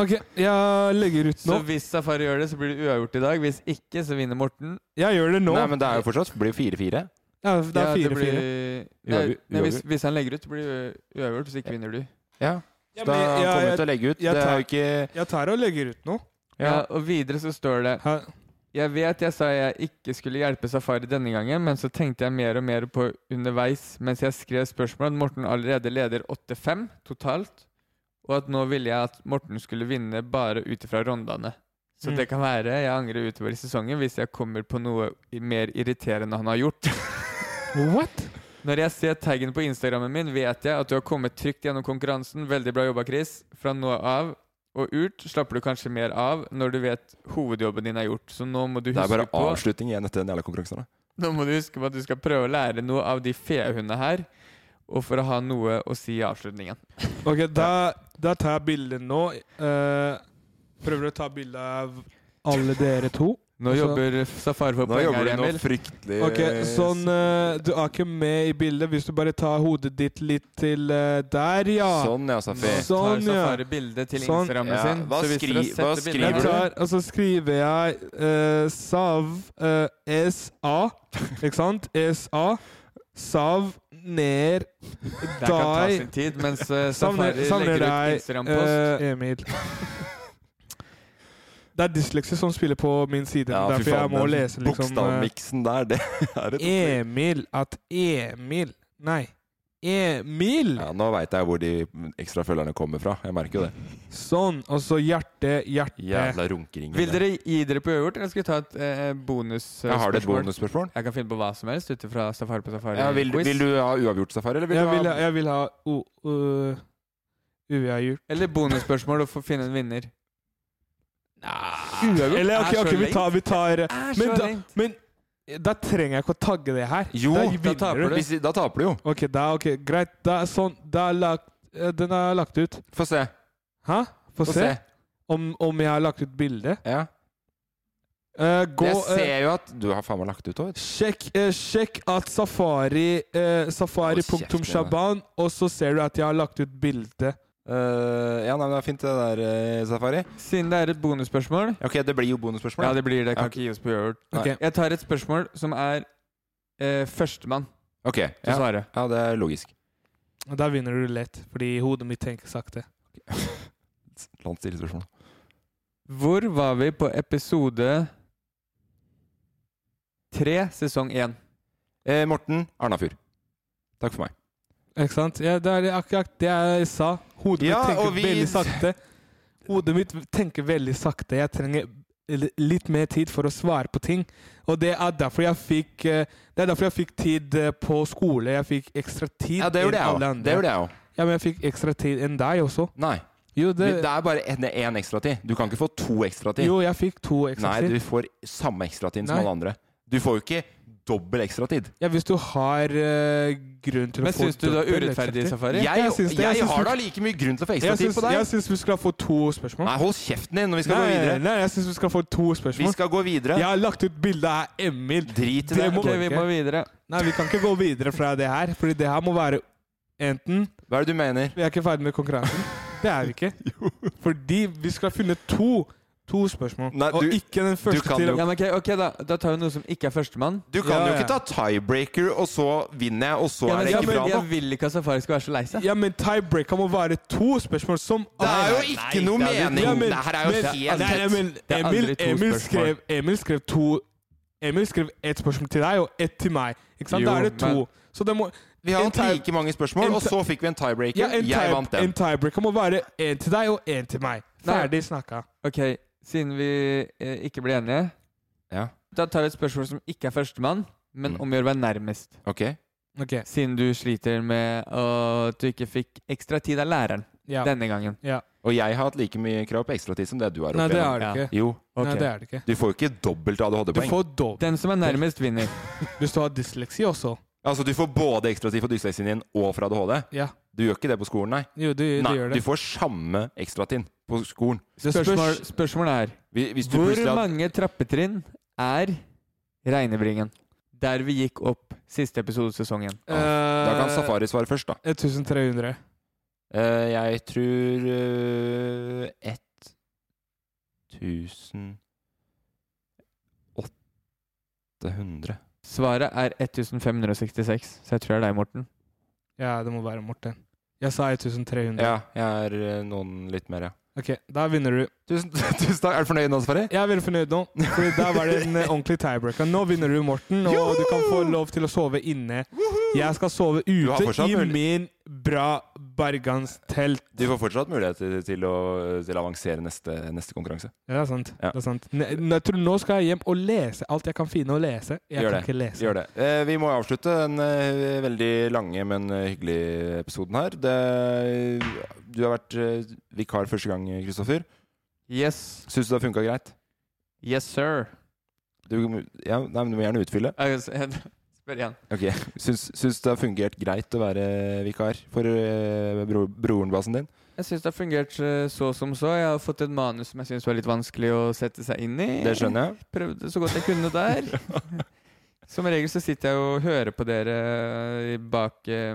Speaker 3: Ok, jeg legger ut nå.
Speaker 5: Så hvis Safari gjør det, så blir det uavgjort i dag. Hvis ikke, så vinner Morten.
Speaker 3: Jeg gjør det nå.
Speaker 2: Nei, men det er jo fortsatt blir jo 4-4.
Speaker 3: ja, det er
Speaker 5: Ja,
Speaker 3: fire-fire.
Speaker 5: blir- Nei,
Speaker 2: Uavgjort-
Speaker 5: nei, hvis,
Speaker 2: uavgjort.
Speaker 5: hvis han legger ut, så blir det u- uavgjort. Hvis ikke vinner du.
Speaker 2: Ja.
Speaker 3: Ja,
Speaker 2: Så
Speaker 3: men
Speaker 2: da
Speaker 3: jeg-
Speaker 2: kommer
Speaker 3: jeg-
Speaker 2: vi til å legge ut.
Speaker 3: jeg
Speaker 2: Det
Speaker 3: tar-
Speaker 2: er jo ikke
Speaker 3: Jeg tar og legger ut nå.
Speaker 5: Ja, og videre så står det
Speaker 3: Her.
Speaker 5: Jeg vet jeg sa jeg ikke skulle hjelpe Safari denne gangen, men så tenkte jeg mer og mer på underveis mens jeg skrev spørsmålet at Morten allerede leder 8-5 totalt, og at nå ville jeg at Morten skulle vinne bare ut ifra rondene. Så
Speaker 3: Mm.
Speaker 5: det kan være jeg angrer utover i sesongen hvis jeg kommer på noe i- mer irriterende han har gjort.
Speaker 3: What?
Speaker 5: Når jeg ser taggen på Instagrammen min, vet jeg at du har kommet trygt gjennom konkurransen. Veldig bra jobba, Chris. Fra nå av og ut slapper du kanskje mer av når du vet hovedjobben din er gjort. Så nå må du
Speaker 2: Det er
Speaker 5: huske
Speaker 2: bare
Speaker 5: på
Speaker 2: avslutning igjen etter den jævla konkurransen. da.
Speaker 5: Nå må du huske på at du skal prøve å lære noe av de fehundene her, og for å ha noe å si i avslutningen.
Speaker 3: Ok, da, da tar jeg bildet nå. Eh, prøver å ta bilde av alle dere to.
Speaker 5: Nå
Speaker 3: Altså-
Speaker 5: jobber Safari for
Speaker 2: Nå
Speaker 5: poeng
Speaker 2: jobber
Speaker 5: her,
Speaker 2: du noe
Speaker 5: Emil.
Speaker 2: fryktelig
Speaker 3: Ok, sånn eh, Du er ikke med i bildet. Hvis du bare tar hodet ditt litt til eh, der, ja.
Speaker 2: Sånn, ja,
Speaker 5: Nå
Speaker 2: Safi.
Speaker 5: tar
Speaker 3: Sånn, ja.
Speaker 5: Safari bilde til
Speaker 3: Sånn.
Speaker 5: Instagrammen
Speaker 2: Ja,
Speaker 5: sin.
Speaker 2: hva
Speaker 5: så hvis dere
Speaker 2: skri- hva
Speaker 5: setter
Speaker 2: skriver
Speaker 3: Jeg
Speaker 5: bildet
Speaker 2: du?
Speaker 3: tar, og så skriver jeg eh, Sav eh, SA, ikke sant? SA. Sav ner
Speaker 5: Det kan ta
Speaker 3: deg
Speaker 5: sin tid mens eh,
Speaker 3: Savner,
Speaker 5: Safari
Speaker 3: savner
Speaker 5: legger ut
Speaker 3: deg,
Speaker 5: Instagram-post.
Speaker 3: eh, Emil. Det er dysleksi som spiller på min side.
Speaker 2: Ja, fy
Speaker 3: derfor jeg
Speaker 2: faen,
Speaker 3: må
Speaker 2: den
Speaker 3: lese liksom eh,
Speaker 2: Bokstavmiksen der, det er et
Speaker 3: Emil. At Emil Nei. Emil!
Speaker 2: Ja, nå veit jeg hvor de ekstra følgerne kommer fra. Jeg merker jo det.
Speaker 3: Sånn. Og så hjerte, hjerte.
Speaker 2: Jævla runkeringer.
Speaker 5: Vil dere gi dere på øvert, eller skal vi ta et eh, bonusspørsmål?
Speaker 2: Jeg har det et bonusspørsmål.
Speaker 5: Jeg kan finne på hva som helst ut fra Safari på safari.
Speaker 2: Ja, vil,
Speaker 5: quiz.
Speaker 2: vil du ha uavgjort safari, eller vil
Speaker 3: jeg,
Speaker 2: du ha
Speaker 3: vil, ha- jeg vil ha o- øh, uavgjort.
Speaker 5: Eller bonusspørsmål og få finne en vinner.
Speaker 2: Ah,
Speaker 3: Uavgjort? Eller
Speaker 5: er
Speaker 3: ok,
Speaker 5: så
Speaker 3: ok, vi
Speaker 5: lengt.
Speaker 3: tar, vi tar
Speaker 5: er
Speaker 3: men,
Speaker 5: så
Speaker 3: da,
Speaker 5: lengt.
Speaker 3: men da trenger jeg ikke å tagge det her.
Speaker 2: Jo,
Speaker 3: da,
Speaker 2: da
Speaker 3: vinner
Speaker 2: taper du. Hvis- da taper du jo.
Speaker 3: Ok, da, ok, greit. Da, er sånn, da er lagt, eh, den er lagt ut.
Speaker 2: Få se.
Speaker 3: Hæ? Få
Speaker 2: Få
Speaker 3: se.
Speaker 2: se.
Speaker 3: Om, om jeg har lagt ut bilde?
Speaker 2: Ja.
Speaker 3: gå
Speaker 2: Jeg
Speaker 3: eh,
Speaker 2: ser jo at Du har faen meg lagt ut òg.
Speaker 3: Sjekk, eh, sjekk at safari eh, safari.shaban, og så ser du at jeg har lagt ut bilde.
Speaker 2: Eh, ja, nei, men det er fint, det der, eh, Safari.
Speaker 5: Siden det er et bonusspørsmål
Speaker 2: Ok, det blir jo bonusspørsmål.
Speaker 5: Ja, det blir det.
Speaker 2: Ja.
Speaker 5: Jeg kan ikke gi oss på øvert.
Speaker 2: Nei.
Speaker 5: Ok. Jeg tar et spørsmål som er eh, førstemann.
Speaker 2: Ok,
Speaker 5: Så
Speaker 2: ja.
Speaker 5: svarer.
Speaker 2: ja, det er logisk.
Speaker 3: Og Da vinner du lett, fordi hodet mitt tenker sakte.
Speaker 2: La oss stille spørsmål.
Speaker 5: Hvor var vi på episode tre, sesong én?
Speaker 2: Eh, Morten Arnafjord. Takk for meg.
Speaker 3: Ikke sant? Ja, det er akkurat det jeg sa. Hodet
Speaker 2: Ja,
Speaker 3: mitt
Speaker 2: og
Speaker 3: tenker
Speaker 2: vi-
Speaker 3: veldig sakte. Hodet mitt tenker veldig sakte. Jeg trenger l- litt mer tid for å svare på ting. Og det er derfor jeg fikk eh, Det er derfor jeg fikk tid eh, på skole. Jeg fikk ekstra tid
Speaker 2: Ja, det gjorde
Speaker 3: enn
Speaker 2: jeg
Speaker 3: alle
Speaker 2: også.
Speaker 3: andre.
Speaker 2: Det gjorde jeg òg.
Speaker 3: Ja, men jeg fikk ekstra tid enn deg også.
Speaker 2: Nei.
Speaker 3: Jo,
Speaker 2: Det...
Speaker 3: det,
Speaker 2: er bare en- det er én ekstra tid. Du kan ikke få to ekstra tid.
Speaker 3: jo jeg fikk to ekstra
Speaker 2: Nei,
Speaker 3: tid.
Speaker 2: du får samme ekstra tid som
Speaker 3: Nei.
Speaker 2: alle andre. Du får jo ikke dobbel ekstra tid.
Speaker 3: Ja, hvis du har eh, grunn til
Speaker 5: Men
Speaker 3: å få
Speaker 5: syns du det er
Speaker 3: dobbelt
Speaker 5: urettferdig,
Speaker 3: ekstra tid.
Speaker 5: Safari?
Speaker 2: Jeg, jeg,
Speaker 3: syns det. Jeg syns
Speaker 2: har
Speaker 3: vi-
Speaker 2: da like mye grunn til å få ekstra
Speaker 3: Jeg
Speaker 2: tid
Speaker 3: syns,
Speaker 2: på deg.
Speaker 3: jeg syns vi skal få to spørsmål.
Speaker 2: Nei, hold kjeften din når vi skal
Speaker 3: nei,
Speaker 2: gå videre.
Speaker 3: nei, jeg syns vi skal få to
Speaker 2: Vi
Speaker 3: spørsmål.
Speaker 2: skal gå videre.
Speaker 3: Jeg har lagt ut bilde av Emil.
Speaker 2: Drit i det.
Speaker 3: Det må-
Speaker 5: Ok, vi må
Speaker 3: Ok.
Speaker 5: videre.
Speaker 3: Nei, vi kan ikke gå videre fra det her, Fordi det her må være enten
Speaker 2: Hva er det du mener?
Speaker 3: Vi er ikke ferdig med konkurransen. Det er vi ikke. Fordi vi skal finne to To spørsmål,
Speaker 2: Nei,
Speaker 3: og
Speaker 2: du-
Speaker 3: ikke den
Speaker 2: du
Speaker 3: første
Speaker 2: kan
Speaker 3: til.
Speaker 2: jo-
Speaker 5: Ja, men ok, ok da. da tar vi noe som ikke er førstemann.
Speaker 2: Du kan
Speaker 3: Ja,
Speaker 2: jo
Speaker 3: ja.
Speaker 2: ikke ta tiebreaker, og så vinner jeg, og så
Speaker 5: Ja,
Speaker 2: er
Speaker 5: men,
Speaker 2: det
Speaker 5: ja,
Speaker 2: ikke
Speaker 5: men
Speaker 2: bra
Speaker 5: jeg
Speaker 2: nok.
Speaker 5: vil ikke at Safari skal være så lei seg.
Speaker 3: Ja, men tiebreaker må være to spørsmål som
Speaker 2: Det er jo ikke noe mening!
Speaker 3: Ja, men-
Speaker 2: det her er jo
Speaker 3: men-
Speaker 2: helt
Speaker 3: Nei, nei, men
Speaker 5: Det er
Speaker 3: Emil,
Speaker 5: aldri to
Speaker 3: Emil,
Speaker 5: spørsmål.
Speaker 3: skrev, Emil skrev to Emil skrev ett spørsmål til deg og ett til meg. Ikke sant?
Speaker 5: Jo,
Speaker 3: da er det to.
Speaker 5: men-
Speaker 3: Så det må
Speaker 2: Vi har
Speaker 3: en
Speaker 2: hatt
Speaker 3: tie-
Speaker 2: like mange
Speaker 3: en
Speaker 2: spørsmål, og
Speaker 3: ti-
Speaker 2: så fikk vi en tiebreaker.
Speaker 3: ja, en
Speaker 2: jeg
Speaker 3: tie-
Speaker 2: vant
Speaker 3: En
Speaker 2: den.
Speaker 3: tiebreaker må være én til deg og én til meg.
Speaker 5: Nei.
Speaker 3: Ferdig snakka.
Speaker 5: Ok, siden vi eh, ikke ble enige,
Speaker 2: Ja,
Speaker 5: da tar vi et spørsmål som ikke er førstemann, men
Speaker 2: Mm.
Speaker 5: omgjør deg nærmest.
Speaker 2: ok.
Speaker 3: Ok.
Speaker 5: Siden du sliter med at du ikke fikk ekstra tid av læreren
Speaker 3: Ja.
Speaker 5: denne gangen.
Speaker 3: ja.
Speaker 2: Og jeg har hatt like mye krav på ekstratid som det du har.
Speaker 3: Nei,
Speaker 2: opp
Speaker 3: det
Speaker 2: igjennom.
Speaker 3: er det
Speaker 5: Ja.
Speaker 3: ikke.
Speaker 2: Jo,
Speaker 5: Ok.
Speaker 3: Nei, det er det ikke.
Speaker 2: du får jo ikke dobbelt
Speaker 3: Du
Speaker 2: ADHD-poeng.
Speaker 3: får dobbelt
Speaker 5: Den som er nærmest, vinner.
Speaker 3: hvis du har dysleksi også.
Speaker 2: Altså, du får både ekstratid for dyslexien din og for ADHD.
Speaker 3: Ja.
Speaker 2: Du gjør ikke det på skolen, nei.
Speaker 3: Jo, du, du
Speaker 2: Nei,
Speaker 3: gjør
Speaker 2: du
Speaker 3: det.
Speaker 2: får samme ekstratid på skolen.
Speaker 3: Det spørs-
Speaker 5: Spørsmål, spørsmålet er
Speaker 2: Hvis hvis du
Speaker 5: Hvor
Speaker 2: plutselig hadde-
Speaker 5: mange trappetrinn er Regnebringen? Der vi gikk opp siste episode av sesongen.
Speaker 3: Eh,
Speaker 2: Da kan Safari svare først, da.
Speaker 3: 1300.
Speaker 2: Eh, jeg tror eh, 1800.
Speaker 5: Svaret er 1566, så jeg tror det er deg, Morten.
Speaker 3: Ja, det må være Morten. Jeg sa 1300.
Speaker 2: Ja, jeg er eh, noen litt mer, ja.
Speaker 3: Ok, da vinner du.
Speaker 2: Tusen, tusen takk. Er du fornøyd nå, Safari?
Speaker 3: Jeg er veldig fornøyd nå, for der var det en eh, ordentlig tiebreaker. Nå vinner du, Morten, og du kan få lov til å sove inne. Jeg skal sove
Speaker 2: har
Speaker 3: ute
Speaker 2: fortsatt
Speaker 3: i
Speaker 2: mulig-
Speaker 3: min bra berganstelt.
Speaker 2: Du får fortsatt mulighet til, til, å, eh, til å avansere neste, neste konkurranse.
Speaker 3: Ja, det er sant.
Speaker 2: Ja.
Speaker 3: Det er sant. Ne- ne- Jeg tror nå skal jeg hjem og lese alt jeg kan finne å lese. Jeg
Speaker 2: Gjør
Speaker 3: kan
Speaker 2: det.
Speaker 3: ikke lese.
Speaker 2: Gjør det. Eh, vi må avslutte den eh, veldig lange, men eh, hyggelige episoden her. Det, du har vært eh, vikar første gang, Kristoffer.
Speaker 5: Yes.
Speaker 2: Syns du det har funka greit?
Speaker 5: Yes, sir.
Speaker 2: Du, ja, nei, men du må gjerne utfylle.
Speaker 5: Jeg- jeg- Spør igjen.
Speaker 2: Ok, Syns, syns det har fungert greit å være vikar for eh, bro, brorenbasen din?
Speaker 5: Jeg syns det har fungert eh, så som så. Jeg har fått et manus som jeg syns var litt vanskelig å sette seg inn i.
Speaker 2: Det skjønner jeg.
Speaker 5: Prøvde så Eh, godt jeg kunne der. Som regel så sitter jeg og hører på dere i bak, eh,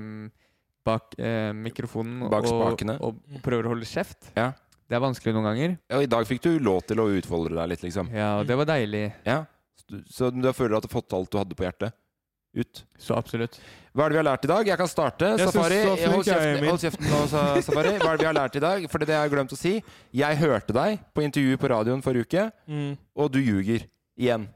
Speaker 5: bak eh, mikrofonen
Speaker 2: Bak
Speaker 5: og,
Speaker 2: spakene.
Speaker 5: og prøver å holde kjeft.
Speaker 2: Ja.
Speaker 5: Det er vanskelig noen ganger.
Speaker 2: Ja, og I dag fikk du lov til å utfolde deg litt, liksom.
Speaker 5: Ja, og det var deilig.
Speaker 2: Ja. Så du- Så du føler at du har fått alt du hadde på hjertet? ut.
Speaker 5: Så absolutt.
Speaker 2: Hva er det vi har lært i dag? Jeg kan starte.
Speaker 3: Jeg synes
Speaker 2: Safari,
Speaker 3: så flink
Speaker 2: hold
Speaker 3: jeg er,
Speaker 2: kjeften,
Speaker 3: Emil.
Speaker 2: hold kjeften nå, sa- Safari. Hva er det vi har lært i dag? For det har jeg glemt å si. Jeg hørte deg på intervjuet på radioen forrige uke,
Speaker 3: Mm.
Speaker 2: og du ljuger. Igjen.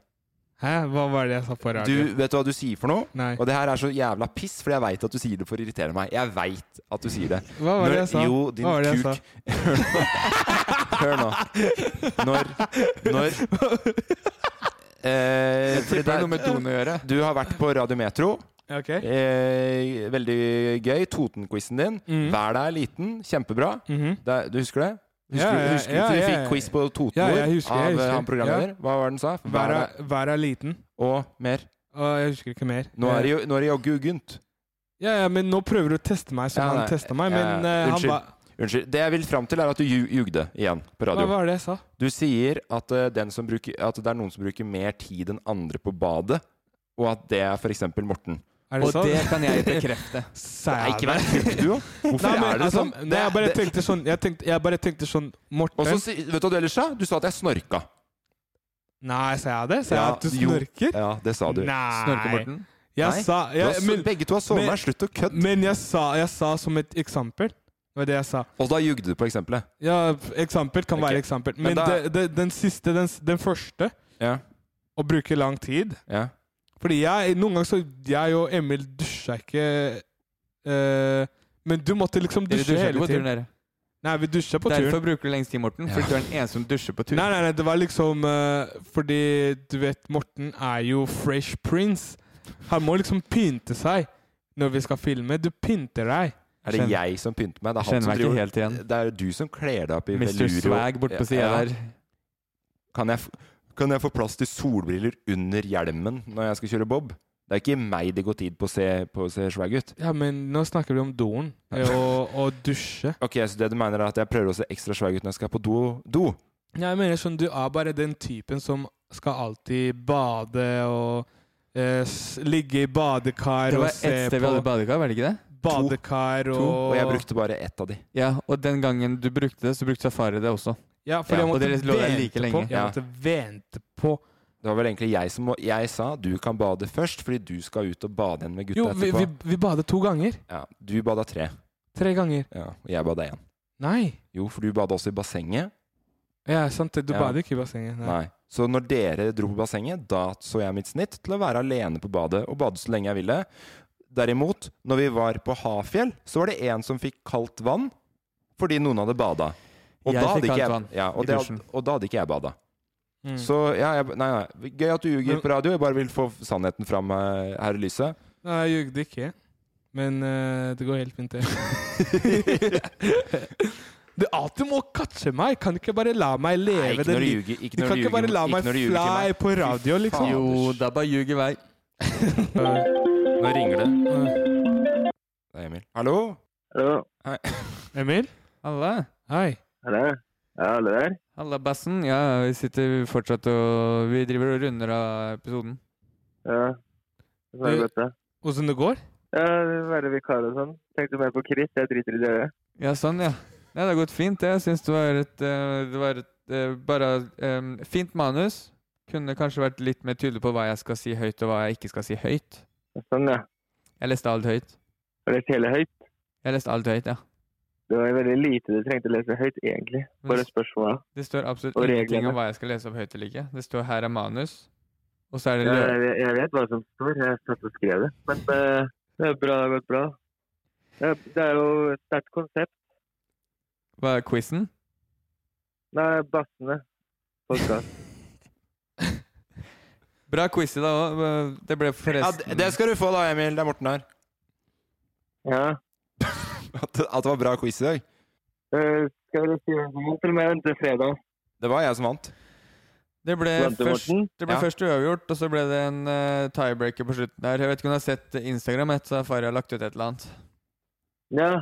Speaker 3: Hæ? Hva var det jeg sa på radio?
Speaker 2: Du, vet du hva du sier for noe? Og det her er så jævla piss, for jeg veit at du sier det for å irritere meg. Jeg veit at du sier det.
Speaker 3: Hva var
Speaker 2: Når-
Speaker 3: det jeg sa?
Speaker 2: Jo, din
Speaker 3: Hva var det jeg
Speaker 2: kuk. Hør nå. Når Når eh,
Speaker 5: Jeg tipper
Speaker 2: fordi det er-
Speaker 5: noe med doen å gjøre.
Speaker 2: Du har vært på Radio Metro.
Speaker 3: Ok.
Speaker 2: Eh, veldig gøy. Toten-quizen din.
Speaker 3: Mhm.
Speaker 2: Vær deg liten. Kjempebra.
Speaker 3: Mhm.
Speaker 2: det, er- du husker det? Husker,
Speaker 3: Ja,
Speaker 2: du-
Speaker 3: ja,
Speaker 2: husker du
Speaker 3: ja,
Speaker 2: for du
Speaker 3: ja,
Speaker 2: fikk
Speaker 3: ja.
Speaker 2: quiz på Totenord
Speaker 3: Ja, jeg husker, jeg
Speaker 2: av eh,
Speaker 3: husker.
Speaker 2: han programleder?
Speaker 3: Ja.
Speaker 2: Hva var det han sa? Vær
Speaker 3: Vær
Speaker 2: deg
Speaker 3: er- Vær er liten.
Speaker 2: Og mer.
Speaker 3: Og jeg husker ikke mer.
Speaker 2: Nå er det jo- nå er det jaggu gunt.
Speaker 3: Ja, ja, men nå prøver du å teste meg som
Speaker 2: Ja,
Speaker 3: han
Speaker 2: nei,
Speaker 3: testa meg,
Speaker 2: ja,
Speaker 3: men
Speaker 2: ja.
Speaker 3: eh, han
Speaker 2: Unnskyld.
Speaker 3: ba
Speaker 2: Unnskyld. Det jeg vil fram til, er at du ju- jugde igjen på radio.
Speaker 3: Hva var det jeg sa?
Speaker 2: Du sier at, eh, den som bruker, at det er noen som bruker mer tid enn andre på badet, og at det er f.eks. Morten.
Speaker 3: Er det sånn?
Speaker 5: Og
Speaker 3: sant?
Speaker 5: det kan jeg bekrefte.
Speaker 2: Nei, ikke vær frekk, du òg! Hvorfor
Speaker 3: Nei, men,
Speaker 2: er det
Speaker 3: altså,
Speaker 2: sånn?
Speaker 3: Nei, jeg bare
Speaker 2: Det-
Speaker 3: tenkte sånn Jeg, tenkte, jeg bare tenkte sånn Morten
Speaker 2: Og så si- vet du hva du ellers sa? Du sa at jeg snorka.
Speaker 3: Nei, sa jeg det? Sa jeg
Speaker 2: Ja,
Speaker 3: at du
Speaker 2: jo.
Speaker 3: snorker?
Speaker 2: Ja, det sa du.
Speaker 3: Nei.
Speaker 5: Snorke-Morten?
Speaker 3: Jeg
Speaker 2: Nei.
Speaker 3: sa
Speaker 2: Du
Speaker 3: jeg,
Speaker 2: har så- begge to har sovet meg. Slutt å kødde.
Speaker 3: Men jeg sa, jeg sa som et eksempel. Det var det jeg sa.
Speaker 2: Og da jugde du på eksempelet.
Speaker 3: Ja, eksempel kan være eksempel.
Speaker 2: Men
Speaker 3: Men,
Speaker 2: da-
Speaker 3: det, det, den siste, den, s- den første,
Speaker 2: Ja.
Speaker 3: å bruke lang tid
Speaker 2: ja.
Speaker 3: Fordi jeg, noen ganger så Jeg og Emil dusja ikke eh, Men du måtte liksom
Speaker 5: Dere
Speaker 3: dusje
Speaker 5: dusjer ikke
Speaker 3: hele
Speaker 5: på turen,
Speaker 3: tiden.
Speaker 5: dere.
Speaker 3: Nei, vi dusja på turen.
Speaker 5: Derfor bruker du lengst tid, Morten. Fordi du er den eneste som dusjer på tur.
Speaker 3: Nei, nei, nei, det var liksom eh, Fordi du vet, Morten er jo Fresh Prince. Han må liksom pynte seg når vi skal filme. Du pynter deg.
Speaker 2: Er det
Speaker 3: Skjønner-
Speaker 2: jeg som pynter meg? Det er, han
Speaker 5: Kjenner
Speaker 2: som
Speaker 5: meg ikke
Speaker 2: driver-
Speaker 5: helt igjen.
Speaker 2: det er du som kler deg opp i
Speaker 5: Mr.
Speaker 2: velurio.
Speaker 5: Swag bort på siden der.
Speaker 2: Kan jeg, f- kan jeg få plass til solbriller under hjelmen når jeg skal kjøre bob? Det er ikke meg det går tid på å se, på å se swag ut.
Speaker 3: Ja, men nå snakker vi om doen eh, og, og dusje.
Speaker 2: Ok, Så det du mener er at jeg prøver å se ekstra swag ut når jeg skal på do? do.
Speaker 3: Ja, Jeg mener sånn, du er bare den typen som skal alltid bade og eh, s ligge i badekar
Speaker 5: Det var
Speaker 3: og
Speaker 5: ett
Speaker 3: se
Speaker 5: sted vi
Speaker 3: på
Speaker 5: hadde badekar, var det ikke det?
Speaker 3: badekar
Speaker 5: To.
Speaker 3: og
Speaker 2: Og jeg brukte bare ett av de.
Speaker 5: Ja, og den gangen du brukte det, så brukte Safari det også.
Speaker 3: Ja, for jeg
Speaker 5: og
Speaker 3: måtte
Speaker 5: dere lå der like
Speaker 3: vente
Speaker 5: lenge.
Speaker 3: på. Jeg måtte vente på
Speaker 2: Det var vel egentlig jeg som må, Jeg sa du kan bade først, fordi du skal ut og bade igjen med gutta
Speaker 3: Jo, vi,
Speaker 2: etterpå.
Speaker 3: vi, vi badet to ganger.
Speaker 2: Ja, du bada tre,
Speaker 3: Tre ganger.
Speaker 2: ja, og jeg bada én.
Speaker 3: Nei.
Speaker 2: Jo, for du bada også i bassenget.
Speaker 3: Ja, sant det. Du
Speaker 2: Ja.
Speaker 3: bader ikke i bassenget. Nei.
Speaker 2: Nei. Så når dere dro på bassenget, da så jeg mitt snitt til å være alene på badet og bade så lenge jeg ville. Derimot, når vi var på Hafjell, så var det en som fikk kaldt vann fordi noen hadde bada. Og,
Speaker 5: Jeg
Speaker 2: da hadde
Speaker 5: fikk
Speaker 2: ikke
Speaker 5: kaldt
Speaker 2: jeg,
Speaker 5: vann
Speaker 2: ja,
Speaker 5: i
Speaker 2: og, det,
Speaker 5: dusjen.
Speaker 2: og da hadde ikke jeg bada.
Speaker 3: Mm.
Speaker 2: Så ja, jeg, nei, nei. Gøy at du ljuger
Speaker 3: Men-
Speaker 2: på radio. Jeg bare vil få sannheten fram eh, her i lyset.
Speaker 3: Nei, jeg jugde ikke. Men eh, det går helt fint, det. du alltid må catche meg! Kan du ikke bare la meg leve
Speaker 2: Nei, ikke
Speaker 3: det
Speaker 2: når du
Speaker 3: liv-
Speaker 2: ljuger- ikke
Speaker 3: Du
Speaker 2: når
Speaker 3: kan
Speaker 2: du
Speaker 3: ikke
Speaker 2: ljuger
Speaker 3: bare la
Speaker 2: mot- ikke
Speaker 3: meg
Speaker 2: når du ljuger til
Speaker 3: fly
Speaker 2: meg.
Speaker 3: på radio, liksom.
Speaker 5: Jo, da bare ljuger vei.
Speaker 2: Nå ringer det. Det er Emil. Hallo?
Speaker 7: Hallo?
Speaker 2: Hei.
Speaker 3: Emil?
Speaker 5: Halla.
Speaker 3: Hei.
Speaker 7: Hallo? Ja, alle der?
Speaker 5: Halla, bassen. Ja, vi sitter fortsatt og Vi driver og runder av episoden.
Speaker 7: Ja. Det var
Speaker 3: Du-
Speaker 7: godt, da.
Speaker 3: Åssen det går?
Speaker 7: Ja, det vil være vikar og sånn. Tenkte mer på Chris, jeg driter i det.
Speaker 5: Ja, sånn, ja. Nei, det har gått fint, det. Jeg syns det var et, eh, det var et eh, bare eh, fint manus. Kunne kanskje vært litt mer tydelig på hva jeg skal si høyt, og hva jeg ikke skal si høyt.
Speaker 7: Sånn, ja.
Speaker 5: Jeg leste alt høyt.
Speaker 7: Har du lest hele høyt?
Speaker 5: Jeg leste alt høyt, ja.
Speaker 7: Det var veldig lite du trengte å lese høyt, egentlig. Bare spørsmål.
Speaker 5: Det står absolutt
Speaker 7: Og
Speaker 5: ingenting
Speaker 7: reglene.
Speaker 5: om hva jeg skal lese opp høyt eller ikke. Det står 'her er manus', og så er det
Speaker 7: Ja,
Speaker 5: lø
Speaker 7: jeg, jeg vet hva som står, jeg satt og skrev det. Men eh, det er bra, det har gått bra. Det er, det er jo et sterkt konsept.
Speaker 5: Hva er quizen?
Speaker 7: Nei, bassene. Podcast.
Speaker 5: Bra quiz i dag òg. Det ble
Speaker 2: Ja,
Speaker 5: forresten
Speaker 2: det- det skal du få da, Emil. Det er Morten her.
Speaker 7: Ja.
Speaker 2: At, at det var bra quiz i dag.
Speaker 7: Eh, skal vi si en gang til meg til fredag?
Speaker 2: Det var jeg som vant.
Speaker 5: Det ble,
Speaker 7: Vant du,
Speaker 5: først,
Speaker 7: Morten?
Speaker 5: det ble
Speaker 2: Ja.
Speaker 5: først uavgjort, og så ble det en eh, tiebreaker på slutten der. Jeg vet ikke om du har sett Instagram etter at Safari har lagt ut et eller annet.
Speaker 7: Ja,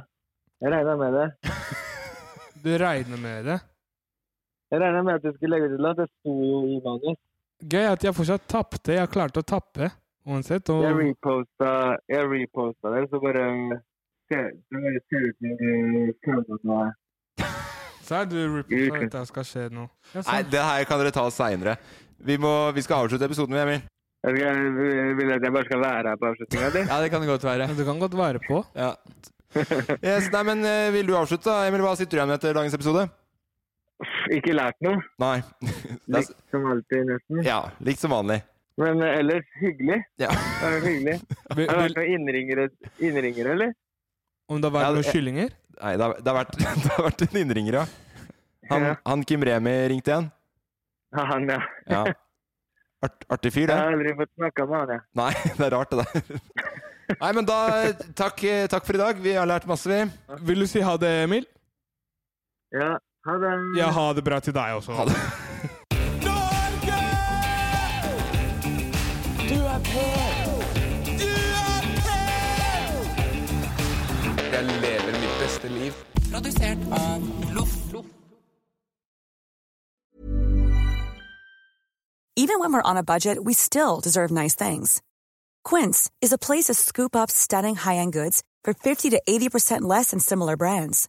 Speaker 7: jeg regna med det.
Speaker 3: Du regner med det?
Speaker 7: Jeg regna med at du skulle legge ut noe. Det sto jo i manus.
Speaker 3: Gøy at jeg fortsatt tapte. Jeg klarte å tappe uansett.
Speaker 7: Jeg
Speaker 3: Og
Speaker 7: reposta, jeg reposta det, så bare eh, ser det bare ser ut som eh, du føler at noe.
Speaker 3: så er du reporter at dette skal skje nå. Ja,
Speaker 2: Nei,
Speaker 3: sånn.
Speaker 2: det her kan dere ta seinere. Vi, må- vi skal avslutte episoden, Emil.
Speaker 7: Jeg skal- jeg vil at jeg bare skal være her på avslutninga di.
Speaker 5: Ja, det kan det godt være.
Speaker 3: Du kan godt være på.
Speaker 2: Ja. Yes, nei, men eh, Vil du avslutte, da? Emil? Hva sitter du igjen med etter dagens episode?
Speaker 7: Ikke lært noe.
Speaker 2: Nei.
Speaker 7: Likt som alltid, nesten.
Speaker 2: Ja, likt som vanlig.
Speaker 7: Men eh, ellers hyggelig.
Speaker 2: Ja.
Speaker 7: Det er hyggelig. Har det vært noen innringere, innringere eller?
Speaker 3: Om det har vært
Speaker 2: Ja,
Speaker 3: noen
Speaker 2: det-
Speaker 3: kyllinger?
Speaker 2: Nei, det har, det har, vært, det har vært en innringer, ja. Han, han Kim Remi ringte igjen.
Speaker 7: Ja, Han, ja.
Speaker 2: Ja. Art, artig fyr,
Speaker 7: Jeg
Speaker 2: det.
Speaker 7: har aldri fått snakka med han, jeg.
Speaker 2: Nei, det er rart, det der. Nei, men da eh, takk, eh, takk for i dag. Vi har lært masse, vi.
Speaker 3: Vil du si ha det, Emil?
Speaker 7: Ja. Ha det.
Speaker 3: Ja, ha det bra til deg også.
Speaker 10: Du er på! Du er på!
Speaker 6: Jeg lever mitt beste liv.
Speaker 10: Produsert av Loff.
Speaker 1: Even when we're on a budget, we still deserve nice things. Quince is a place to scoop up stunning high-end goods for 50 to 80% less than similar brands.